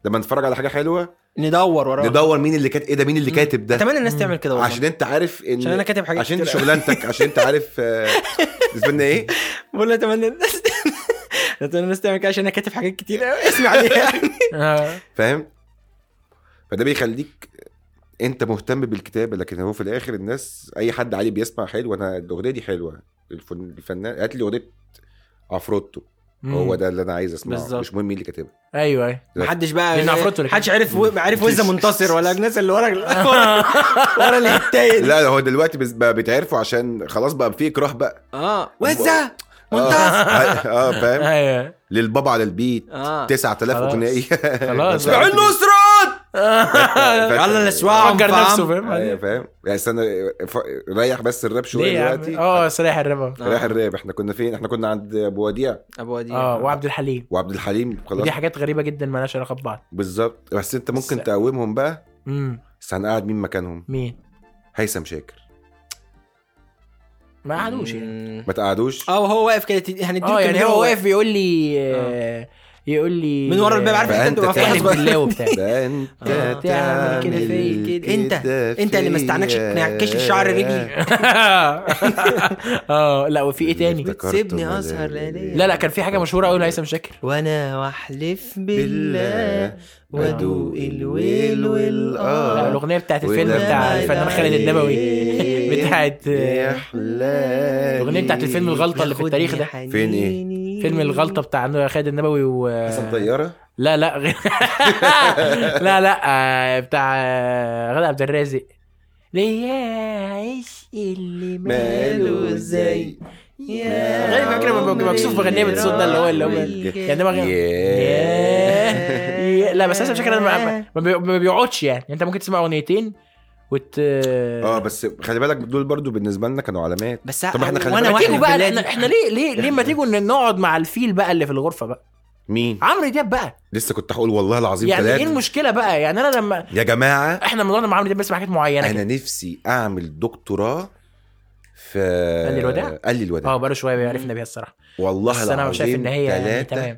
C: لما نتفرج على حاجه حلوه
A: ندور وراه
C: ندور مين اللي كاتب ايه ده مين اللي كاتب ده
A: اتمنى الناس تعمل كده والله
C: عشان انت عارف ان
A: عشان انا كاتب حاجات
C: عشان
A: كتير
C: دي شغلانتك عشان انت عارف
A: *laughs*
C: آه، بالنسبه لنا ايه
A: بقول له اتمنى الناس *laughs* اتمنى الناس تعمل كده عشان انا كاتب حاجات كتير
C: *laughs*
A: قوي اسمع عليها
B: آه.
C: فاهم فده بيخليك انت مهتم بالكتابه لكن هو في الاخر الناس اي حد عليه بيسمع حلو انا الاغنيه دي حلوه الفن- الفنان هات لي اغنيه عفروتو
B: مم.
C: هو ده اللي انا عايز اسمعه
B: بالظبط.
C: مش مهم مين اللي كاتبها
B: ايوه ايوه
A: محدش بقى
B: لأن عفروتو اللي
A: محدش عرف و... عرف وزه منتصر ولا الناس اللي ورا
B: *laughs*
A: ورا الهتايه دي
C: لا هو دلوقتي بس- بقى بيتعرفوا عشان خلاص بقى في اكراه
B: *laughs*
C: بقى
A: اه وزه منتصر
C: *laughs* اه اه فاهم
B: ايوه
C: للبابا على البيت
A: اه
C: 9000
B: آه. خلاص.
C: اغنيه *laughs*
B: خلاص.
C: بقى.
B: عينه *laughs*
A: النصرات على الاسواع
B: *laughs* فكر
A: فاهم
B: نفسه فاهم
C: ايوه فاهم يعني استنى ف- ريح بس الراب
B: ليه
C: شويه
B: يا عم؟
C: دلوقتي
B: اه سريع الربا
C: ريح الراب احنا كنا فين احنا كنا عند ابو وديع
A: ابو وديع
B: اه وعبد الحليم
C: وعبد الحليم خلاص
B: ودي حاجات غريبه جدا مالهاش علاقه ببعض
C: بالظبط بس انت ممكن
B: بس-
C: تقومهم بقى
B: امم
C: بس هنقعد مين مكانهم
B: مين
C: هيثم شاكر
B: ما قعدوش يعني
C: ما تقعدوش
A: اه وهو واقف كده تدي- هنديله
B: اه يعني
A: كده
B: هو واقف بيقول لي آه، يقول لي
A: من ورا الباب عارف انت
C: فأنت
A: بتبقى
B: احلف
C: تعمل إيه؟
A: فاتح-
B: بالله وبتاع *laughs*
C: ده انت
A: آه.
C: تعمل
B: كده فيا
A: كده.
C: كده
A: انت- انت اللي ما استعنكش
C: فيا.
A: تنعكش الشعر رجلي.
B: اه لا وفي ايه تاني
C: افتكرت
A: بتسيبني
C: ولا
A: أسهر ليالي.
B: لا لا كان في حاجه مشهوره قوي لهيثم شاكر
A: وانا واحلف بالله
C: بالله
A: وادوق الويل والقرف
B: لا،
C: آه.
B: الاغنيه بتاعت الفيلم
C: ولما
B: بتاع الفنان خالد النبوي
C: يلاقيك
B: بتاعت
C: يا
B: آه،
C: حلالي.
B: الاغنيه بتاعت الفيلم الغلطه اللي في التاريخ ده
C: فين ايه؟
B: فيلم الغلطه بتاع خالد النبوي و
C: حسن طياره
B: لا لا غير لا لا آه، بتاع آه، غادة عبد الرازق ليه عيش اللي ماله
C: ماله
B: زي
C: ازاي
B: يا غالبا كده ببقى
A: عمري
B: مكسوف بغنيها بالصوت ده اللي هو اللي هو يعني ده بغني
C: ياه.
B: لا بس انا شاكر انا ما- ما بي- ما بيقعدش يعني انت ممكن تسمع اغنيتين وت
C: اه بس خلي بالك دول برضو بالنسبه لنا كانوا علامات
A: بس
C: طب احنا خلينا
A: وانا
B: ما
C: بالك-
B: تيجوا
A: واحد
B: بقى
A: بلادي
B: احنا احنا ليه ليه ليه ما تيجوا إن نقعد مع الفيل بقى اللي في الغرفه بقى
C: مين
B: عمرو دياب بقى
C: لسه كنت هقول والله العظيم
B: يعني ايه
C: ثلاثة.
B: المشكله بقى يعني انا لما
C: يا جماعه
B: احنا موضوعنا مع عمرو دياب بنسمع حاجات معينه كده.
C: انا نفسي اعمل دكتوراه في
B: الوداع؟
C: قال لي
B: اه
C: الوداع
B: بقاله شويه بيعرفنا بيها الصراحه
C: والله
B: بس انا شايف ان هي يعني
C: ثلاثة
B: تمام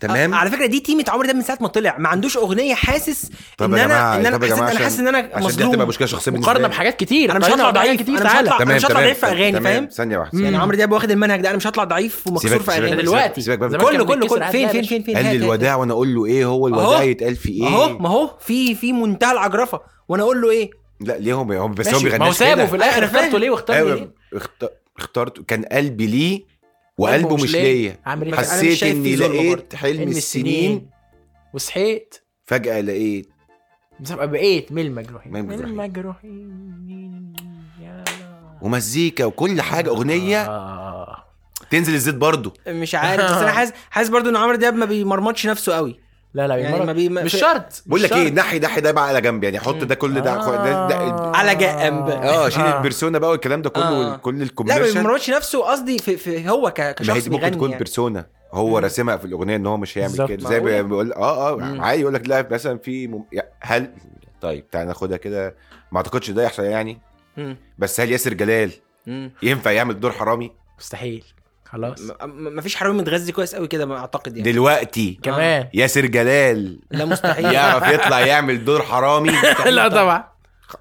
C: تمام
A: أ- على فكره دي تيمه عمرو ده من ساعه ما طلع ما عندوش اغنيه حاسس
C: طب
A: ان
C: يا
A: انا
C: جماعة-
A: ان انا
C: طب يا
A: حاسس انا
C: جماعة عشان-
A: حاسس ان انا
C: عشان دي هتبقى
A: مظلوم
C: مشكله شخصيه بالنسبه
B: مقارنه
C: لي.
B: بحاجات كتير
A: انا مش
B: قارنها
A: هطلع
B: بحاجات
A: ضعيف
B: كتير
A: انا مش
B: تعالى
A: هطلع انا مش هطلع
C: تمام،
A: ضعيف في
C: تمام،
A: اغاني
C: تمام.
A: فاهم
C: ثانيه واحده
A: يعني
C: ثانية.
A: عمرو دياب واخد المنهج ده انا مش هطلع ضعيف ومكسور
C: سيبك-
A: في
C: سيبك-
A: اغاني
C: سيبك-
B: دلوقتي.
C: سيبك بقى من
B: زمان
A: كله
B: كان
A: كله
B: بيتكسر
A: كله فين
B: عادي،
A: فين
B: لا،
A: فين فين
C: قال
A: هات-
C: لي
A: هات-
C: الوداع وانا اقول له ايه هو
A: أهو.
C: الوداع يتقال في ايه
A: اهو ما هو في في منتهى العجرفه وانا اقول له ايه
C: لا ليه هم هم بس هو
A: ماشي، ما
B: ما هو
C: بيغناش
B: سابه
C: كده
B: في طيب. الاخر
A: أنا فاهم.
B: اخترته ليه واختار ليه
C: ايوه اخت- اخترت كان قلبي ليه وقلبه مش ليا
B: عامل ايه
A: حس-
B: حسيت
A: مش
C: حسيت
A: شايف
C: اني
A: في ظلم
C: لقيت
A: برضه.
C: حلم السنين
B: وصحيت
C: فجاه لقيت
B: بس أبقى بقيت من المجروحين
C: من المجروحين.
B: المجروحين يا الله.
C: ومزيكا وكل حاجه اغنيه
B: آه.
C: تنزل الزيت برضه
A: مش عارف بس انا حاسس حاسس برضو ان عمرو دياب ما بيمرمطش نفسه قوي
B: لا لا
A: يعني ما
B: يعني
A: بي- ما-
B: مش
A: في-
B: شرط
C: بقول
B: مش
C: لك ايه
B: شرط.
C: نحي نحي ده بقى على جنب يعني حط ده كل
A: آه.
C: ده ده- ده-
A: على جنب.
C: اه شيل
B: آه.
C: البيرسونا بقى والكلام ده
A: آه.
C: كله كل
A: لا ما
C: الكوميرشال
A: بيمرمطش نفسه قصدي في, في هو ك-
C: ما هي
A: كشخص
C: دي ممكن
A: بيغني
C: تكون
A: يعني.
C: بيرسونا هو راسمها في الاغنيه ان هو مش هيعمل
B: بالظبط.
C: كده زي ما
A: معقولة؟
C: بيقول اه
A: مم.
C: اه عادي يقول لك لا مثلا في مم... يا- هل طيب تعال ناخدها كده ما اعتقدش ده يحصل يعني
A: مم.
C: بس هل ياسر جلال
A: مم.
C: ينفع يعمل دور حرامي
B: مستحيل خلاص
A: م- م- مفيش حرامي متغذي كويس قوي كده ما اعتقد يعني
C: دلوقتي
B: كمان
C: ياسر جلال
A: لا مستحيل
C: يعرف يطلع يعمل دور حرامي
A: *laughs*
B: لا طبعا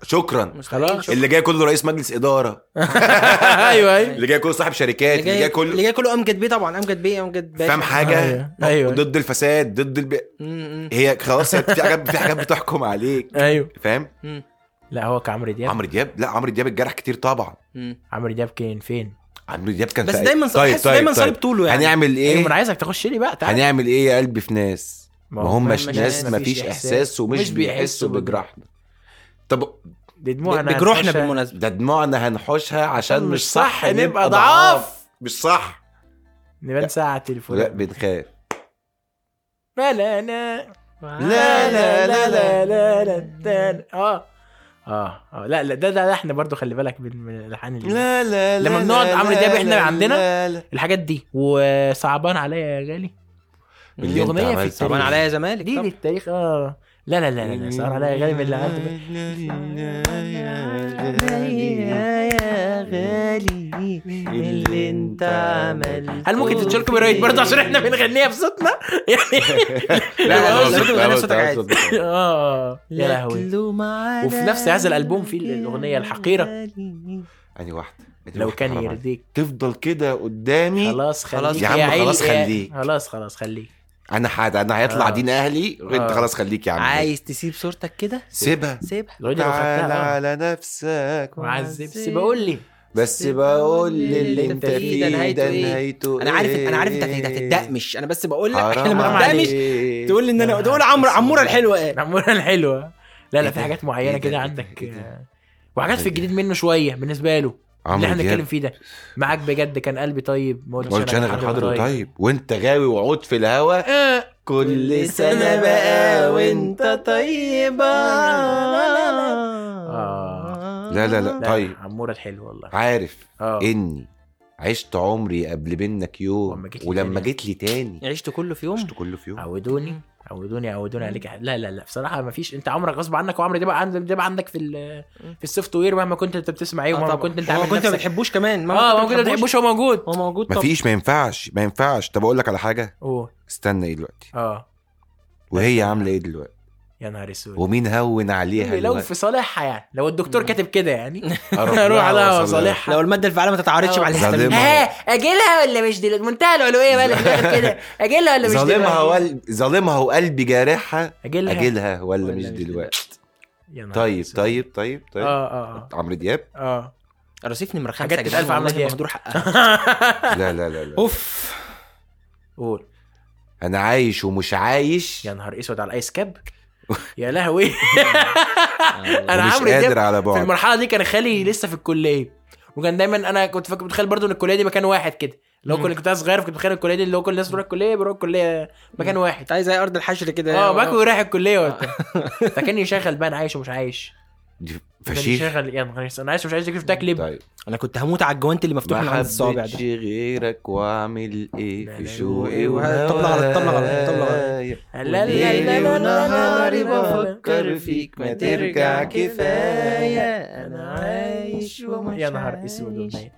C: شكرا
A: مستحيل
B: خلاص.
A: شكراً.
B: *laughs*
C: اللي جاي كله رئيس مجلس اداره
B: ايوه ايوه
C: اللي جاي كله صاحب شركات
A: اللي
C: اللي جاي
A: اللي
C: كله
A: جاي كله امجد بيه طبعا امجد بيه امجد باشا
C: فاهم حاجه
B: أيوة. أيوة.
C: ضد الفساد ضد الب...
A: مم.
C: هي خلاص في حاجات في حاجات بتحكم عليك
B: ايوه
C: فاهم
A: مم.
B: لا هو كعمرو دياب
C: عمرو دياب لا عمرو دياب اتجرح كتير طبعا
A: مم.
B: عمرو دياب كان فين؟
C: عمرو دياب كان
A: بس
C: في-
A: دايما ص-
B: طيب،
A: بحسه دايما صلب طوله يعني.
C: هنعمل
B: ايوه ما انا
C: ايه
B: عايزك تخش لي بقى تعالى
C: هنعمل ايه يا قلبي في ناس ما
B: هو
C: همش
B: مش
C: ناس ما
B: مفيش
C: فيش احساس ومش بيحسوا بجراحنا طب
B: دي دموعنا
A: بجروحنا
B: هنخشها.
A: بالمناسبه
C: ده دموعنا هنحوشها عشان مش صح
B: نبقى
C: نبقى
B: ضعاف
C: ضعاف مش صح
B: نبان ساعة
C: لا
B: تليفون
C: بنخاف
B: لا لا لا
C: لا لا لا لا
B: لا لا لا اه اه اه لا لا ده ده ده احنا برضو خلي بالك من من الالحان اللي-
C: لا
B: لما بنقعد عمرو دياب إحنا
C: لا،
B: عندنا؟
C: لا، لا.
B: الحاجات دي وصعبان عليا يا غالي
C: من
B: دي
C: اللي انت
B: أغنية في
C: عملته.
B: التاريخ.
A: طبعا عليا زمالك
B: دي
A: طبعاً.
B: للتاريخ اه لا لا لا لا صعبان عليا يا غالي من اللي عملته ده.
A: يا غالي اللي انت عملته
B: هل ممكن تتشال كوبي رايت برضه عشان احنا بنغنيها بصوتنا يعني
C: لا
A: لا،
C: لا
A: صوتك- لا،
C: لا، لا،
A: صوتك
C: لا،
A: عادي.
C: صوتك
B: *laughs*
C: عادي.
B: اه يا لهوي
A: لهوي
B: وفي نفس هذا الألبوم في الأغنية الحقيرة.
C: أنهي واحدة أنهي
B: لو
C: واحدة
B: كان
C: حرام عليك.
B: يرضيك
C: تفضل كده قدامي
B: خلاص خليك
A: خلاص
C: يا عم،
B: عيني،
C: إيه؟ خلاص
B: يا-
C: خليك.
B: خلاص خلاص خليك
C: انا حد انا هيطلع
B: آه.
C: دين اهلي انت
B: آه.
C: خلاص خليك يا عم
A: عايز تسيب صورتك كده
C: سيبها
A: سيبها
B: لو دي لو
C: تعال
B: خدتها آه.
C: على نفسك
B: معذب سيبا قول لي
C: بس بقول اللي انت فيه ده
A: نهايته إيه؟
C: نهايته
A: انا عارف انا عارف انت
C: إيه؟
A: هت- هتتدقمش انا بس بقول لك *laughs*
C: حرام
A: لما
B: عليك.
A: تدقمش
C: عليك.
A: تقول لي ان انا تقول عمرو عموره الحلوه ايه
B: العمولة الحلوة لا
C: إيه
B: لا
C: ده؟
B: في حاجات
C: إيه
B: معينة
C: ده؟ إيه
B: كده
C: ده؟
B: عندك
C: إيه ده؟
B: آه، وحاجات في
C: عمرو
B: الجديد منه شوية بالنسبة له اللي
C: عمرو
B: احنا
C: دياب.
B: بنتكلم فيه ده معاك بجد كان قلبي طيب ما
C: ما قلتش انا
B: غير
C: غير حاضر
B: حاضر
C: طيب وانت غاوي وعود في الهوا
B: آه.
C: كل سنه بقى وانت طيبه
B: آه.
C: لا لا
B: لا،
C: لا طيب
B: عمورة الحلوة والله
C: عارف
B: اه
C: اني عشت عمري قبل منك يوم
B: ولما جيت لي
C: ولما
B: تاني. يعني
C: جيت لي تاني
A: عشت كله في يوم
C: عشت كله في يوم
B: عودوني عودوني عودوني عليك يا حبيبي. لا لا لا بصراحه ما فيش انت عمرك غصب عنك وعمر دي بقى عندك دي بقى عندك في ال- في السوفت وير مهما كنت انت بتسمع ايه
A: آه
B: ومهما
A: طبعاً.
B: كنت انت
A: وما
B: عامل
A: كنت ما
B: نفسك
A: بتحبوش كمان
B: اه ما كنت ما بتحبوش هو موجود
A: هو موجود طبعا
C: مفيش ما ينفعش ما ينفعش طب اقول لك على حاجه
B: اوه
C: استنى ايه دلوقتي
B: اه
C: وهي عامله ايه دلوقتي
B: يا نهار اسود
C: ومين هون عليها
B: لو
C: دلوقتي
B: في صالحها يعني لو الدكتور كاتب كده يعني اروح
C: أروح
B: لها
C: وأوصل لها.
B: وصالحها
A: لو الماده الفعاله ما تتعارضش
B: آه.
A: مع الاهتمام
C: ظالمة.
B: ها اجي لها ولا مش دلوقتي منتهى العلويه بقى اللي بتعمل كده اجي لها
C: *laughs*
B: ولا مش
C: ظالمها
B: دلوقتي
C: وقل... ظالمها وقلبي جارحها
B: اجي لها
C: اجلها ولا,
A: ولا
C: مش
A: مش
C: دلوقتي
B: يعني. يا نهار
C: طيب
B: أسود.
C: طيب طيب طيب
B: اه اه
C: عمرو دياب
B: *laughs* آه. اه
A: رصيف نمره خمسه
B: حاجات
A: يا
B: تتقال
A: جدعان
B: في عمرو
A: والله
B: دياب.
A: مهدور حقها
C: لا لا لا لا
A: اوف
B: قول
C: انا عايش ومش عايش
B: يا نهار اسود على الايس كاب يا لهوي *laughs* انا
C: ومش
B: عمرو دياب
C: قادر على
B: في
C: بعد
B: المرحله دي كان خالي لسه في الكليه وكان دايما انا كنت فاكر متخيل برضو ان الكليه دي مكان واحد كده لو
A: مم.
B: كنت كنت صغير كنت متخيل الكليه دي اللي هو كل الناس بتروح الكليه بيروح الكليه مكان واحد
A: انت عايز زي ارض الحشر كده
B: اه باكل ورايح الكليه وبتاع فكان يشغل بقى انا عايش ومش عايش
C: دي
B: كان
C: فشيخ
B: يشغل يا نهار أسود، انا عايش ومش عايش دي كنت تكلب
C: طيب
A: انا كنت هموت على الجوانت اللي مفتوح من
C: ما
A: عند الصوابع
C: حبيتش
A: ده
C: غيرك واعمل ايه
B: لا،
C: في
B: لا،
C: شوقي
B: لا،
A: لا، طبلة غلط، طبلة غلط، طبلة غلط.
C: وهوايا.
B: لا، لا، لا، لا،
C: ليلي
B: لا، لا، لا،
C: ونهاري
B: لا، لا.
C: بفكر فيك ما ترجع كفاية
B: يا نهار اسود والله.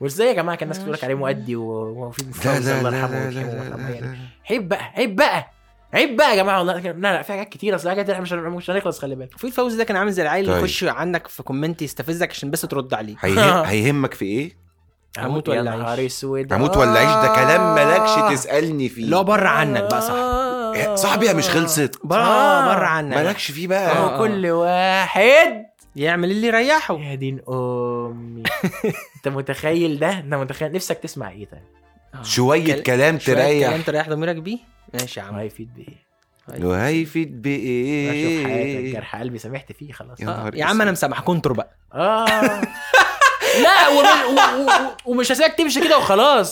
B: وازاي يا جماعه كان الناس بتقول لك عليه مؤدي و- وفي مفوز الله يرحمه ويرحمه ويرحمه يعني. عيب بقى عيب بقى عيب بقى يا جماعه والله لا لا في حاجات كتير اصل حاجات احنا مش هن- مش هنخلص خلي بالك
A: في الفوز ده كان عامل زي العيل اللي
C: طيب.
A: يخش عنك في كومنت يستفزك عشان بس ترد عليه
B: *laughs*
C: هيهم- هيهمك في ايه؟
A: هموت ولا
B: يا
A: أعيش؟
B: نهار اسود
C: هموت ولا عيش ده كلام
B: آه.
C: مالكش تسالني
A: اللي هو
C: فيه إيه،
A: بره عنك بقى إيه، صح
B: صح
C: صاحبي مش خلصت
A: بره
B: آه.
A: بره عنك
C: مالكش فيه بقى
A: آه.
B: وكل واحد
A: يعمل اللي يريحه
B: يا دين
A: *laughs*
B: امي انت متخيل ده انت متخيل نفسك تسمع ايه طيب
C: شويه
A: كل-
C: كلام
A: شوية كلام
C: تريح
A: تريح ضميرك بيه ماشي يا عم
B: هيفيد بايه
C: وهيفيد
B: اشوف حياتك
C: بايه
B: جرح آه، قلبي سامحت فيه خلاص
C: يا نهار
A: إيه. يا عم انا مسامح كنتر بقى
B: اه لا ومن- و- و- و- ومش هسيبك تمشي
A: *laughs*
B: كده وخلاص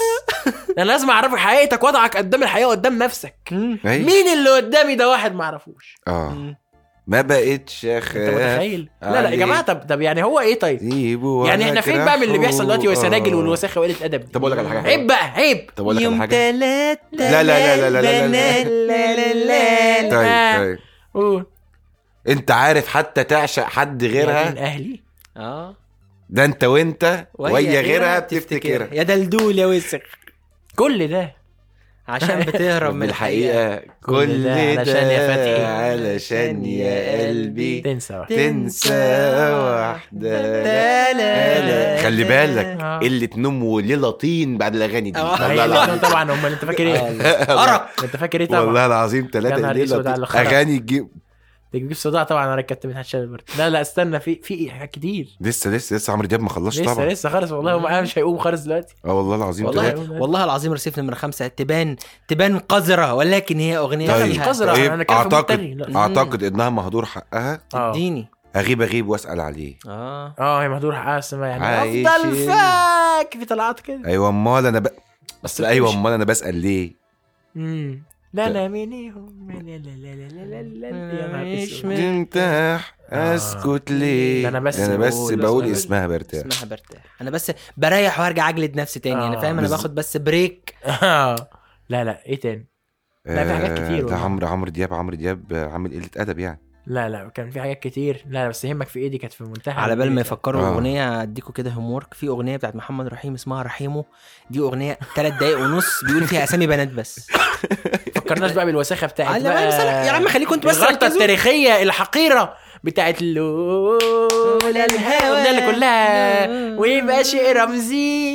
B: انا لازم اعرفك حقيقتك وضعك قدام الحياه وقدام نفسك
C: أيوة.
B: مين اللي قدامي ده واحد ما اعرفوش
C: اه
A: مم.
C: ما بقتش
B: انت
C: اخاف
B: متخيل لا لا يا
C: عليك.
B: جماعه طب طب يعني هو ايه طيب
C: سيبه
B: يعني
C: وأنا
B: احنا فين بقى من اللي
C: أجرحه.
B: بيحصل دلوقتي والسناجل
C: آه.
B: والوساخه وقله الادب دي
C: طب أقول لك على حاجة حلوة.
B: عيب بقى عيب
C: طب اقول لك على
A: يوم
C: حاجه
A: تلات
C: لا لا لا لا لا لا لا.
B: لا
C: طيب طيب
B: طيب
C: انت عارف حتى تعشق حد
B: غيرها
C: غيرها
B: اهلي
A: اه
C: ده انت وانت وهي غيرها بتفتكرها
A: يا دلدول يا وسخ
B: كل ده
A: عشان بتهرب
C: من الحقيقه كل
B: ده
C: ده
B: علشان يا فتحي.
C: علشان يا قلبي
B: تنسى واحد.
C: تنسى واحدة
A: تلا.
C: خلي بالك
B: آه.
C: اللي تنوم وليلة طين بعد الأغاني دي
A: آه.
C: والله
B: هي-
C: العظيم
B: طبعا هم انت فاكر ايه
A: أرق
B: انت فاكر ايه طبعا
C: والله العظيم
B: يا
C: ثلاثة
B: نهار أسود على
C: ليلة
B: الخرا.
C: طين. أغاني تجيب
B: تجيب صداع طبعا انا ركبت منها شلبرت لا لا استنى في في إيه؟ حاجات كتير
C: لسه لسه لسه عمرو دياب ما خلصش
B: لسه
C: طبعا
B: لسه خالص والله هو مش هيقوم خالص دلوقتي
C: اه والله العظيم
B: والله
C: والله
B: هيقوم دلوقتي.
A: والله العظيم رصيف نمرة خمسة تبان تبان قذرة ولكن هي أغنية
C: طيب.
B: مش
A: فيها-
B: قذرة
C: طيب،
B: انا كان في
C: أعتقد-
B: متجري. لا.
C: أعتقد إنها مهدور حقها
B: آه.
A: اديني
C: أغيب أغيب وأسأل عليه
A: اه
B: اه هي مهدور حقها اسمها يعني
C: عايشين.
B: افضل فاك في طلعات كده
C: أيوة أمال أنا ب...
B: بس
C: أيوة
B: مش-
C: أمال أنا بسأل ليه
B: امم لا انا منيهم لا لا لا لا لا لا لا يا نهار
A: مش
B: أسود.
A: من-
C: تمتح أسكت ليه
B: آه. ده أنا بس
C: ده أنا بس
B: بقول-
C: بقول
B: بس-
C: اسمها برتاح
A: اسمها برتاح انا بس بريح وارجع اجلد نفسي تاني
B: آه.
A: انا فاهم انا
C: بز-
A: باخد بس بريك
B: آه. لا لا ايه تاني لا، في حاجات
C: آه،
B: كتير
C: ده
B: والله.
C: عمرو عمرو دياب عمرو دياب آه، عامل قلة أدب يعني
B: لا لا كان في حاجات كتير لا لا، بس يهمك في ايدي كانت في منتهى
A: على بال ما
B: البيت.
A: يفكروا
C: آه.
A: اغنيه اديكوا كده هوم ورك في اغنيه بتاعت محمد رحيم اسمها رحيمه دي اغنيه ثلاث دقايق ونص بيقول فيها اسامي بنات
B: *laughs*
A: بس
B: فكرناش بقى بالوساخه
A: على
B: بتاعت
A: بال- يا عم خليكم انتوا بس
B: الغلطه
A: ركزوا.
B: التاريخيه الحقيره بتاعت لولا الهوى الأغنية اللي كلها ويبقى شيء رمزي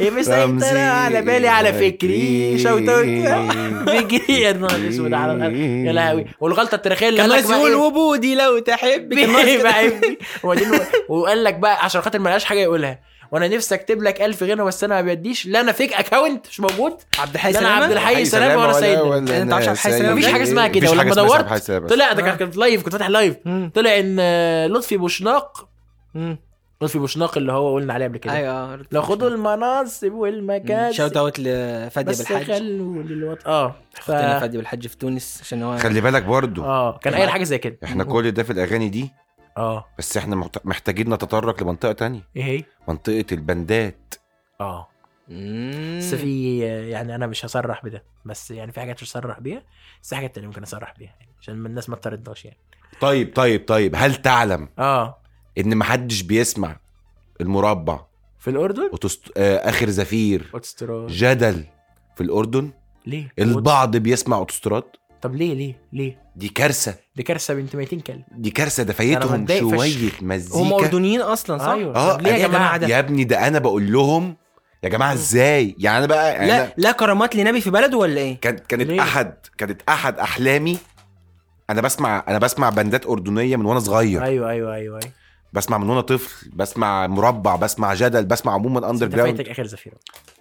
B: ايه مسيطرة على بالي على فكري شوتوت *laughs* بيجري يا نهار اسود على القلب. يا لهوي والغلطه التاريخيه اللي
A: كان
B: قال لك
A: ناقص
B: بقى
A: يقول
B: إيه؟
A: وبودي لو *laughs* تحب كان ناقص
B: بيه
A: كده.
B: *laughs* بقى يبني. وبعدين وقال لك بقى عشان خاطر ملقاش حاجه يقولها وانا نفسي اكتب لك الف غنى بس انا ما بيديش لا انا فيك اكونت مش موجود
A: عبد الحي
B: لا انا
A: سلامه
B: عبد الحي سلامه وانا سيدنا
A: أنت ما تعرفش عبد الحي سلامة؟
B: مفيش حاجه اسمها كده ولما دورت طلع
A: آه.
B: ده كان- كان في لايف كنت فاتح لايف
A: مم.
B: طلع ان آه، لطفي بوشناق
A: مم.
B: لطفي بوشناق اللي هو قلنا عليه قبل كده
A: ايوه
B: لو خدوا المناصب والمكاسب
A: شوت اوت لفادي
B: بس
A: بالحاج
B: خلوا للوط اه ف...
A: اختنا فادي بالحج في تونس عشان هو
C: خلي بالك برضو
B: اه كان قايل حاجه زي كده
C: احنا كل ده في الاغاني دي
B: اه
C: بس احنا محت- محتاجين نتطرق لمنطقه تانية
A: إيه
B: ايه هي
C: منطقه البندات
B: اه
A: مم.
B: بس في يعني انا مش هصرح بده بس يعني في حاجات مش هصرح بيها بس حاجات تانية ممكن اصرح بيها يعني عشان الناس ما تطردناش يعني
C: طيب طيب طيب هل تعلم
B: اه
C: ان محدش بيسمع المربع
B: في الاردن
C: وتست... آه اخر زفير
B: اوتسترا
C: جدل في الاردن
B: ليه
C: البعض بيسمع اوتوستراد
B: طب ليه ليه ليه
C: دي كارثه
B: دي كارثه بنت 200 كلب
C: دي كارثه ده
B: أنا
C: فايتهم
B: متضايق
C: شويه
A: هم
C: مزيكا
A: اردنيين اصلا صح؟ آه.
B: أيوة.
C: اه
B: طب ليه يا
C: أنا-
B: جماعة
A: ده؟
C: يا ابني ده انا بقول لهم يا جماعه ازاي يعني انا بقى يعني أنا
A: لا لا كرامات لنبي في بلده ولا ايه؟
C: كانت كانت
B: ليه؟
C: احد كانت احد احلامي انا بسمع انا بسمع بندات اردنيه من وانا صغير
B: ايوه ايوه ايوه ايوه
C: بسمع من وانا طفل بسمع مربع بسمع جدل بسمع عموما اندر
B: انت
C: جراوند
B: فايتك اخر زفير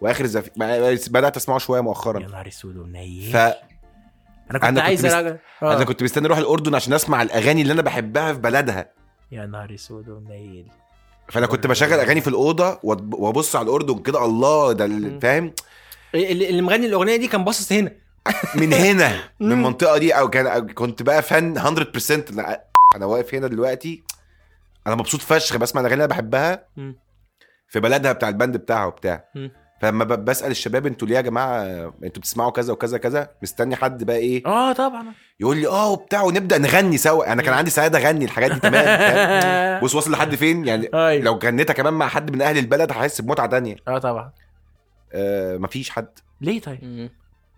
C: واخر زف... ما- بدات اسمعه شويه
B: يا
C: مؤخرا
B: نهار اسود ونيل
C: ف
B: انا
C: أنا
B: كنت
C: كنت
B: عايز
C: مست-
B: أراجع. آه.
C: انا كنت مستني اروح الاردن عشان اسمع الاغاني اللي انا بحبها في بلدها
B: يا نهار اسود ونيل
C: فانا كنت بشغل اغاني في الاوضه وأت- وابص على الاردن كده الله ده ال-
A: مم.
C: فاهم
A: اللي اللي مغني الاغنيه دي كان باصص هنا
C: من
A: *laughs*
C: هنا من
A: مم.
C: المنطقه دي او كان أو كنت بقى فن 100% أنا- انا واقف هنا دلوقتي انا مبسوط فشخ بسمع الاغاني اللي انا بحبها
A: مم.
C: في بلدها بتاع البند بتاعها وبتاع
A: مم.
C: فلما ب- بسال الشباب انتوا ليه يا جماعه انتوا بتسمعوا كذا وكذا كذا مستني حد بقى ايه
A: آه.
B: اه طبعا
C: يقول لي اه وبتاع ونبدا نغني سوا انا كان عندي سعاده اغني الحاجات دي تمام
A: *laughs*
B: *laughs*
C: فاهم؟ بص واصل لحد فين يعني
B: أيوة.
C: لو غنيتها كمان مع حد من اهل البلد هحس بمتعه تانية
B: اه طبعا
C: آه مفيش حد
B: ليه طيب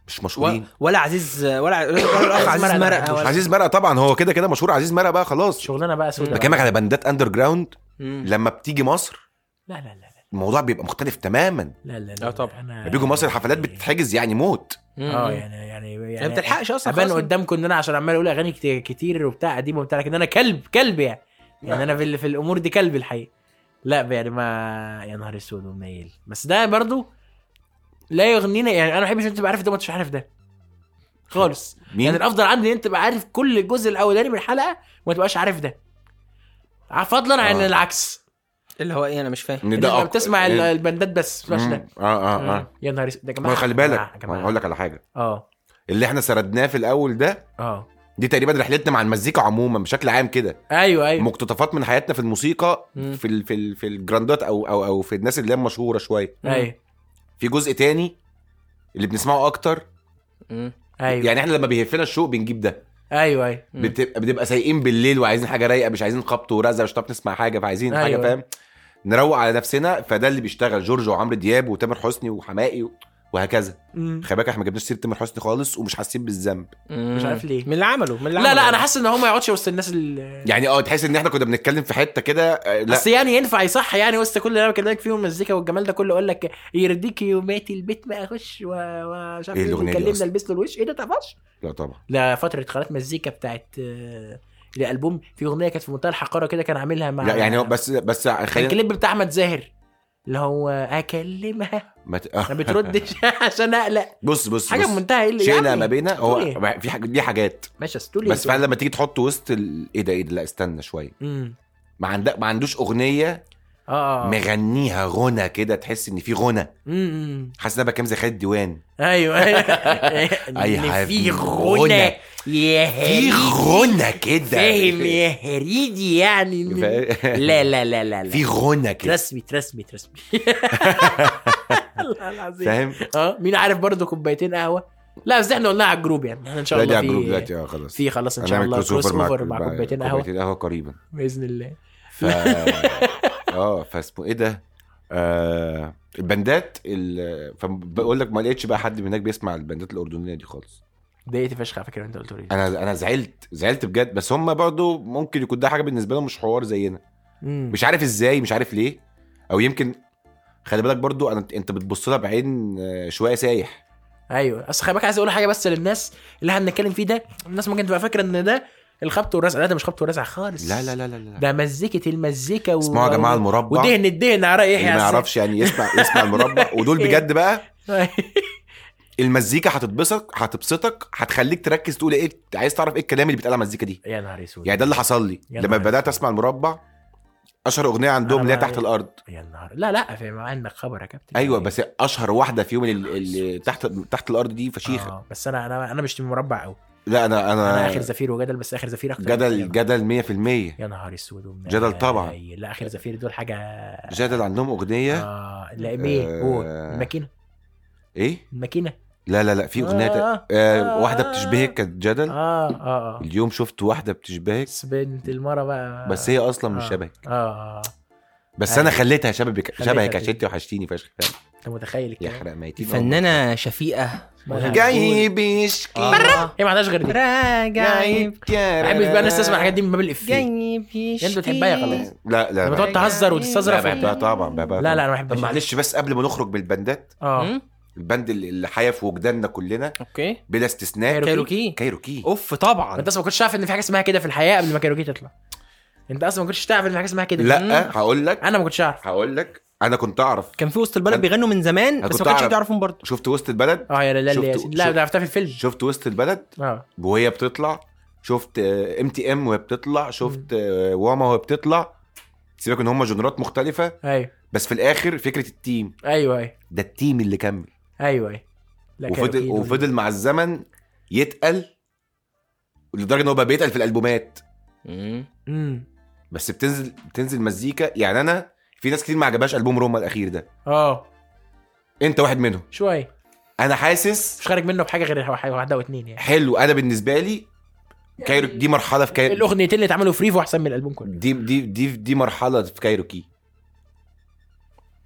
C: مش
A: و...
C: مشهورين
A: ولا عزيز ولا ع- ولا الاخ عزيز
B: مرقة.
A: مرقه ولا
C: عزيز مرقه طبعا هو كده كده مشهور عزيز مرقه بقى خلاص
B: شغلانه بقى سودة بقى.
C: بكلمك على بندات اندر جراوند
A: مم.
C: لما بتيجي مصر
B: لا لا لا لا
C: الموضوع بيبقى مختلف تماما
B: لا لا
A: آه
B: لا
A: طبعاً.
B: أنا-
C: لما بيجوا مصر الحفلات بتتحجز يعني موت
B: اه
A: يعني
B: يعني يعني يعني
A: ما بتلحقش اصلا
B: ابان
A: خلاص.
B: قدامكم ان انا عشان عمال اقول اغاني كت- كتير وبتاع قديم وبتاع لكن انا كلب كلب يعني يعني انا في, ال- في الامور دي كلب الحقيقه لا يعني ما يا نهار اسود ومنيل بس ده برضو لا يغنينا يعني انا ما بحبش انت تبقى عارف ده وما انتش عارف ده خالص
C: مين
B: يعني الافضل عندي ان انت تبقى عارف كل الجزء الاولاني من الحلقه وما تبقاش عارف ده فضلا عن
C: آه.
B: العكس
A: اللي هو ايه انا مش فاهم
C: إن
B: انت
C: أق-
B: بتسمع ال-
C: إن-
B: البندات بس ما تسمعش
C: مم.
B: ده
C: اه اه اه
B: يا نهار اسود ده يا
C: ما
B: جماعه
C: خلي
B: يا
C: بالك
B: جماعه
C: هقول لك على حاجه
B: اه
C: اللي احنا سردناه في الاول ده
B: اه
C: دي تقريبا رحلتنا مع المزيكا عموما بشكل عام كده
B: ايوه ايوه
C: مقتطفات من حياتنا في الموسيقى
A: مم.
C: في ال في ال في الجراندات او او او في الناس اللي هي مشهوره شويه
B: ايوه
C: في جزء تاني اللي بنسمعه اكتر
A: مم.
B: ايوه
C: يعني احنا لما بيهفنا الشوق بنجيب ده
B: ايوه ايوه
A: مم.
C: بتبقى بنبقى سايقين بالليل وعايزين حاجه رايقه مش عايزين خبط ورزع مش هتعرف نسمع حاجه فعايزين حاجه
B: أيوة.
C: فاهم نروق على نفسنا فده اللي بيشتغل جورج وعمرو دياب وتامر حسني وحماقي وهكذا
B: مم.
C: خلي بالك احنا ما جبناش سيره تامر حسني خالص ومش حاسين بالذنب
B: مش عارف ليه
A: من اللي عمله من اللي
B: لا
A: عمله.
B: لا انا
C: إيه؟
B: حاسس ان هو ما يقعدش وسط الناس اللي
C: يعني اه تحس ان احنا كنا بنتكلم في حته كده آه، لا
B: بس يعني ينفع يصح يعني وسط كل اللي انا بكلمك فيهم المزيكا والجمال ده كله اقول لك يرديك يوماتي البيت بقى اخش و- ومش عارف
C: إيه الأغنية دي
B: اتكلمنا
C: أصلاً؟
B: البس له الوش ايه ده تعرفش؟
C: لا طبعا
B: لا فتره خالات مزيكا بتاعت آه، الالبوم في اغنيه كانت في منتهى الحقاره كده كان عاملها مع
C: لا يعني هو بس بس
B: كان
C: خلينا
B: الكليب بتاع احمد زاهر اللي هو اكلمها
C: ما ت- آه،
B: ما بتردش *laughs* عشان اقلق
C: بص بص
B: حاجه
C: بص.
B: في منتهى ايه
C: شئنا ما بينا هو
B: إيه؟
C: في حاجة دي حاجات
B: ماشي استولي
C: بس فعلا لما تيجي تحط وسط ال... ايه ده ايه ده لا استنى شويه
B: امم
C: ما عندك ما عندوش اغنيه
B: اه آه.
C: مغنيها غنى كده تحس ان في غنى
B: امم
C: حاسس ان انا بكام زي خالد ديوان
B: ايوه
C: *laughs* أي
B: ان
C: حاجة
B: في
C: غنى.
B: غنى يا هريدي
C: في غنى كده
B: فاهم يا هريدي يعني
C: *laughs*
B: إن-
C: فا-
B: لا لا لا لا لا
C: في غنى كده
B: ترسمي ترسمي ترسمي الله العظيم
C: فاهم
B: اه مين عارف برضو كوبايتين قهوه لا بس احنا قلناها على الجروب يعني احنا ان شاء
C: لا
B: الله
C: دي على الجروب
B: في
C: دلوقتي اه خلاص
B: في خلاص ان شاء
C: هنعمل
B: الله
C: كروس
B: كروس
C: مع-
B: اوفر مع
C: مع
B: كوبايتين قهوه
C: كوبايتين قهوه
B: *laughs*
C: قريبا
B: باذن الله
C: ف اه فاسمه ايه ده آه البندات ال... فبقول لك ما لقيتش بقى حد من هناك بيسمع البندات الاردنيه دي خالص
B: اتضايقت فشخ على فكره انت قلت لي
C: انا انا زعلت زعلت بجد بس هم برضو ممكن يكون ده حاجه بالنسبه لهم مش حوار زينا
B: مم.
C: مش عارف ازاي مش عارف ليه او يمكن خلي بالك برضو انا انت بتبص لها بعين آه، شويه سايح
B: ايوه اصل خلي بالك عايز اقول حاجه بس للناس اللي احنا بنتكلم فيه ده الناس ممكن تبقى فاكره ان ده الخبط والرزع لا ده مش خبط والرزع خالص
C: لا لا لا لا, لا.
B: ده مزيكة المزيكا و...
C: اسمعوا يا جماعه المربع
B: ودهن الدهن إيه على رايح
C: اللي ما يعرفش يعني يسمع يسمع المربع
B: *laughs*
C: ودول
B: إيه.
C: بجد بقى المزيكا هتتبسط هتبسطك هتخليك تركز تقول ايه عايز تعرف ايه الكلام اللي بيتقال على المزيكا دي
B: يا نهار اسود
C: يعني ده اللي حصل لي
B: يا
C: لما
B: نهار
C: بدات اسمع المربع اشهر اغنيه عندهم
B: أنا
C: اللي هي
B: بقى-
C: تحت الارض
B: يا نهار لا لا في ما عندك خبر يا كابتن يعني
C: ايوه بس اشهر واحده فيهم اللي, اللي تحت تحت الارض دي فشيخه
B: آه. بس انا انا انا مش من مربع قوي
C: لا انا
B: انا
C: انا,
B: اخر زفير وجدل بس اخر زفير اكتر
C: آه. جدل جدل 100%
B: يا نهار اسود ومن- آه،
C: جدل طبعاً.
B: أي- لا اخر زفير دول حاجه
C: جدل عندهم اغنيه
B: آه لا ايه
C: آه.
B: هو الماكينه
C: ايه
B: الماكينه
C: لا لا لا في اغنيه آه
B: اه
C: آه واحده بتشبهك كانت جدل
B: اه اه آه.
C: اليوم شفت واحده بتشبهك
B: بس بنت المره بقى
C: بس هي اصلا مش
B: آه.
C: شبهك
B: اه آه.
C: بس
B: أيوة.
C: انا خليتها شبهك
B: خليتها
C: شبهك
B: كده.
C: عشان انت وحشتيني فشخ فاهم؟
B: انت متخيل
C: يا
B: الكلام
C: حرق ميتين
A: فنانه شفيقه
B: ما-
C: جاي بيشكي
A: آه.
B: هي إيه، ما عندهاش غير دي
A: راجع
C: جايب
B: ما بحبش بقى الناس تسمع الحاجات دي من باب الافيه
A: بيشكي
B: انت بتحبها يا خلاص
C: لا لا
B: لما تقعد
C: لا
B: تهزر
C: لا،
B: وتستظرف
C: بحبها
B: وبتاع.
C: طبعا بحبها
B: لا لا
C: طبعاً.
B: انا ما بحبش
C: طب معلش بس قبل ما نخرج بالبندات
B: اه
A: مم.
C: البند اللي اللي حيا في وجداننا كلنا
A: اوكي
C: بلا استثناء
A: كايروكي
C: كايروكي
A: اوف طبعا
B: انت اصلا ما كنتش عارف ان في حاجه اسمها كده في الحياه قبل ما كايروكي تطلع انت اصلا ما كنتش تعرف ان في حاجه اسمها كده
C: لا هقول لك
B: انا ما كنتش اعرف
C: هقول لك انا كنت اعرف
A: كان في وسط البلد بيغنوا من زمان
C: كنت
A: بس ما كانش
C: أعرف.
A: بيعرفهم برضه
C: شفت وسط البلد
B: اه يا لا
C: شفت-
B: لا ياسين لا
C: شفت-
B: ده عرفتها في الفيلم
C: شفت وسط البلد
B: اه
C: وهي بتطلع شفت آه، ام تي ام وهي بتطلع شفت آه، واما وهي بتطلع سيبك ان هم جنرات مختلفه
B: ايوه
C: بس في الاخر فكره التيم
B: ايوه ايوه
C: ده التيم اللي كمل
B: ايوه ايوه لا
C: وفضل
B: كايروكي دول-
C: وفضل مع الزمن يتقل لدرجه ان هو بقى بيتقل في الالبومات
B: مم.
C: بس بتنزل بتنزل مزيكا يعني انا في ناس كتير ما عجبهاش البوم روما الاخير ده
B: اه
C: انت واحد منهم
B: شويه
C: انا حاسس
B: مش خارج منه بحاجه غير حاجة واحده واتنين يعني
C: حلو انا بالنسبه لي كايرو دي مرحله في كايرو
B: الاغنيتين اللي اتعملوا فريفو احسن من الالبوم كله
C: دي دي دي دي مرحله في كايروكي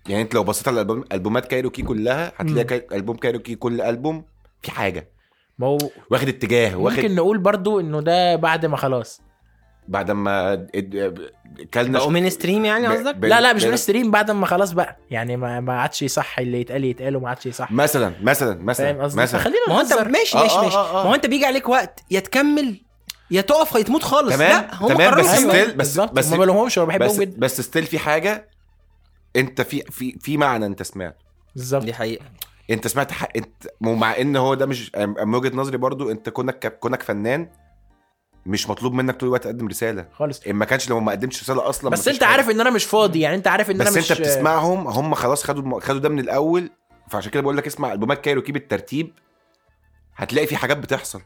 C: يعني انت لو بصيت على الألبوم- البومات كايروكي كلها
B: مم.
C: هتلاقي كاي- البوم كايروكي كل البوم في حاجه
B: ما هو
C: واخد اتجاه واخد
B: ممكن نقول برضو انه ده بعد ما خلاص
C: بعد ما اد- كلنا
A: بقوا من ستريم يعني
C: ب-
A: قصدك
C: ب-
B: لا لا مش
C: ب-
B: من ستريم بعد ما خلاص بقى يعني ما ما عادش يصح اللي يتقال يتقال وما عادش يصح
C: مثلا مثلا
B: فاهم
C: مثلا
B: قصدي
C: مثلا
B: فخلينا
A: ما هو انت
B: نهزر
A: ماشي
C: آه،
A: ماشي
C: آه،
A: ماشي
C: آه، آه.
A: ما هو انت بيجي عليك وقت يا تكمل يا تقف يا تموت خالص
C: تمام
A: لا هم
C: تمام بس
A: قرروا يكملوا.
C: ستيل بس
B: أيوة، بالظبط
C: بس
B: ما بلومهمش انا بحبهم
C: بس
B: جدا
C: بس ستيل في حاجه انت في في في معنى انت سمعته
B: بالظبط
C: إيه،
A: دي حقيقه
C: انت سمعت حق انت مع ان هو ده مش من وجهه نظري برضو انت كونك كونك فنان مش مطلوب منك طول الوقت تقدم رساله
B: خالص
C: ان إيه، ما كانش لو ما قدمتش رساله اصلا
B: بس
C: مفيش
B: انت
C: حاجة.
B: عارف ان انا مش فاضي يعني انت عارف ان انا
C: بس
B: مش
C: انت بتسمعهم هم خلاص خدوا خدوا ده من الاول فعشان كده بقول لك اسمع البومات كايروكي بالترتيب هتلاقي في حاجات بتحصل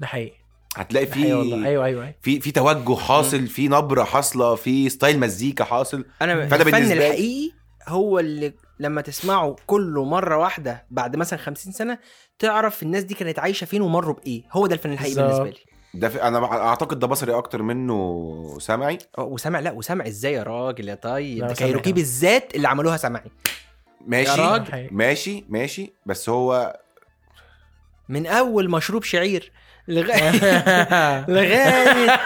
B: ده حقيقي
C: هتلاقي
B: ده حقيقي والله
C: في
B: ايوه ايوه
C: *laughs*
B: ايوه
C: في في توجه حاصل في نبره حاصله في ستايل مزيكا حاصل
A: انا
C: فأنا
A: الفن
C: بالنسبة لي-
A: الحقيقي هو اللي لما تسمعه كله مره واحده بعد مثلا 50 سنه تعرف الناس دي كانت عايشه فين ومروا بايه هو ده الفن الحقيقي
B: بالظبط.
A: بالنسبه لي
C: ده في انا اعتقد ده بصري اكتر منه سمعي
A: اه وسامع لا وسامع ازاي يا راجل يا طيب
B: لا،
A: ده
B: وسامع
A: كايروكي
B: حلو.
A: بالذات اللي عملوها سامعي يا
C: ماشي
A: راجل.
B: ده
C: *laughs*
B: حقيقي.
C: ماشي ماشي بس هو
A: من اول مشروب
B: *laughs*
A: شعير *laughs* لغايه لغايه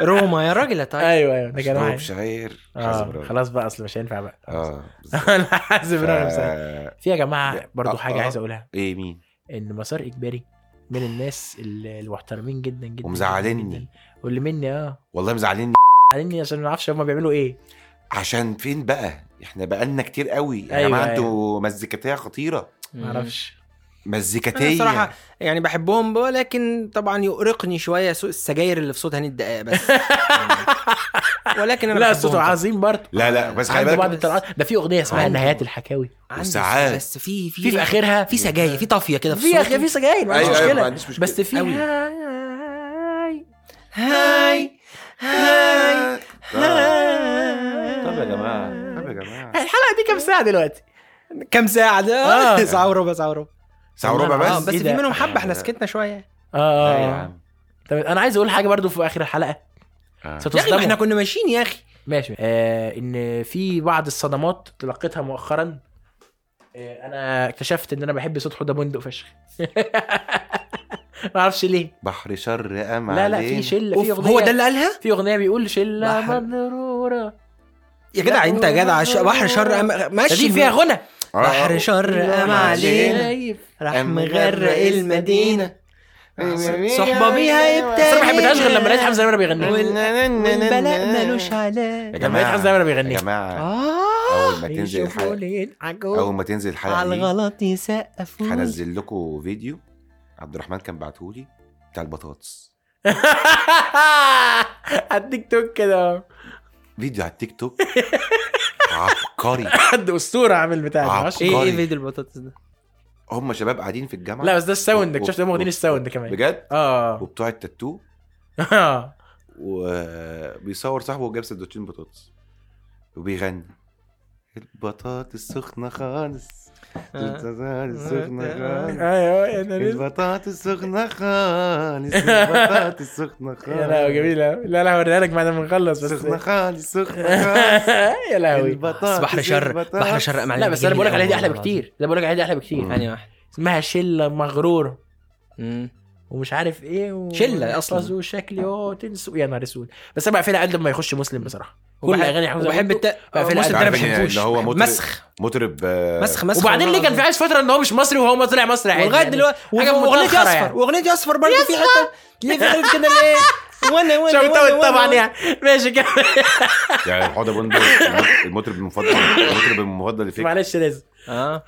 A: روما يا راجل يا طيب
B: ايوه ايوه ده كان
C: شرب
B: واحد.
C: شعير
B: آه،
C: خلاص
B: خلاص بقى اصل مش هينفع بقى *laughs*
C: اه
B: انا حاسب رقم سنة.
C: ف-
B: في يا جماعه برضو
C: آه،
B: حاجه
C: آه.
B: عايز اقولها
C: ايه مين
B: ان مسار اجباري من الناس ال- المحترمين جدا جدا
C: ومزعلني.
B: جدا. واللي مني اه
C: والله مزعلين
B: زعلني عشان ما اعرفش هما بيعملوا ايه
C: عشان فين بقى احنا بقالنا كتير قوي يا
B: أيوة،
C: جماعه
B: أيوة.
C: انتوا مزيكاتيه خطيره
B: ما اعرفش
A: انا
C: مزيكاتيه
A: صراحه يعني بحبهم بقى لكن طبعا يؤرقني شويه سوء السجاير اللي في صوت هاني الدقاق
B: *laughs*
A: بس ولكن انا
B: لا
A: بحبهم
B: صوته
A: طبعاً.
B: عظيم برضه
C: لا لا بس خلي
B: عنده بعض
C: بالك
B: الطلعات ده في اغنيه اسمها
A: عنده.
B: نهايات الحكاوي
A: عندي
C: والساعات.
A: بس في
B: في في اخرها
A: في سجاير في طافيه كده في
B: في
A: صوته.
B: أخ- في سجاير ما عنديش
C: أيوة، أيوة، ما
B: مشكله
C: عنديش مشكلة.
B: بس في
A: أوي.
B: هاي
A: هاي هاي
C: طب
A: هاي
C: يا جماعه طب يا جماعه
B: الحلقه دي كام ساعه دلوقتي
A: كم ساعة
B: آه.
A: ده؟ *laughs* ساعة وربع ساعة وربع
C: ساعه وربع
B: والله
A: اه
C: بس
A: بس
B: إيه
A: في
B: ده؟
A: منهم حبة احنا سكتنا شوية
C: لا يا
B: اه
C: عم.
B: طب انا عايز اقول حاجه برضو في اخر الحلقه
C: آه.
A: يا اخي
B: ستصدموا
A: ما احنا كنا ماشيين يا اخي
B: ماشي آه ان في بعض الصدمات تلقيتها مؤخرا آه انا اكتشفت ان انا بحب صوت حوده بندق فشخ *laughs* ما اعرفش ليه
C: بحر شر ام
B: لا لا
C: علينا.
B: في شله
A: أوف،
B: في اغنيه
A: هو ده اللي قالها؟
B: في اغنيه بيقول شله
A: بحر.
B: مضروره
A: يا جدع انت يا جدع ش- بحر شر أم-
B: ده
A: ماشي
B: دي فيها غنى
C: آه.
A: بحر شر أم علينا راح
C: أم
A: مغرق المدينة
C: أيوة،
A: صحبة بيها يبتدي
B: بس انا ما بحبتهاش غير لما لقيت حمزه نمره بيغني
A: والبلاء ملوش
C: يا
A: علاج
B: لما لقيت
C: جماعه
B: حمزه نمره
C: يا
B: بيغني
D: آه،
C: جماعه
A: اه
C: اول ما تنزل الحلقه
B: بيشوفوني عجوز.
C: اول ما تنزل الحلقه
A: على
C: دي
A: الغلط يسقفوا
C: هنزل لكم فيديو عبد الرحمن كان بعتهولي بتاع البطاطس
B: *laughs* على التيك توك كده
C: فيديو على التيك توك *laughs*
B: *laughs*
C: عبقري
B: حد اسطوره عامل بتاع ده، إيه؟ معرفش
A: ايه
C: عبقري.
A: ايه فيديو البطاطس ده؟
C: هم شباب قاعدين في الجامعه
B: لا بس ده الساوند
C: و-
B: اكتشفت هم
C: و-
B: واخدين الساوند كمان
C: بجد *laughs*
B: اه
C: وبتوع التاتو
B: آه.
C: وبيصور صاحبه وجاب سندوتشين بطاطس وبيغني البطاطس سخنة خالص
B: آه.
C: البطاطس سخنة خالص
B: ايوه يا نهار
C: البطاطس سخنة
B: *laughs*
C: خالص البطاطس سخنة خالص
B: يا لهوي جميلة لا لا هوريها لك بعد ما نخلص بس
C: سخنة خالص سخنة خالص
B: *laughs* يا لهوي
C: البطاطس
A: بحر شر
C: البطاطس.
A: بحر شر أم علينا
B: لا بس انا بقول لك عليها دي احلى
A: والله
B: بكتير ده بقول لك عليها دي احلى
A: العظيم.
B: بكتير
A: يعني واحد
B: اسمها شله مغروره
A: مم.
B: ومش عارف ايه و...
A: شلة أصلاً.
B: وشكلي وشكلي هو تنسوا يا نهار اسود بس انا بقفلها قد ما يخش مسلم بصراحه كل
A: وبحب-
B: اغاني حمزة
A: وبحب
B: نمرة.
A: الت...
B: بقى في
A: مسلم ده
B: الألعاب
A: انا
C: يعني
A: بحبوش
C: اللي هو
A: بحب-
C: مطرب.
A: مسخ
C: مطرب آه،
A: مسخ مسخ
B: وبعدين اللي كان في عايش فتره ان هو مش مصري وهو مصري يعني مصري عادي
A: ولغايه
B: يعني.
A: دلوقتي
B: حاجة
A: واغنيتي
B: متأخرة
A: اصفر
B: يعني.
A: واغنيتي اصفر برضه في حته ليه في حتة كده
B: *laughs*
A: ليه وانا وانا
B: شوتاوت طبعا يعني *laughs* ماشي كمل
C: يعني حوده
B: *laughs*
C: بندق المطرب المفضل المطرب المفضل لفيك
B: معلش لازم
A: اه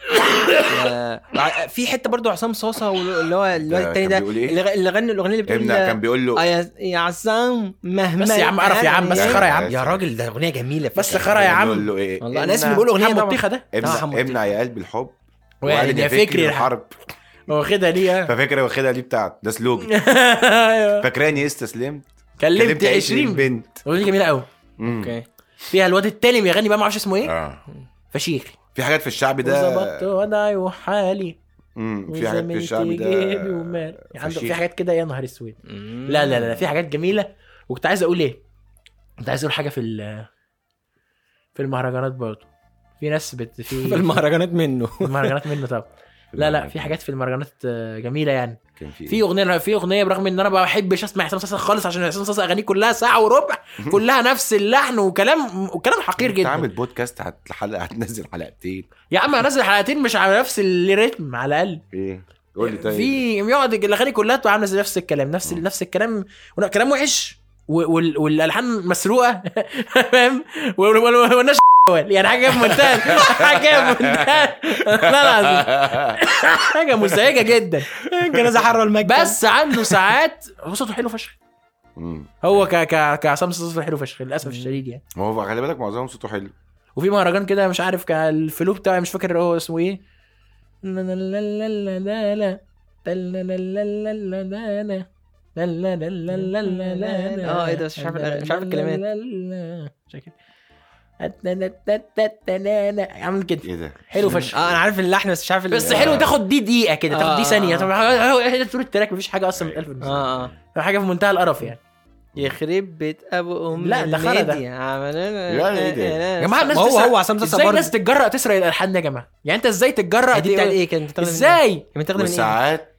A: آه، في حته برضه عصام صاصه واللي هو الواد
C: ده
A: التاني
C: كان
A: ده
C: بيقول إيه؟
A: اللي غ- اللي غنى الاغنيه اللي بتقول
C: ابنه كان بيقول
A: آه
C: له
A: يا يا عصام مهما
B: بس يا عم قرف يا
A: *laughs*
B: عم، بس
A: يعني.
B: خرا يا عم.
A: يا راجل ده اغنيه جميله
B: بس خرا يا عم
C: بيقول له ايه
A: والله انا اسف
C: امنع-
A: إني بقول اغنيه
B: حمو
A: طبعا
B: الطيخة ده
A: آه،
C: امنع
A: حمو الطيخة.
C: امنع يا قلبي الحب
B: وقال يعني يا فكري الحرب
C: الحرب
B: واخدها ليه
C: ففكره واخدها دي بتاعت ده
B: *laughs*
C: سلوجن
B: أيوه.
C: فاكراني استسلمت
B: كلمت 20 بنت
C: بنت
B: الاغنيه دي جميله قوي
C: مم.
A: اوكي
B: فيها الواد التاني بيغني بقى ما اعرفش اسمه ايه
C: اه
B: فشيخ
C: في حاجات في الشعب
B: إيه. وظبطت
C: آه، ده
B: وضعي وحالي
C: امم في حاجات في
B: وزميلتي
C: الشعب
B: جيبي
C: ده
B: ومالي عنده
C: فشيخ.
B: في حاجات كده يا نهار اسود لا لا لا في حاجات جميله وكنت عايز اقول ايه كنت عايز اقول حاجه في ال- في المهرجانات برضه في ناس بت *laughs* في
A: في المهرجانات منه
B: المهرجانات منه طبعا لا لا في حاجات في المهرجانات آه، جميله يعني
C: كان في
B: في اغنيه في اغنيه برغم ان انا ما بحبش اسمع حسام صاصا خالص عشان حسام صاصا اغانيه كلها ساعه وربع كلها نفس اللحن وكلام وكلام حقير
C: انت
B: جدا
C: عامل بودكاست هت- حلقه هتنزل حلقتين
B: يا عم هنزل حلقتين مش على نفس الريتم على الاقل
C: ايه قول لي طيب
B: في بيقعد الاغاني كلها تبقى عامله زي نفس الكلام نفس
C: مم.
B: نفس الكلام ولا- كلام وحش و- وال- والالحان مسروقه *laughs* فاهم وال- وال- والناس *laughs* يعني حاجه في منتهى *laughs* حاجه في منتهى *laughs* لا لا حاجه مزعجه جدا
A: الجنازه حره المكتب
B: بس عنده ساعات هو صوته حلو فشخ
C: *laughs* مم.
B: هو ك ك كعصام صوته حلو فشخ للاسف الشديد يعني
C: هو خلي بالك معظمهم صوته حلو
B: وفي مهرجان كده مش عارف كان الفلو بتاعي مش فاكر هو اسمه ايه لا لا لا لا لا لا لا. لا لا لا لا لا لا لا لا. لا لا لا لا لا لا لا لا.
A: آه، إيه ده؟ مش عارف الأغاني- مش عارف الكلمات.
B: لا لا لا. مش فاكر. أتنتتتتنانا. عامل كده
C: ايه ده
B: حلو فشخ
A: اه انا عارف اللحن بس مش عارف ال-
B: بس حلو تاخد دي دقيقه كده تاخد
A: آه.
B: دي ثانيه طبعا هو هو- طول التراك مفيش حاجه اصلا من الف
A: اه اه
B: حاجه في منتهى القرف يعني
A: يخرب بيت ابو ام
B: لا، ده خرا ده.
A: الميديا. عملنا
C: لا، لا، إيه ده؟
B: يا جماعه الناس
A: هو
B: تسرق-
A: هو عصام صاصا
B: ازاي
A: برضه
B: الناس تتجرأ تسرق الالحان ده يا جماعه يعني انت ازاي تتجرأ
A: آه، دي بتاعت
B: تقول-
A: ايه كانت بتاخدها من إيه؟
B: ازاي
A: كانت بتاخدها من ايه؟
C: وساعات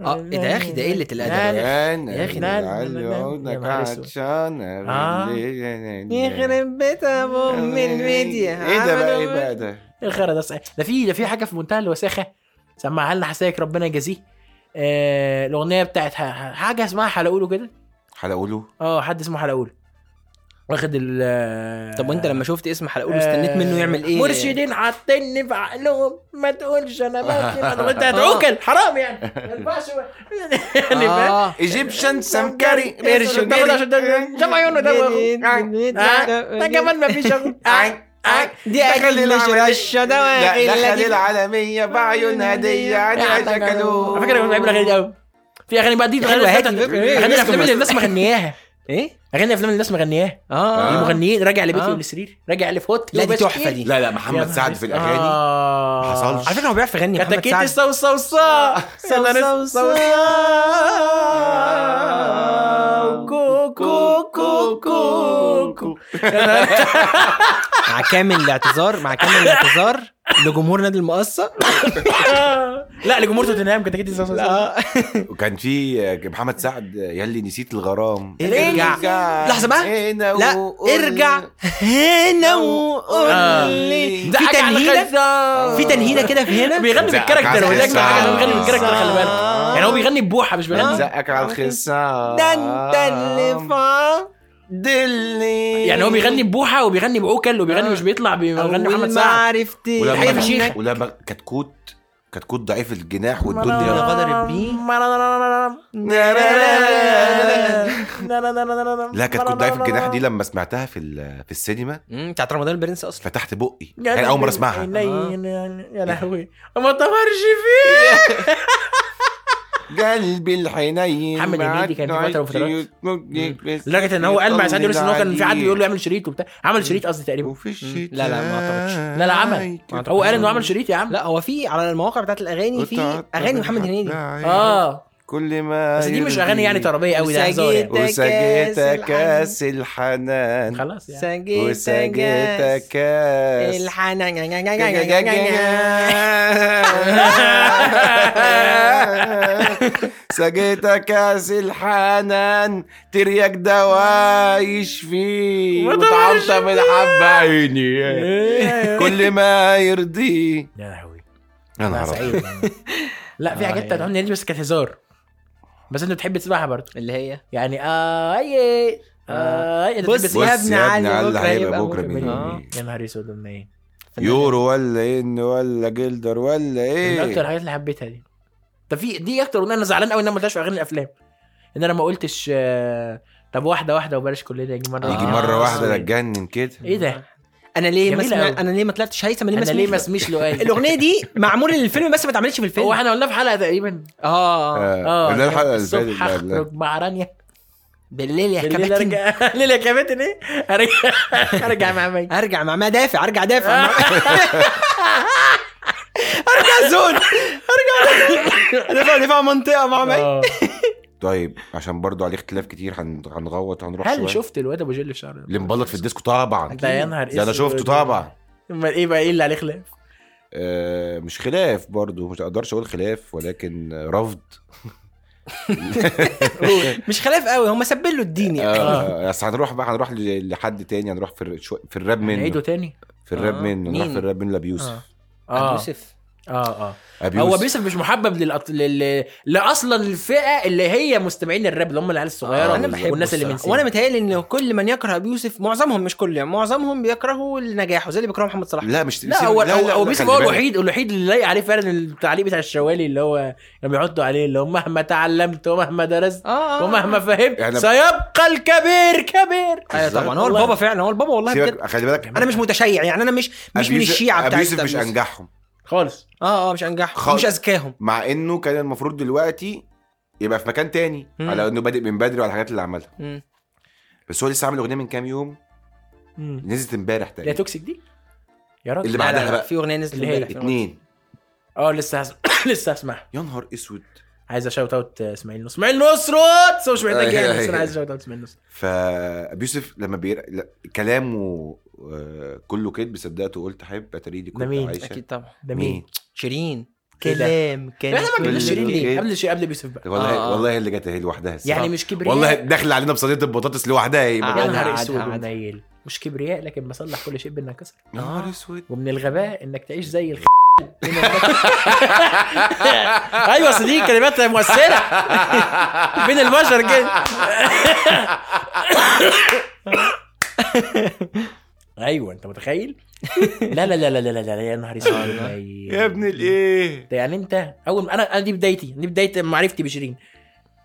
A: اه ايه ده يا اخي ده قله الادب
B: لا،
C: كان
B: يا أخي، لا، لا، لا،
C: لعلي
B: لا. يا
C: عودك
B: نهار أسود.
C: عطشان
B: آه.
A: يخرب بيت ابو ام الميديا
C: ايه ده بقى ايه
A: عملوا-
C: بقى ده
B: الخير إيه ده صحيح ده في ده في حاجه في منتهى الوساخه سمعها لنا حساك ربنا يجازيه آه، الاغنيه بتاعت ح- ح- حاجه اسمها حلقوله كده
C: حلقوا له
B: اه حد اسمه حلقوله واخد ال
A: طب وانت لما شفت اسم حلقوله استنيت
B: آه،
A: منه يعمل ايه؟
B: مرشدين حاطيني في عقلهم ما تقولش انا
A: *laughs*
B: بكذب انت هتعوكل حرام يعني ما ينفعش
A: آه.
B: يعني فاهم؟
A: اه
C: ايجيبشن سمكري
B: مرشد بياخد عشان ده- شاف عيونه ده آه، ده كمان ما فيش شغل آه، آه.
A: دي اكل مش رشه ده آه.
B: إيه
C: دخل العالمية بعيون هدية عن شكلوه
B: على فكره انا بحب الاغاني دي قوي في اغاني بقى دي
A: حلوة،
B: اغاني
A: هادي، فكرة إيه؟
B: أغاني
A: بس-
B: الافلام اللي الناس مغنياها
A: ايه؟
B: اغاني الافلام اللي الناس مغنياها
A: اه
B: المغنيين راجع لبيتي
A: آه.
B: والسرير راجع لفوت
A: لا، دي تحفة
B: إيه؟
A: دي.
C: لا لا محمد سعد
B: آه.
C: في الاغاني
B: ما
C: حصلش.
A: على فكره هو بيعرف يغني محمد
B: كتاكيت
A: سعد
B: الصو صو *laughs* صا
A: صو- صو-
B: كو كو كو كو كو
A: مع كامل الاعتذار مع
B: *laughs*
A: كامل الاعتذار لجمهور نادي المقصه
B: لا لجمهور توتنهام كتاكيت الصو صو صا
A: لا
C: وكان في آه، محمد سعد يلي نسيت الغرام
B: إيه،
A: ارجع. لحظة بقى.
C: هنا
A: لا
C: وقول-
A: ارجع هنا وقول
B: آه.
A: لي آه.
B: ده
A: في
B: حاجة على
A: تنهيده
B: الخزان.
A: في تنهيده كده في هنا
B: بيغني
C: زقك
B: بالكاركتر
C: على
B: هو ده
C: الخزان.
B: حاجه هو بيغني بالكاركتر خلي بالك يعني هو بيغني ببوحه مش بيغني
C: زقك على الخصام
A: ده انت اللي فا
C: دلي
B: يعني هو بيغني ببوحه وبيغني بعوكل وبيغني مش بيطلع بيغني محمد
A: ما
B: سعد
A: عرفت
B: حاجة
C: ولما
B: فشيخة.
C: ولما كتكوت كتكوت ضعيف الجناح
A: لا
C: والدنيا
A: غدر بيه.
C: لا كتكوت ضعيف الجناح دي لما سمعتها في ال- في السينما
A: مم، بتاعت رمضان البرنس اصلا
C: فتحت بقي يعني اول مره اسمعها
B: يا لهوي ما طمرش فيه
C: قلبي الحنين
B: محمد
C: مع
B: هنيدي كان في فترة من الفترات.
C: العيوت ممكن بس
B: لدرجه ان هو قال مع سعد يونس ان هو كان في حد بيقول له
C: يطلع
B: يعمل شريط وبتاع عمل شريط قصدي
C: لي
B: تقريبا
C: وفي الشتاء
A: لا، لا، ما أعتقدش.
B: لا لا
C: أيوة.
B: عمل هو قال انه عمل شريط يا عم
A: لا هو في على المواقع بتاعت الاغاني في اغاني محمد هنيدي
C: أيوة.
B: اه
C: كل ما
B: بس دي مش
C: يرضي.
B: اغاني يعني طربيه قوي ده هزار يعني.
C: وسجيت
A: كاس
C: كاس الحنان
B: خلاص يعني
A: سجيت
C: وسجيت كاس
A: الحنان
C: *laughs* سجيت كاس الحنان ترياك دوا يشفيه وطعمت بالحبة عيني كل ما يرضيه
B: يا لهوي
C: يا
B: انا
C: نهار أبيض.
B: سعيد يعني. لا في
A: آه،
B: حاجات بتاعت
A: يعني.
B: هنيدي بس كانت هزار بس انت بتحب تسمعها برضه
A: اللي هي
B: يعني اه اي آه أي، أنت
A: بص
B: بتحب
C: بص
B: تسمعها.
A: يا
C: يا
A: ابن
C: ابن
A: علي
C: علي
A: بكرة
C: هيبقى
A: يبقى
C: بكرة
A: بكرة
C: مين
A: آه.
B: يا نهار اسود أمي ايه
C: يورو ولا ان ولا جلدر ولا
B: من اكتر
C: ايه
B: الحاجات اللي حبيتها دي طب في دي اكتر اغنيه انا زعلان قوي ان انا ما قلتهاش في اغاني الافلام ان انا ما قلتش آه، طب واحده واحده وبلاش كلنا يجي مره
C: يجي
A: آه.
C: مرة واحدة
B: أسود.
C: اتجنن كده
B: ايه ده
A: انا ليه ما
B: جميلة
A: اسمع-
B: أوي.
A: انا ليه ما طلعتش هيثم ليه ما
B: انا ليه ما
A: اسمعش
B: اسميش لؤي
A: الاغنيه دي معموله للفيلم بس ما اتعملتش في
B: هو
A: الفيلم
B: احنا قلناه في حلقه تقريبا
A: اه
C: اه ده الحلقة اللي فاتت
B: آه، يعني الصبح
C: لا، لا.
B: اخرج مع رانيا
A: بالليل يا
B: بالليل
A: كابتن
B: *laughs* ارجع بالليل *laughs* يا كباتن ايه ارجع ارجع إيه؟ مع مي *laughs*
A: ارجع مع ما دافع ارجع دافع ارجع زون ارجع دفع دفاع منطقه مع مي
C: *laughs*
B: آه.
C: طيب عشان برضو عليه اختلاف كتير هن- هنغوط هنروح
B: هل
C: شوية.
B: شفت الواد ابو جل في شعره
C: اللي مبلط في الديسكو طبعا
B: ده يا نهار
C: ده انا
B: اسود.
C: شفته طبعا
B: امال ايه بقى ايه اللي عليه خلاف؟
C: آه، مش خلاف برضو مش اقدرش اقول خلاف ولكن رفض
A: مش خلاف قوي هم سبلوا الدين يعني
C: آه، بس هنروح بقى هنروح ل- لحد تاني هنروح في الر- شو- في الراب منه
B: نعيده تاني
C: في الراب
A: آه.
C: منه نروح
A: مين؟
C: في الراب منه لابي
A: آه.
C: يوسف
B: اه
A: يوسف
B: اه اه
C: أبي
B: هو
C: يوسف.
B: بيوسف مش محبب للأط... لل... لاصلا الفئه اللي هي مستمعين الراب اللي هم العيال الصغيره
A: انا آه، بحبه
B: آه. والناس اللي من
A: الصراحة. وانا متهيألي ان كل من يكره ابي يوسف معظمهم مش كل يعني معظمهم بيكرهوا نجاحه زي اللي بيكرهوا محمد صلاح
C: لا مش
B: لا هو
C: لا، لا،
B: هو
C: لا،
B: بيوسف
C: خلي
B: هو
C: بالك.
B: الوحيد الوحيد اللي لايق عليه فعلا التعليق بتاع الشوالي اللي هو لما بيحطوا عليه اللي هو مهما تعلمت ومهما درست
A: اه
B: ومهما فهمت
C: يعني-
B: سيبقى الكبير كبير
D: آه،
A: ايوه طبعا هو
B: والله.
A: البابا فعلا هو البابا والله بجد
C: سيبك خلي بالك
A: انا مش متشيع يعني انا مش مش
C: أبي
A: من
C: يوسف-
A: الشيعه
C: ابي
A: بتاعت
C: يوسف مش
A: أبي يوسف.
C: انجحهم
B: خالص
A: اه اه مش انجحهم
C: خالص.
A: مش اذكاهم
C: مع انه كان المفروض دلوقتي يبقى في مكان تاني
A: مم.
C: على انه بادئ من بدري وعلى الحاجات اللي عملها
A: مم.
C: بس هو لسه عامل اغنيه من كام يوم
B: مم.
C: نزلت امبارح
B: اللي هي
C: تقريبا
B: توكسيك دي يا راجل
C: اللي
A: لا، لا،
C: بعدها
A: لا،
C: بقى
A: في اغنيه نزلت
B: اللي هي
A: امبارح في أغنية.
C: اتنين
B: اه لسه هسمع *coughs* لسه هسمعها
C: يا نهار اسود
B: عايز اشوت اوت اسماعيل نصر اسماعيل نصرات بس هو مش محتاج
C: أيوه،
B: يعني بس انا
C: أيوه.
B: عايز اشوت اوت اسماعيل نصر
C: فابي يوسف لما بير... لا، كلامه آه، كله كدب صدقته قلت حبيب اتريدي كنت
B: ده مين؟
C: عايشه
A: اكيد طبعا
B: ده مين؟
A: شيرين
B: إيه ده؟
A: كلام كلام
B: احنا ما
C: كل
B: جبناش شيرين ليه؟
C: الأوكي.
B: قبل شيء قبل بيوسف بقى
C: والله
A: آه.
C: والله اللي جت اهي لوحدها الصراحة.
B: يعني مش كبرياء
C: والله داخله علينا بصينيه البطاطس لوحدها يا
A: آه.
C: إما-
B: يا
A: عادة،
B: نهار
A: عادة،
B: اسود
A: عادة.
B: ومتنيل مش كبرياء لكن بصلح كل شيء بالنكسر
C: يا نهار اسود
B: *laughs* ومن الغباء انك تعيش زي *laughs* الخ ايوه اصل دي كلمات مؤثره بين البشر *laughs* كده ايوه انت متخيل؟ لا لا لا لا لا لا *laughs* يا نهار اسود متنيل.
C: *laughs* يا ابن الايه
B: ده يعني انت اول انا انا دي بدايتي دي بدايه معرفتي بشيرين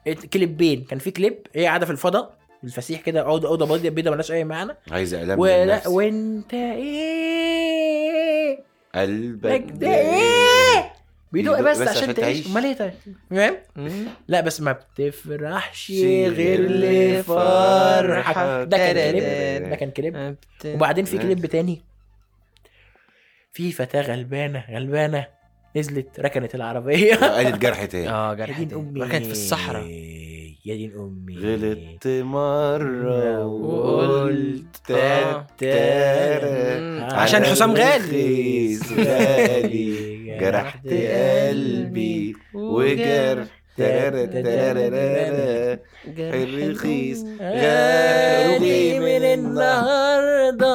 B: ات- كليبين كان في كليب هي قاعده في الفضاء الفسيح كده اوضه اوضه بيضه بيضه ملهاش اي معنى
C: عايز اعلام
B: ولا
C: ولا
B: وانت ايه
C: قلبك
B: لك ده ايه بيدوق
C: بيدوق
B: بس, عشان تعيش امال ايه طيب فاهم
A: مم.
B: لا بس ما بتفرحش
C: شي
B: غير
C: غير
B: لفرحك
C: لفرحك.
B: ده كان
A: ترى-
B: كليب ده كان كليب
A: أبت-
B: وبعدين في كليب تاني في فتاة غلبانة غلبانة نزلت ركنت العربية *laughs*
C: قالت جرح تاني
A: اه
B: يا
A: جرح
B: دين أمي
A: كانت في الصحراء
B: يا دين أمي
C: غلطت مرة
A: وقلت
C: وقلت آه.
A: آه.
C: تتارى
A: مم.
B: على
A: عشان حسام غالي *laughs*
C: الرخيص غالي جرحت قلبي وجرح تارى تارى تارى. الرخيص
B: غالي
C: غالي
B: من
C: من
B: النهاردة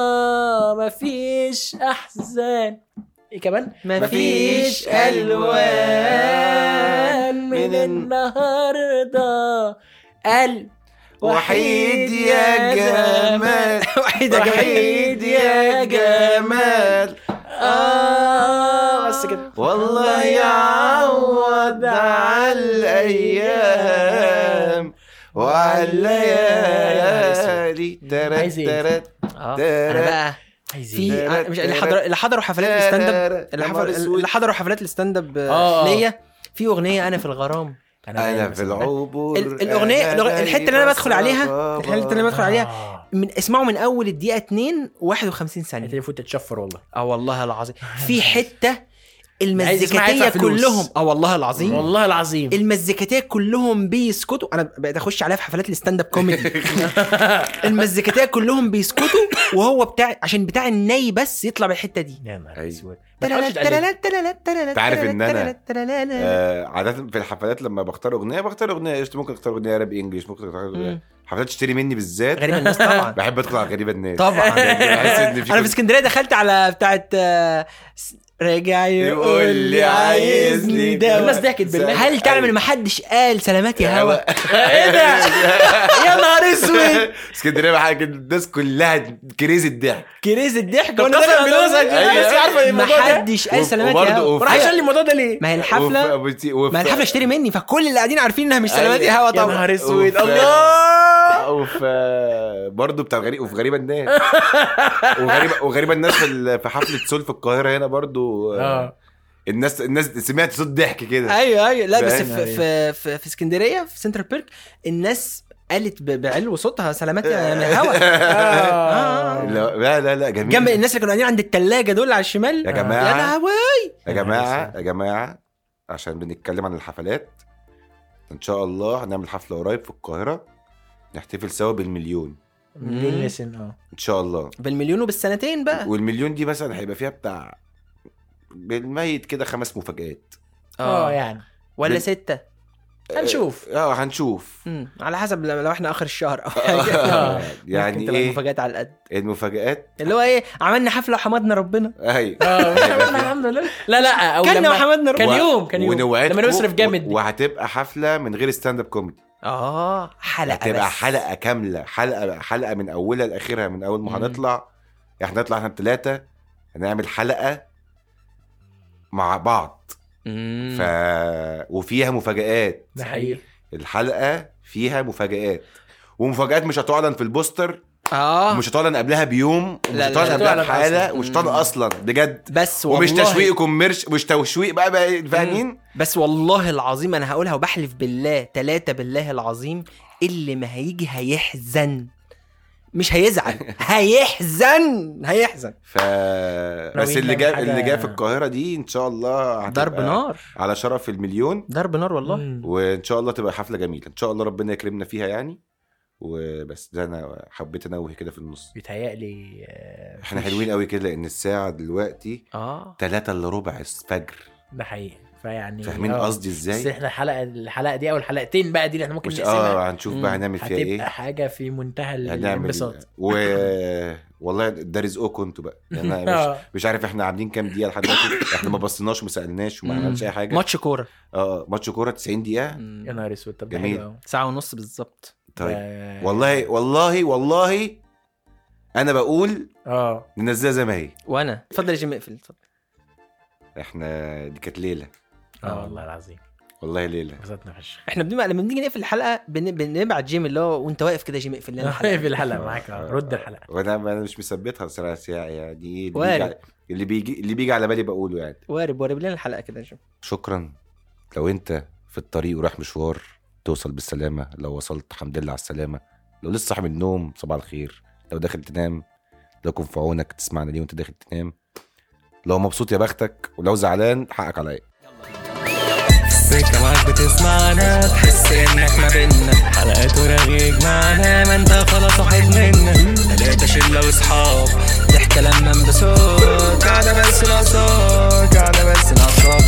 B: مفيش أحزان إيه كمان؟
A: مفيش ألوان
B: من
C: من
B: النهاردة قلب
C: وحيد يا جمال
A: *laughs* وحيد يا
C: وحيد يا جمال
B: آه بس كده
C: والله يعوض على الايام وعلى الليالي ترت
B: عايز ايه؟
C: ترت
A: آه.
C: ترى.
A: أنا بقى في
B: عايزين
C: إيه؟
A: مش اللي حضر اللي حضروا حفلات الستاند اب
C: ترت.
A: اللي
C: يا نهار
A: حفر-
C: أسود.
A: اللي حضروا حفلات الستاند اب
B: آه.
A: ليا في اغنيه انا في الغرام
C: انا في العبور
A: ال- الأغنية- الأغ-
C: أنا
A: الحتة اللي أنا بدخل عليها-
C: بابا.
A: الحته اللي انا بدخل عليها آه. من اسمعوا من اول الدقيقه 2 51 ثانيه
B: التليفون تتشفر والله
A: اه والله العظيم في حته
B: عايز يسمعها
A: المزيكاتيه
B: يدفع فلوس.
A: كلهم اه والله العظيم
B: والله العظيم
A: المزيكاتيه كلهم بيسكتوا انا بقيت اخش عليها في حفلات الستاند اب كوميدي المزيكاتيه كلهم بيسكتوا وهو بتاع عشان بتاع الناي بس يطلع بالحته دي
B: يا نهار
C: أيوة.
B: اسود ما تحاولش تقلد.
A: انت
C: عارف إن أنا- آه، عادة في الحفلات لما بختار اغنية بختار اغنية قشطة، ممكن اختار اغنية راب انجلش ممكن اختار
A: مم.
C: اغنية حفلات تشتري مني بالذات
A: غريبة الناس طبعا
C: بحب ادخل على غريبة الناس
A: طبعا
C: *laughs* بحس ان في
A: انا في اسكندريه دخلت على بتاعت آه، س- راجع يقول لي عايزني ده
B: الناس ضحكت بالله.
A: هل تعلم ما حدش قال سلامات يا هوا إيه
B: ايه ده
C: *laughs*
A: *laughs*
B: يا نهار اسود
C: اسكندريه بقى حاجة الناس كلها كريزي الضحك
A: كريز الضحك
B: طب قسم بالله زي كده، الناس عارفة إن
A: ما
B: الموضوع ده-
A: حدش قال
C: وب-
A: سلامات يا
C: وبرضه
A: هوا
C: وف-
B: وراح يشيل لي الموضوع ده ليه؟
A: ما هي الحفله ما هي الحفله اشتري مني فكل اللي قاعدين عارفين انها مش سلامات يا هوا
B: أيوة. يا
A: طبعا
B: نهار اسود
C: أوف.
B: الله
C: وفي آه، برضه بتاع غريب وفي غريبه
A: *laughs*
C: الناس وغريبه وغريبه الناس في ال- في حفله سول في القاهره هنا برضه
B: اه
A: آه.
C: الناس الناس سمعت صوت ضحك كده
A: ايوه ايوه لا بس
C: فاهم
A: في في في, في اسكندريه في سنترال بيرك الناس قالت ب- بعلو صوتها سلامات يا من
C: *laughs*
A: الهوا
B: آه.
C: لا لا لا, لا جميل
A: جنب الناس اللي كانوا قاعدين عند التلاجه دول على الشمال يا
C: يا جماعه
A: لهوي
C: يا جماعه يا جماعه عشان بنتكلم عن الحفلات ان شاء الله هنعمل حفله قريب في القاهره نحتفل سوا بالمليون
B: مليون لسن اه
C: ان شاء الله
A: بالمليون وبالسنتين
B: آه.
A: بقى
C: والمليون دي مثلا هيبقى فيها بتاع بالميت كده خمس مفاجآت
B: اه يعني
A: ولا
C: بال-
A: ستة
B: هنشوف
C: اه هنشوف
A: مم. على حسب لو لو احنا اخر الشهر اه. *laughs* او
C: آه،
A: حاجه ممكن
C: *laughs* يعني
A: تبقى
C: ايه
A: مفاجآت على القد
C: المفاجآت
A: اللي هو ايه عملنا حفله وحمدنا *laughs* ربنا
C: اي
B: اه الحمد لله
A: *laughs*
B: لا لا او
A: كلنا
B: لما
A: وحمدنا
B: *laughs* كان
A: ربنا
B: يوم كان يوم
C: ونوعدكم
B: لما نصرف جامد
C: و- وهتبقى حفله من غير ستاند اب كوميدي
A: اه حلقه
C: هتبقى
A: بس
C: حلقه كامله حلقه حلقه من اولها لاخرها من اول ما
B: مم.
C: هنطلع احنا نطلع احنا الثلاثه هنعمل حلقه مع بعض
A: مم.
C: ف... وفيها مفاجآت
B: ده حقيقي
C: الحلقه فيها مفاجآت ومفاجآت مش هتعلن في البوستر
A: اه
C: مش هتعلن قبلها بيوم ومش
A: لا، لا،
C: هتعلن
A: لا،
C: قبلها
B: آه. لا،
C: بحاله
B: أصلاً.
C: ومش هتعلن
A: مم.
C: اصلا بجد
A: بس والله
C: ومش تشويق كوميرش مش تشويق بقى بقى فاهمين
A: بس والله العظيم انا هقولها وبحلف بالله تلاتة بالله العظيم اللي ما هيجي هيحزن مش هيزعل هيحزن هيحزن
C: ف بس اللي جاب
B: نعمل
C: اللي جاب
B: حاجة-
C: في القاهره دي ان شاء الله هتبقى
A: ضرب نار
C: على شرف المليون
A: ضرب نار والله
B: والله
C: وان شاء الله تبقى حفله جميله ان شاء الله ربنا يكرمنا فيها يعني وبس ده انا حبيت انوه كده في النص
B: بيتهيألي آه،
C: احنا
B: مفيش.
C: حلوين قوي كده لان الساعه دلوقتي
B: آه.
A: اه
C: 3 الا ربع الفجر
B: ده حقيقي فيعني
C: فاهمين
B: آه.
C: قصدي
B: بس
C: ازاي
B: احنا الحلقه الحلقه دي او الحلقتين بقى دي اللي احنا ممكن
C: مش
B: نقسمها
C: اه هنشوف
A: مم.
C: بقى هنعمل فيها
B: هتبقى
C: ايه
B: حاجه في منتهى ال-
C: هنعمل إيه؟
B: الانبساط
C: و *laughs* والله ده رزقكم انتوا بقى يعني انا مش,
B: آه.
C: مش عارف احنا عاملين كام دقيقه لحد
A: *coughs*
C: دلوقتي احنا ما بصيناش وما سالناش وما
A: مم.
C: عملناش اي حاجه
A: ماتش كوره
C: اه ماتش كوره 90 دقيقه
B: يا نهار اسود طب ده
C: جميل.
B: حلو أوي. آه.
A: ساعه ونص بالظبط
C: طيب
B: ده-
C: والله والله والله انا بقول
B: اه
C: ننزلها زي ما هي
A: وانا اتفضل يا جيم اقفل اتفضل
C: احنا دي كانت ليله آه.
B: اه والله العظيم
C: والله ليله
B: انبسطنا فشخ
A: احنا بنبقى لما بنيجي نقفل الحلقه بن... بنبعت جيم اللي هو وانت واقف كده يا جيم اقفل *laughs* لنا الحلقه
B: *laughs* في الحلقه معاك آه، رد الحلقه
C: وانا انا مش مثبتها صراحه يعني إيه اللي بيجي
A: وارد.
C: على- اللي بيجي اللي بيجي على بالي بقوله يعني
A: وارب وارب لنا الحلقه كده يا جيم
C: شكرا لو انت في الطريق ورايح مشوار توصل بالسلامه لو وصلت الحمد لله على السلامه لو لسه صاحي من النوم صباح الخير لو داخل تنام لو كن في عونك تسمعنا ليه وانت داخل تنام لو مبسوط يا بختك ولو زعلان حقك عليا
D: سكة معاك بتسمعنا تحس انك ما بينا حلقات ورغيك معانا ما انت خلاص واحد منا تلاتة شلة واصحاب ضحكة لما انبسط قاعدة بس ناقصاك قاعدة بس ناقصاك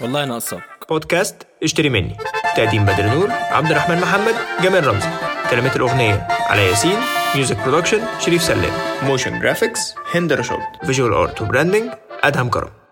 A: والله ناقصك
E: بودكاست اشتري مني تقديم بدر نور عبد الرحمن محمد جمال رمزي كلمات الأغنية على ياسين ميوزك برودكشن شريف سلام موشن جرافيكس هند رشاد فيجوال ارت وبراندنج أدهم كرم